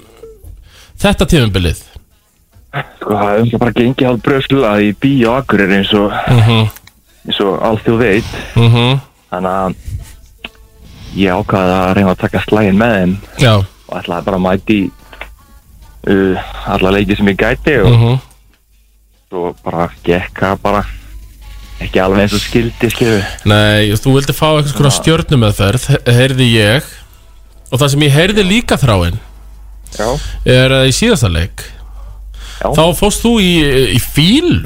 Þetta tímumbilið
Sko, það er umhverfum bara gengið hálf bröslu að ég bý á Akurri eins og eins og allt þú veit
Mhm.
Þannig að ég ákvaði að reyna að taka slægin með þeim
Já
og ætlaði bara að mæti uh, alla leiki sem ég gæti og
Mhm.
svo bara gekk það bara ekki alveg eins og skildi skilu
Nei, þú vildi fá eitthvað svona stjörnum meðferð Heyrði ég Og það sem ég heyrði líka þráin
Já
Er að í síðasta leik
Já.
Þá fórst þú í, í fíl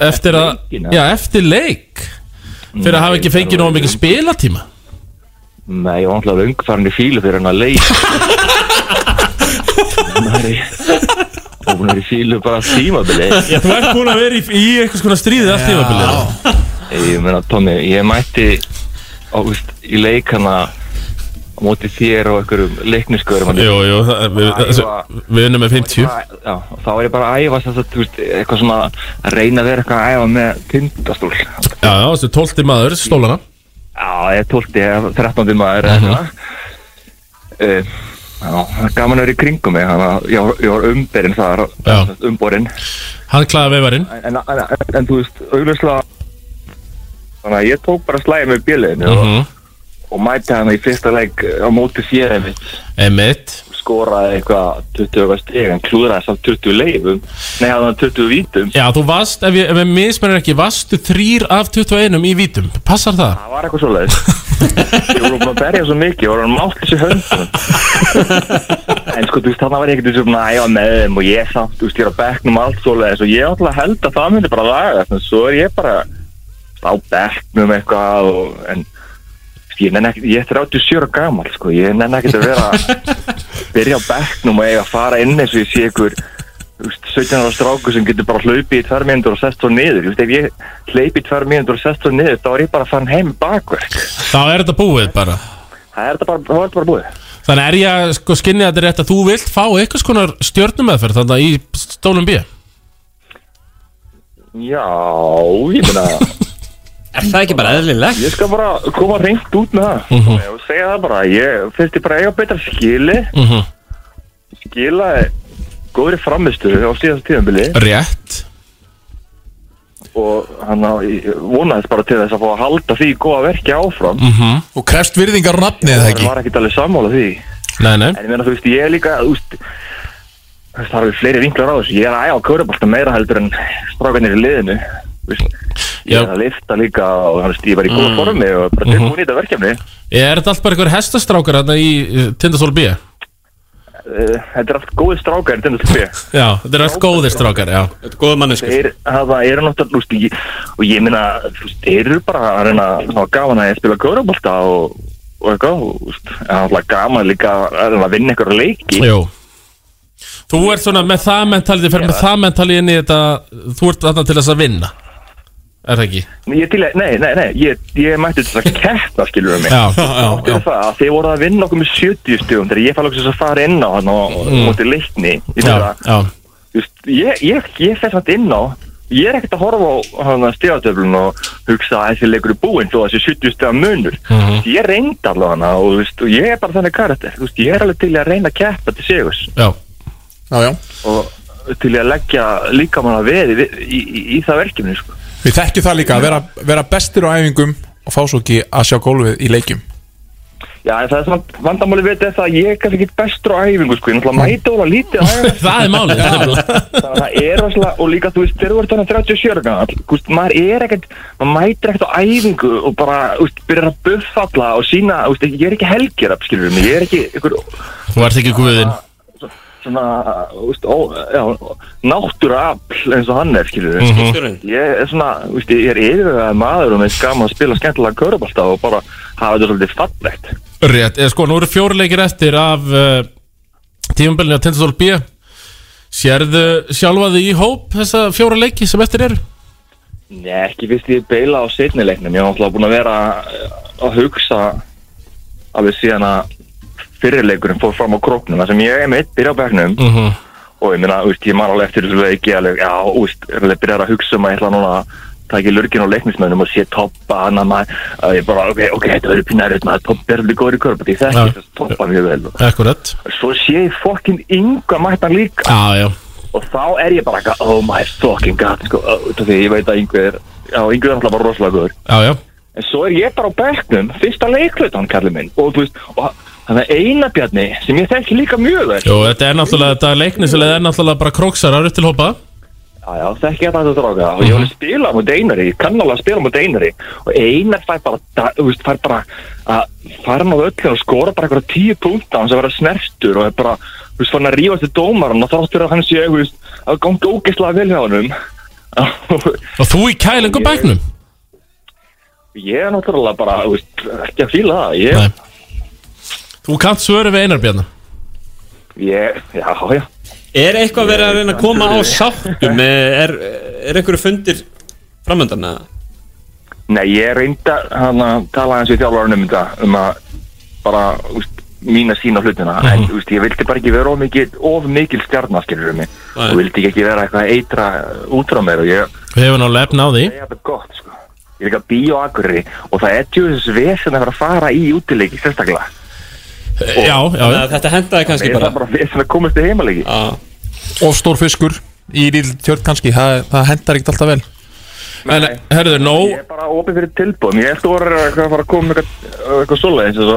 Eftir að
leikinn, eða?
Já, eftir leik Fyrir að hafa ekki fengið nóg mikið spilatíma
Nei, ég var alltaf ungfærandi fílu fyrir hann að
[LAUGHS]
leik og hún er í fílu bara tímabili
Já, Þú ert búin að vera í, í eitthvað svona stríðið allt tímabilið
Ég meina, Tommy, ég mætti á, veist, í leik hana á móti þér og einhverjum leikniskurum
Jú, jú, það- við, þessi- við unum með 50
Já, og þá er ég bara að æfa þess að, þú veist, eitthvað svona að reyna að vera eitthvað að æfa með tindastól Já,
Já, já, þessi tólti maður, stólana Mhm.
ég er 12, ég er 13 maður eða eitthvað uh, Já, það er gaman að vera í kringum mig, þannig að ég var, ég var umberinn þar,
Já.
umborinn
Hann klæði veifarinn
en, en, en, en þú veist, augljóslega Þannig að ég tók bara slæði með bjöliðinu
Mhm.
og, og mæti hann í fyrsta leik eh, á móti sér einmitt
Einmitt
Skoraði eitthvað 20 stig en klúðraði samt 20 leifum Nei, hafði hann 20 vítum
Já, þú varst, ef ég, ef ég mismennir ekki, varstu þrýr af 21 í vítum Passar það?
Það var eitthvað svo leiðis Ég voru búin að berja svo mikið, ég voru hann mátt þessu höndum En sko, þú veist, þannig var ég ekkert þessu búin að æfa með þeim og ég samt, þú veist, ég er á bekknum og allt svo leiðis og ég ætla að held að það myndi bara laga en svo er ég bara á bekknum eitthvað og, en þú veist, ég nenni ekkert, ég er 37 ára gamall sko, ég nenni ekkert að vera byrja á bekknum og eiga að fara inn eins og ég sé ykkur þú veist, 17 ára stráku sem getur bara hlaupið í tvær mínútur og sest svo niður Þú veist, ef ég hleypi í tvær mínútur og sest svo niður þá er ég bara farin heim bakverk
Þá er þetta búið bara
það er þetta bara, það er þetta bara búið
Þannig er ég að sko skinni að þetta er rétt að þú vilt fá eitthvað skonar stjörnum meðferð þannig í stólum B
já, ég meina
[LAUGHS] er það ekki bara eðlilegt?
ég skal bara koma reynd út með það
Mhm.
og segja það bara, ég finnst ég bara eiga betra skili
Mhm.
skilaði góðri framistuðu á síðast tíðanbili
Rétt
og hann vonaðist bara til þess að fá að halda því góða verki áfram
Mhm.
og krefst virðingar og nafni eða ekki var ekkert alveg sammála því
Nei, nei
en ég meina þú veist ég er líka þú veist þú veist, það eru fleiri vinklar á þessu ég er að æfa körubalta meira heldur en strákanir í liðinu þú veist ég er að lifta líka og hann veist ég var í góða
Mm.
formi og bara
Mhm.
tilbúin í þetta verkefni
Er þetta allt bara einhver hestastrákar þarna í eh, tindastól B?
Eh, þetta er allt góði strákar þetta er allt fyrir
Já, þetta er allt góðir strákar, já
Þetta er góða mannesku
Þeir hafa, eru náttúrulega, þú veist, ég- og ég meina, þú veist, þeir eru bara að reyna að hafa gaman að spila gaurabólta og, og eitthvað, og, þú veist, það er náttúrulega gaman líka að reyna að vinna einhverja leiki.
Jú. Þú ert svona með það mentalið, fer með það mentalið inn í þetta Þú ert þarna til þess að vinna Er það ekki?
Ég til að, nei, nei, nei, ég, ég mætti til þess að kætna, skilur við mig.
Já, já,
Átti við Það, að þeir voru að vinna okkur með 70 stugum þegar ég fæl okkur þess að fara inn á hann og
Mm.
mm. móti leikni.
Já,
Ég, meina,
já
þú veist, ég, ég, ég fer samt inn á, ég er ekkert að horfa á stíðartöflun og hugsa að þessi leikur er búinn þó að þessi 70 stuga munur.
Mhm.
ég reyndi allavega og, þú veist, og ég er bara þannig karakter þú veist, ég er alveg til í að reyna að keppa til sigurs
Já.
já, já. og til í að leggja líka mann að veði í, í, í, í það verkefni sko.
Við þekkjum það líka að vera, vera bestir á æfingum og fá svo ekki að sjá gólfið í leikjum
já, en það er svona vandamáli við þetta að ég er kannski ekki bestur á æfingu sko. ég náttúrulega mæta óla lítið á æfingu
[LAUGHS] það er málið
þannig að það er rosalega og líka þú veist, þegar þú ert þannig 37 gamall, þú veist, maður er ekkert maður mætir ekkert á æfingu og bara þú veist, byrjar að buffa alla og sína þú veist, ég er ekki helgir upp, skilur mig ég er ekki ykkur
Þú ert ekki guðinn
svona, úst, ó, já, náttúraafl eins og hann er, skilur við
Mhm.
ég er svona, úst, ég er yfirvegað maður og mér er gaman að spila skemmtilega körubalta og bara hafa þetta svolítið fallegt
Rétt, eða sko, nú eru fjóri leikir eftir af uh, tímabilinu á Tindastól B Sérðu sjálfaði í hóp þessa fjóra leiki sem eftir eru?
Nei, ekki fyrst ég beila á seinni leiknum ég er náttúrulega búin að vera eh, að hugsa alveg síðan að fyrirleikurinn fór fram á króknum þar sem ég er meitt byrja á bekknum
Mhm.
og ég minna, úst, ég man alveg eftir þessu leiki alveg, já, úst, er alveg byrjar að hugsa um að ég ætla núna að taka í lurgin og leiknismönnum og sé toppa hann að maður að ég bara, ok, ok, þetta verður pínærið maður toppa er alveg góður í körpa, því þekki
Já.
þess að toppa mjög vel
Akkurat
svo sé ég fokkin ynga mættan líka
Já, já
og þá er ég bara, eitthvað, oh my fucking god sko, uh, út af því ég veit að yngu er já, yngu er alltaf bara rosalega góður
Já, já
En svo er ég bara á bekknum, fyrsta leiklutan, kallið minn, og þú veist, og þannig að eina bjarni sem ég þekki líka mjög vel.
Jú, þetta er náttúrulega, þetta leiknisilega er náttúrulega bara króksarar upp til hópa
Já, já, þekki ég þetta dráka og ég
Mhm.
var að spila mútið einari, ég kann alveg að spila mútið einari og einar fær bara, da- þú veist, fær bara að fara hann á öllu og skora bara eitthvað tíu púnta hans að vera snertur og er bara, þú veist, fann að rífast til dómaran og þáttur að hann sé, þú veist, að ganga ógeðslega vel hjá honum. [LAUGHS]
Og þú í kælingu bæknum?
Ég er náttúrulega bara, þú veist, ekki að fíla það, ég,
Nei Þú kannt svöru við Einar Bjarnar
ég, já, já.
Er eitthvað verið að reyna að koma á
[LAUGHS]
sáttum? Eh, Er, er einhverju fundir framöndan að
Nei, ég reynda hann að tala eins við þjálfarinn um þetta um að bara úst, mína sína hlutina
Mhm.
en úst, ég vildi bara ekki vera of mikil, of mikil stjarnaskilur um mig
Nei.
og vildi ekki vera eitthvað eitra út frá mér og ég
hefur náttúrulega efna á því
Það er þetta gott sko Ég er líka bíó akkurri og það er tjóðis vesen að vera að fara í útileiki sérstaklega
Eh, Já, já,
Þannig að þetta hendaði kannski
Það
bara
er bara vesen að komast í heimaleiki
Og stór fiskur í líl tjörn kannski Það, það hendar ekkert alltaf vel
En herðu, nóg
Ég er bara opið fyrir tilbúðum Ég eftir voru að fara að koma með eitthvað eitthvað svoleiðis og svo.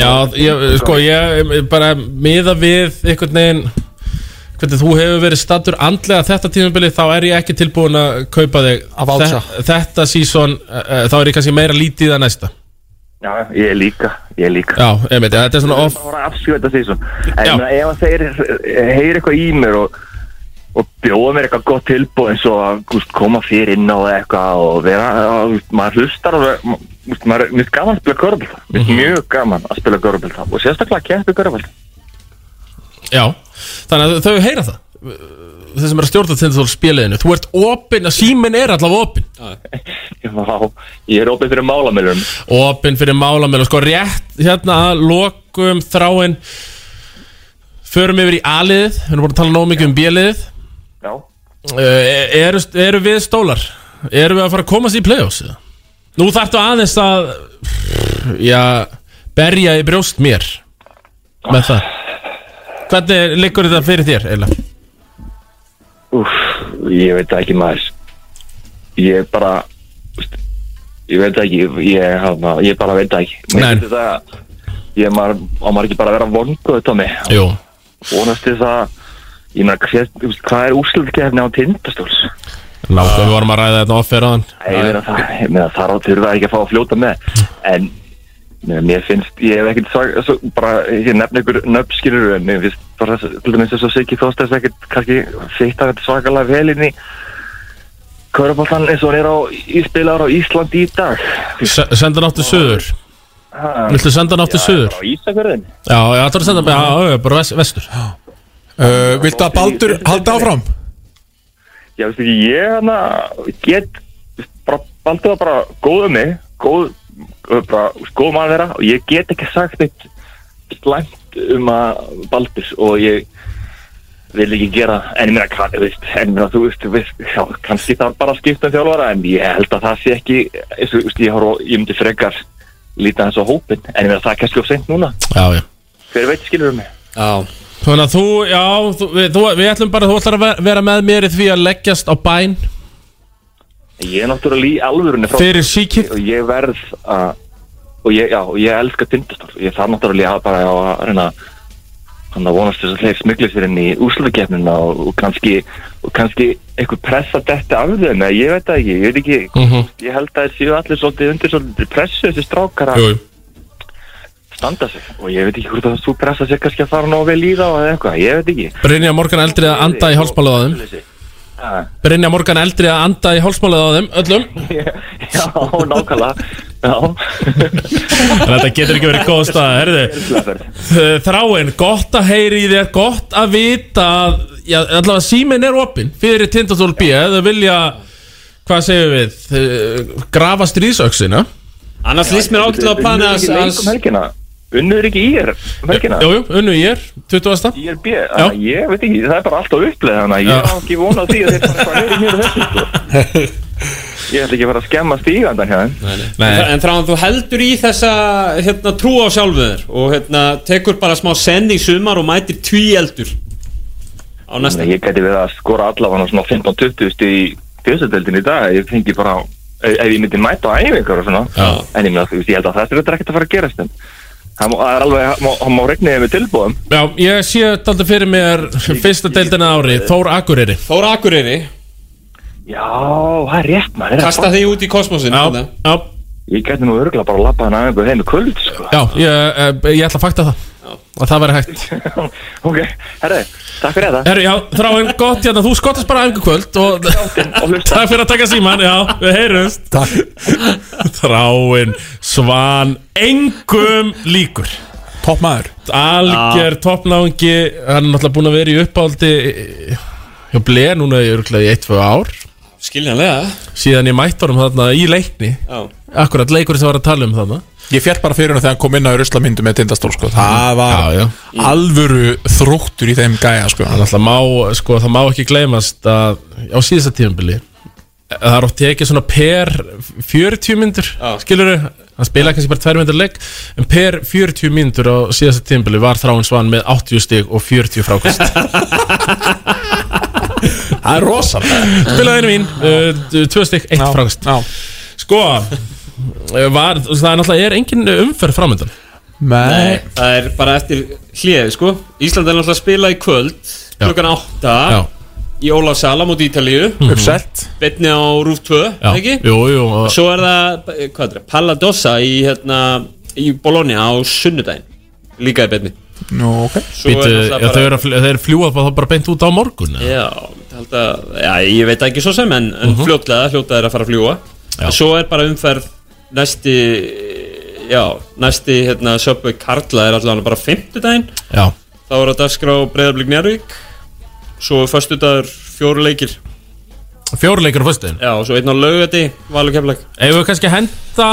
Já, ég, sko, ég ég bara miða við einhvern veginn hvernig þú hefur verið stattur andlega þetta tímabili þá er ég ekki tilbúin að kaupa þig
Að váta.
Þe- Þetta sísón, þá er ég kannski meira lítið að næsta
Já, ég er líka Ég er líka
Já, einmitt, ja, þetta er svona off
Það voru að afskjöta því svona En ég meina, ef að þeir heyri eitthvað í mér og, og bjóða mér eitthvað gott tilbúð eins og að úst, koma fyrir inn á eitthvað og vera að, úst, maður hlustar og vera- úst, maður er mjög gaman að spila körfald mm
Mhm.
mjög gaman að spila körfald og sérstaklega kempi körfald
Já, þannig að þau heyra það þeir sem er að stjórna til þú spiliðinu Þú ert opinn, að síminn er allavega opinn
[LAUGHS] Já, ég er opið fyrir málamilum
opinn fyrir málamölu sko rétt hérna að lokum þráin förum yfir í A-liðið við erum búin að tala nóg mikið um B-liðið
Já.
uh, eru, eru við stólar? eru við að fara að komast í play-offs? eða? nú þarftu aðeins að já, berja í brjóst mér með það hvernig liggur þetta fyrir þér eiginlega?
Úf, ég veit það ekki maður Ég bara veist, Ég veit það ekki Ég, hana, ég bara veit það ekki Mér
Nei.
finnst þetta- Ég maður, á maður ekki bara að vera vonguð Tómi
Jú
Vonast þess að Ég meina, hver, þú veist, hvað er úrslutkefni á tindastóls?
Nákvæm, við vorum að ræða þetta offer á
Ég meina, það, ég meina, þar á þurfa ekki að fá að fljóta með En ég meina, mér finnst Ég hef ekkert sag, svo, bara, ég nefna ykkur nöfnskilur En mér finnst bara, til dæmis þess að Siggi Þorstæðs ekkert kannski fyrta þetta svakalega vel inn í Köruboltan eins og hann er á íspilar á Íslandi í dag
senda hann áttu söður viltu senda hann áttu söður?
Á Ísafjörðin?
já, já, það er að senda já, já, já, bara vest, vestur
uh, Viltu að Baldur halda áfram?
Já, veistu ekki, ég hana get bara, Baldur var bara góð um mig góð, bara, góð maður þeirra og ég get ekki sagt eitt slæmt um að Baldur og ég vil ekki gera en ég meina, kann, veist, en ég meina þú veist, veist já, kannski það bara að skipta um þjálfara en ég held að það sé ekki eins og, veist, ég, horf, ég myndi frekar líta hans á hópin en ég meina það er kannski of seint núna
já, já
hver veit skilur um mig
Já
Þannig að þú, já, þú, við, þú, við ætlum bara þú ætlar að ver- vera með mér í því að leggjast á bæn
Ég er náttúrulega í alvörunni frá
Fyrir síkitt
Og ég verð að Og ég, já, og ég elska tindastól Ég þarf náttúrulega að bara á að reyna Þannig að vonast þess að þeir smugli sér inn í úrslutakeppnina og, og kannski og kannski einhver pressa þetta af þeim eða ég veit það ekki, ég veit ekki
Mhm.
ég held að þeir séu allir svolítið undir svolítið pressu þessi strákar að
Jú, jú.
standa sig og ég veit ekki hvort að þú pressa sér kannski að fara nógu vel í þá eða eitthvað, ég veit ekki
Brynja Morgan eldri að anda í hálsmálið á þeim
Ha.
Brynja Morgan eldri að anda í hálsmálið á þeim
[LAUGHS]
öllum
Já, nákvæmlega
En [LAUGHS] þetta getur ekki verið góð stað, herðu Þráin, gott að heyri í þér, gott að vita að, já, allavega síminn er opinn fyrir tindastól B, ef þau vilja hvað segjum við, eh, grafa stríðsöksina
Annars líst mér ágætlega á planið að-
Unnur er ekki leik um helgina Unnur er ekki í er um helgina
Jú, jú, unnu ég er, 20.
Ég er B, þannig að ég veit ekki, það er bara alltaf uppleið þannig að ég
Já.
á ekki vona því að þeir fara eitthvað niður í mér og þessu sko. Ég ætla ekki að fara að skemma stígandan hjá þeim
En, en þráðan þú heldur í þessa hérna, trú á sjálfuður og hérna, tekur bara smá senn í sumar og mætir tví eldur á næsta
Ég gæti verið að skora allavega svona 15-20 stíð í fjössadeldin í dag Ég fengi bara, ef ef ég myndi mæta á æfingar og svona
Já.
En ég meina þú veist, ég held að það er þetta ekkert að fara að gerast en Það má- það er alveg, það má- það má regnaðið með tilbúðum
Já, ég sé þetta fyrir mér fyrsta deildina ári, Þór Akureyri
Þór Akureyri
Já, það er rétt maður er að
Kasta
fá-
því út hérna. í kosmosin
Já, já
Ég gæti nú örgulega bara að labba hann aðeins heim í kvöld sko.
Já, ég, eh, ég ætla að fakta það að það væri hægt
[LAUGHS] Ok, herri, takk fyrir þetta
Herru, já, þráin, gott hérna, þú skottast bara æfingu kvöld og takk fyrir að taka síman, já, við heyrumst Takk Þráin, Svan, engum líkur
Toppmaður
Alger toppnáðingi, hann er náttúrulega búin að vera í uppáldi hjá Ble núna í örgulega í 1-2 ár
Skiljanlega
síðan ég mætti honum þarna í leikni
Já.
Akkurat leikur sem var að tala um þarna
Ég fjart bara fyrir hennu þegar hann kom inn á ruslamyndu með tindastól sko. Það var alvöru þróttur í þeim gæja sko.
Mm. Það má, sko, það má ekki gleymast að á síðasta tímabili það er oft tekið svona per 40 myndur, skilur þau hann spilaði kannski bara 2 myndur leik en per 40 myndur á síðasta tímabili var Þráin Svan með 80 stig og 40 frákvæmst Það er rosalega Spilaði einu mín, 2 stig, 1 frákvæmst Sko eh, var, það er náttúrulega er engin umferð framöndan
Nei, það er bara eftir hlið sko. Ísland er náttúrulega að spila í kvöld klukkan 8
Já.
í Ólafsala múti Ítalíu
Mhm. Uppselt.
Betni á Rúf 2,
Já.
ekki?
Jú, jú, og-
Svo er það, eh, hvað er það, Palladossa í, hérna, í Bologna á sunnudaginn Líka í Betni
Nú, ok
Svo
Býtu,
er náttúrulega
ja,
bara-
Þeir eru að fl- þeir fljúa bara, bara beint út á morgun
Já, ég held að, já, ég veit það ekki svo sem en, en
Mhm.
fljótlega, fljótlega er að fara að fljúa en svo er bara umferð næsti, já, næsti hérna, Subway Karla er allavega bara 50 daginn,
Já.
þá er að dagskrá Breiðablík Njárvík svo er föstudagur fjóru leikir
Fjórleikur á föstudaginn
já, og svo einn á laugati, valur keflag
Ef við kannski að henda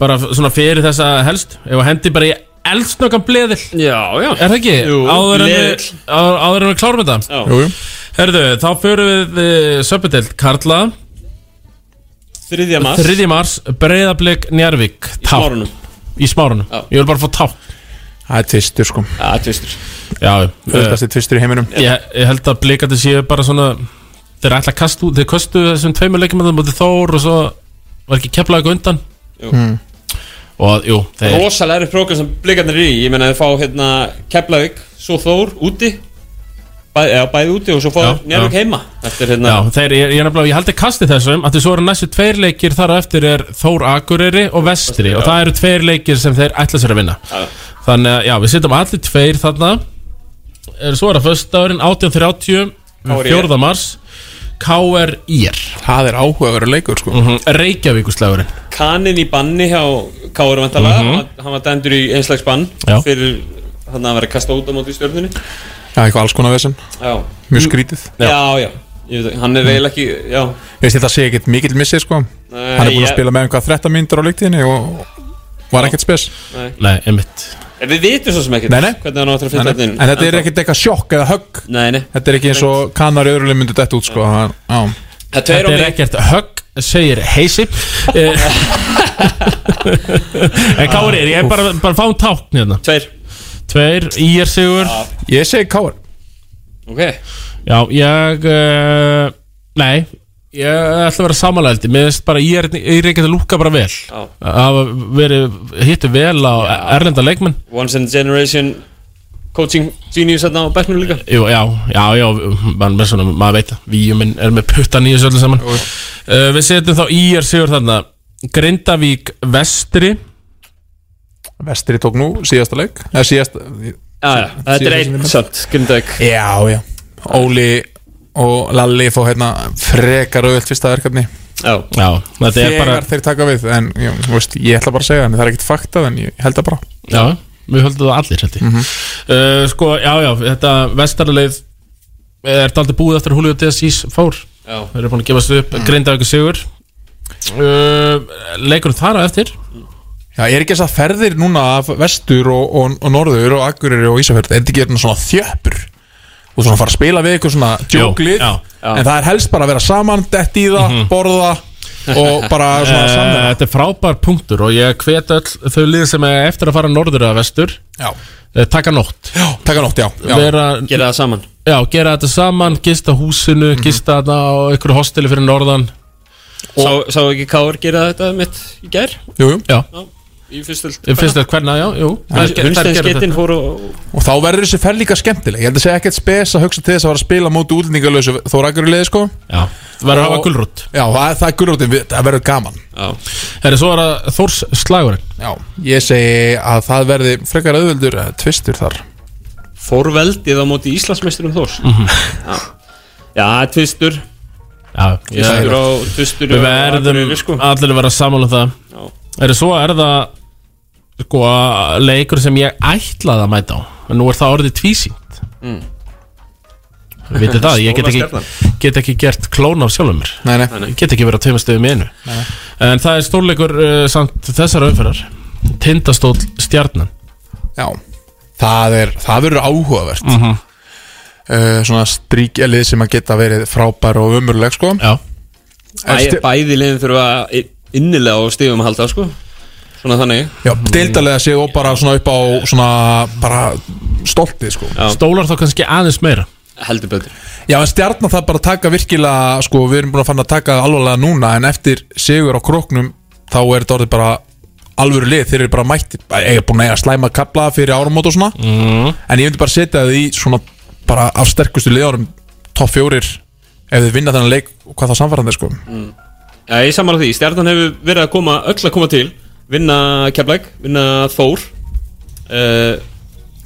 bara svona fyrir þessa helst ef við hendi bara í eldsnökan bleðil
Já, já
Er það ekki?
Jú,
áður en við,
bleðill.
áður, áður en við klárum þetta
Já. Jú, jú.
Herðu, þá förum við uh, söpudelt Karla
þriðja mars
3. mars, Breiðablik Njarvík Í
smárunum.
Í smárunum, ég vil bara fá tá
Það er tvistur sko
Það er tvistur
Já,
Öðvitað tvistur í heiminum
ég, ég held að blikandi séu bara svona þeir ætla að kastu, þeir kastu þessum tveimur leikjumöndum og þór og svo var ekki keflaði undan
Jú.
Mm.
og jú, þeir
rosalega eru prógram sem blikarnir er í ég meina þið fá hérna Keflavík svo Þór úti bæ, eða bæði úti og svo fá Njárvík
já.
heima eftir hérna
Já, þeir, ég, ég, nefnilega, ég held að kasti þessum að því svo eru næstu tveir leikir þar á eftir er Þór Akureyri og Vestri
Já.
og það eru tveir leikir sem þeir ætla sér að vinna
Já.
þannig að já, við sittum allir tveir þarna er, svo er það föstudagurinn 18.30
KR.
4. mars KRIR
Það er áhugaveru leikur sko
mm -hmm. Reykjavíkuslegurinn
Kanin í banni hjá Káur vantalega
Mhm.
hann var dæmdur í einslags bann
Já.
fyrir hann að vera að kasta út á móti í stjórnunni
Já, eitthvað alls konar vesinn
Já.
Mjög skrítið
Já, já, Ég veit, ekki, hann er eiginlega ekki já.
Ég veist þetta sé ekkert mikill missið sko
Nei,
Hann er búin að
ég-
spila með einhvað 13 myndur á leiktíðinni og var ekkert spes
Nei.
Nei, einmitt
En Við vitum svo sem ekkert
Nei, nei.
hvernig hann áttur að
En,
finna þetta inn
en þetta er ekkert eitthvað sjokk eða högg
Nei, nei
Þetta er ekki eins og kannar öðrulega myndu dætt út sko Það- Já
Þetta er ekkert
[LAUGHS]
högg, segir heisi Eh, [LAUGHS] En Kári, ég er bara, bara fáum tákn hérna
Tveir
Tveir, Ír Sigur
Ég segi Kári
Ok
Já, ég uh, Nei, ég ætla að vera samanlældi Mér finnst bara, ég er, ég er ekkert að lúka bara vel
Já.
Að verið hittu vel á erlenda leikmenn
Once in a generation coaching genius hérna á Becknum líka
Jú, já, já, já, mann með svona, maður veit það Víuminn er með puttan í þessu öllu saman uh, Við setjum þá Ír Sigur þarna Grindavík Vestri
Vestri tók nú síðasta leik Eða síðasta
Já, já, þetta er einn samt, Grindavík
Já, já Óli og Lalli fá hérna frekar auðvilt fyrsta verkefni
Já,
já þetta er
Þegar
bara-
þeir taka við En já, þú veist, ég ætla bara að segja henni Það er ekkert faktað en ég held það bara
Já, við höldum það allir held ég
Mhm.
uh, Sko, já, já, þetta vestarleið er þetta aldrei búið eftir að Julio Desis fór
Já. Mhm.
Þeir eru búin að gefast upp, mm. grinda ykkur sigur uh, Leikur þar á eftir
Já, er ekki þess að ferðir núna af vestur og, og, og norður og akkuriri og Ísafjörð Er þetta ekki hérna svona þjöppur og svona fara að spila við ykkur svona djóklið
já, já.
En það er helst bara að vera saman, dett í það, borða og bara svona
[LAUGHS] Eh,
saman
Þetta er frábær punktur og ég hvet öll þau lið sem er eftir að fara norður eða vestur eh,
Já.
Taka nótt
Já, taka nótt, já, já.
Vera,
Gera það saman
Já, gera þetta saman, gista húsinu,
Mhm.
gista þetta á einhverju hosteli fyrir norðan
Sá, sá ekki Káur gera þetta mitt í gær?
Jú, jú
Já,
Í fyrstöld
ég finnst þetta hvernig, já, jú Þær- þær gera þetta.
Hunsteinskettin fór og
Og þá verður þessi ferð líka skemmtileg Ég held að segja ekkert spes að hugsa til þess að fara að spila móti útlendingalösu Þóra akkuriri liði sko
Já, það verður að hafa gulrót
Já, það, það er gulrótin, við- það verður gaman
Herri, svo er það Þórs slagurinn
Já, ég segi að það verði frekar auðvöldur eh, tvistur þar
Fór veldið á móti Íslandsmeisturum Þórs Já, Já, tvistur
Já,
Tvistur á- tvistur
Við
á
verðum
Akureyri, sko.
allir að vera sammála um það Herri, svo er það sko, leikur sem ég ætlaði að mæta á en nú er það orðið tvísýnt
Mm.
Vitið
[LAUGHS]
það, ég get
Stóra
ekki,
stjarnan.
get ekki gert klón af sjálfum mér
Nei, nei.
Ég get ekki verið að tveima stöðum í einu En það er stórleikur uh, samt þessar auðferðar Tindastóll stjarnan
Já, það er það verður áhugavert mm
Mhm.
Svona stríkjalið sem að geta verið frábær og umurleg sko
Já
Bæ, Bæði liðin þurfa i- innilega á stífum að halda sko Svona þannig
Já, deildarlega sig og bara svona upp á svona bara stoltið sko
Stólar þá kannski aðeins meira
Heldur betur
Já, en stjarnar það bara að taka virkilega sko, við erum búin að fann að taka það alvarlega núna en eftir sigur á króknum þá er þetta orðið bara alvöru lið þeir eru bara mætti, ég er búin að eiga slæma kapla fyrir áramót og svona
mm.
en ég myndi bara setja það í svona bara af sterkustu liðarum topp fjórir ef þið vinna þennan leik og hvað það samfærandi sko
mm. Já, ég samar því, stjarnan hefur verið að koma öll að koma til, vinna Keflæk, vinna Þór uh,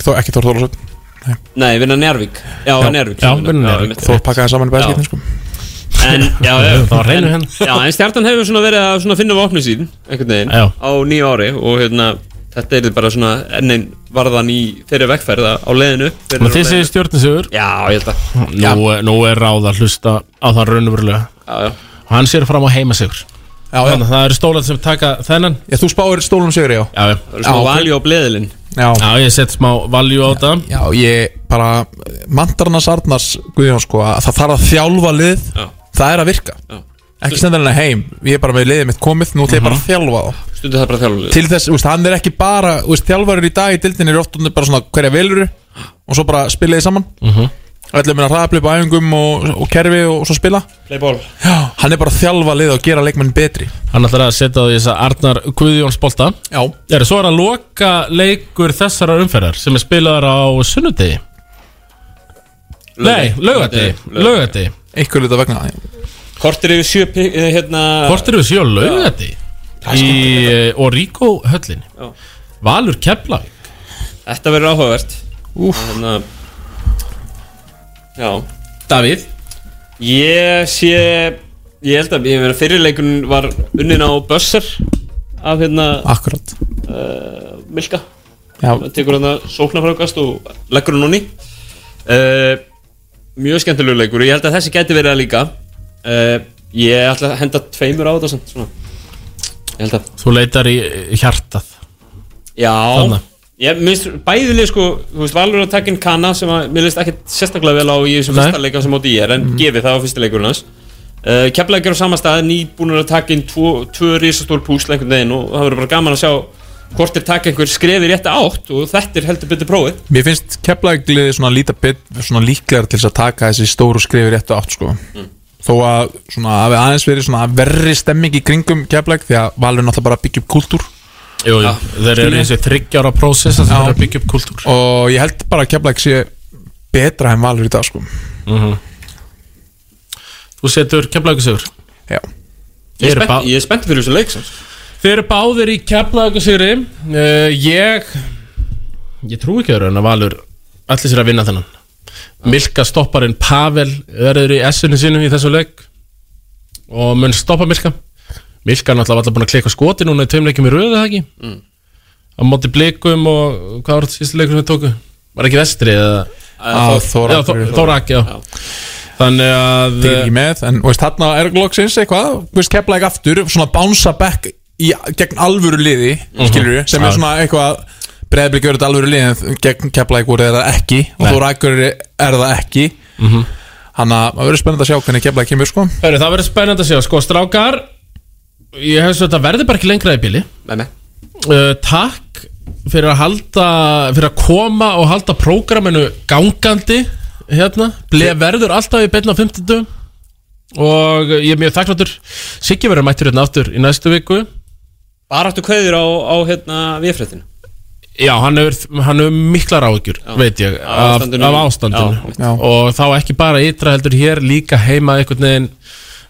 Þó ekki Þór Þólasöld
Nei, vinna Njárvík Já,
Já,
Njárvík
já, vinna Njarðvík. Þór pakkaði saman í bæði
Já.
skiptin, sko.
En, já, já,
[LAUGHS] Það var hreinu
en-
hérna.
Já, en stjarnan hefur svona verið að svona finna vopni sín einhvern veginn
Já.
á nýju ári og hérna þetta er bara svona ennin varðan í þeirri vegferða á leiðinu
Men þið segir stjórninsugur
Já, ég held að
Nú, eh, nú er ráð að hlusta á það raunumurlega
Já, já
Og hann sér fram á heimasigur
Já,
Þannig að það eru stólar sem taka þennan
Já, þú spáir stólum sigur, já
Já, já
Það er smá valjú á bleðilinn
Já.
ég sett smá valjú á þetta
Já, ég bara mandarnas Arnars Guðjón sko að það þarf að þjálfa lið
Já.
það er að virka
Já.
ekki sendan henni heim, ég er bara með liðið mitt komið nú þeir
Mhm.
bara að þjálfa þá
Stundu það bara þjálfur
til þess, úst, hann er ekki bara úst, þjálfarir í dag í dildinni er oft bara svona hverja veluru og svo bara spilaði saman
Mhm.
ætlum minna hraðablið á æfingum og, og kerfi og svo spila
Playból
Já, hann er bara að þjálfa lið og gera leikmenn betri
Hann ætlar að setja á því þess að Arnar Guðjóns bolta
Já
Er svo er að loka leikur þessarar umferðar sem er spilaðar á sunnudegi Nei, laugardegi Laugardegi
Einhver lítið vegna
Kortir yfir sjö pi- eh, hérna
Hvort eru við sjá laugardegi Í Origo höllinni
Já.
Valur Keflavík
Þetta verður áhugavert Úf hérna, Já
Davíð
Ég sé Ég held að ég meina, fyrirleikun var unnin á Bösser Af hérna
Akkurat
uh, Milka
Já.
Það Tekur hérna sóknarfrákast og leggur hún honni uh, Mjög skemmtilegu leikur Ég held að þessi gæti verið að líka uh, Ég ætla að henda tveimur á þetta samt, svona. Ég held að
Þú leitar í hjartað
Já
Þarna.
Ég minnst bæðileg sko, þú veist, Valur er að taka inn Kana sem að mér leist ekkert sérstaklega vel á í þessum
Nei. Mhm.
fyrsta leika sem móti ég er en mm. gefið það á fyrsta leikurinn hans uh, Keflæk er á sama stað, nýbúnur að taka inn tvo, tvö risastór púsl einhvern veginn og það verður bara gaman að sjá hvort þeir taka einhver skref í rétta átt og þetta er heldur betur prófið
Mér finnst keflagliði svona líta bit svona líklegar til þess að taka þessi stóru skrifi réttu átt sko þó að svona hafi aðeins verið svona verri stemming í kringum keflag því að Valur náttúrulega bara að byggja upp kúltúr
Jú, jú, þeir eru í þessi þryggjára prósess að þeir eru að byggja upp kúltúr
og ég held bara að keflag sé betra en Valur í dag sko
Mhm. Þú setur Keflavíkusigur
Já
Ég er spennt- ég er spennt fyrir þessu leik samt.
Þeir eru báðir í Keflavíkusigri uh, Ég Ég trú ekki öðru en að Valur Allir sér að vinna þennan Milka stopparinn Pavel verður í S-unni sínum í þessu leik og mun stoppa Milka Milka er náttúrulega alltaf búin að klika skoti núna í tveimleikum í röðu það ekki
Mm.
á móti blikum og hvað var þetta síðustu leikur sem við tóku var ekki vestri eða
Að Þór-
Já, Þór- Þór Raki, já. þannig að eh,
Þeir ekki með, en veist, þarna er loksins eitthvað, veist, kefla ekki aftur svona bounce back í, gegn alvöru liði,
Mhm.
skilur við, sem
Já.
er svona eitthvað breyðblik verið alvöru liði, en gegn kefla ekki voru þeir það ekki, og
Nei.
þú rækur er það ekki
Mhm.
hann að það verður spennandi að sjá hvernig kefla kemur sko
Hörru, það verður spennandi að sjá, sko, strákar Ég hef svo þetta verður bara ekki lengra í bíli
Nei, nei
uh, Takk fyrir að halda Fyrir að koma og halda prógraminu gangandi Hérna Ble, Verður alltaf í beinna á 50 Og ég er mjög þakkláttur Siggi verður mættur hérna aftur í næstu viku
Bara áttu kveðir á, á hérna viðfréttinu
Já, hann hefur, hann hefur miklar áhyggjur, veit ég,
Af
af,
ástandinu.
af ástandinu
Já. Já.
og þá ekki bara ytra heldur hér, líka heima einhvern veginn,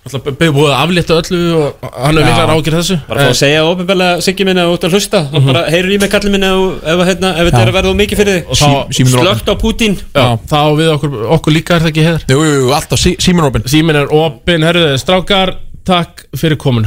alltaf búið að aflétta öllu og hann hefur miklar áhyggjur af þessu
Bara fá
Eh, Mhm.
að segja ofinbæðilega Siggi minn ef þú ert að hlusta mm bara heyrur í mig kallið minn ef, ef, hérna, ef þetta
Já.
er að verða of mikið fyrir
Og þá-
þig Slögt á Putin
Já, þá á við okkur, okkur líka er það ekki hér
Jú, jú, jú alltaf sí, símin er opinn
Símin er opinn, herruðu, strákar, takk fyrir komuna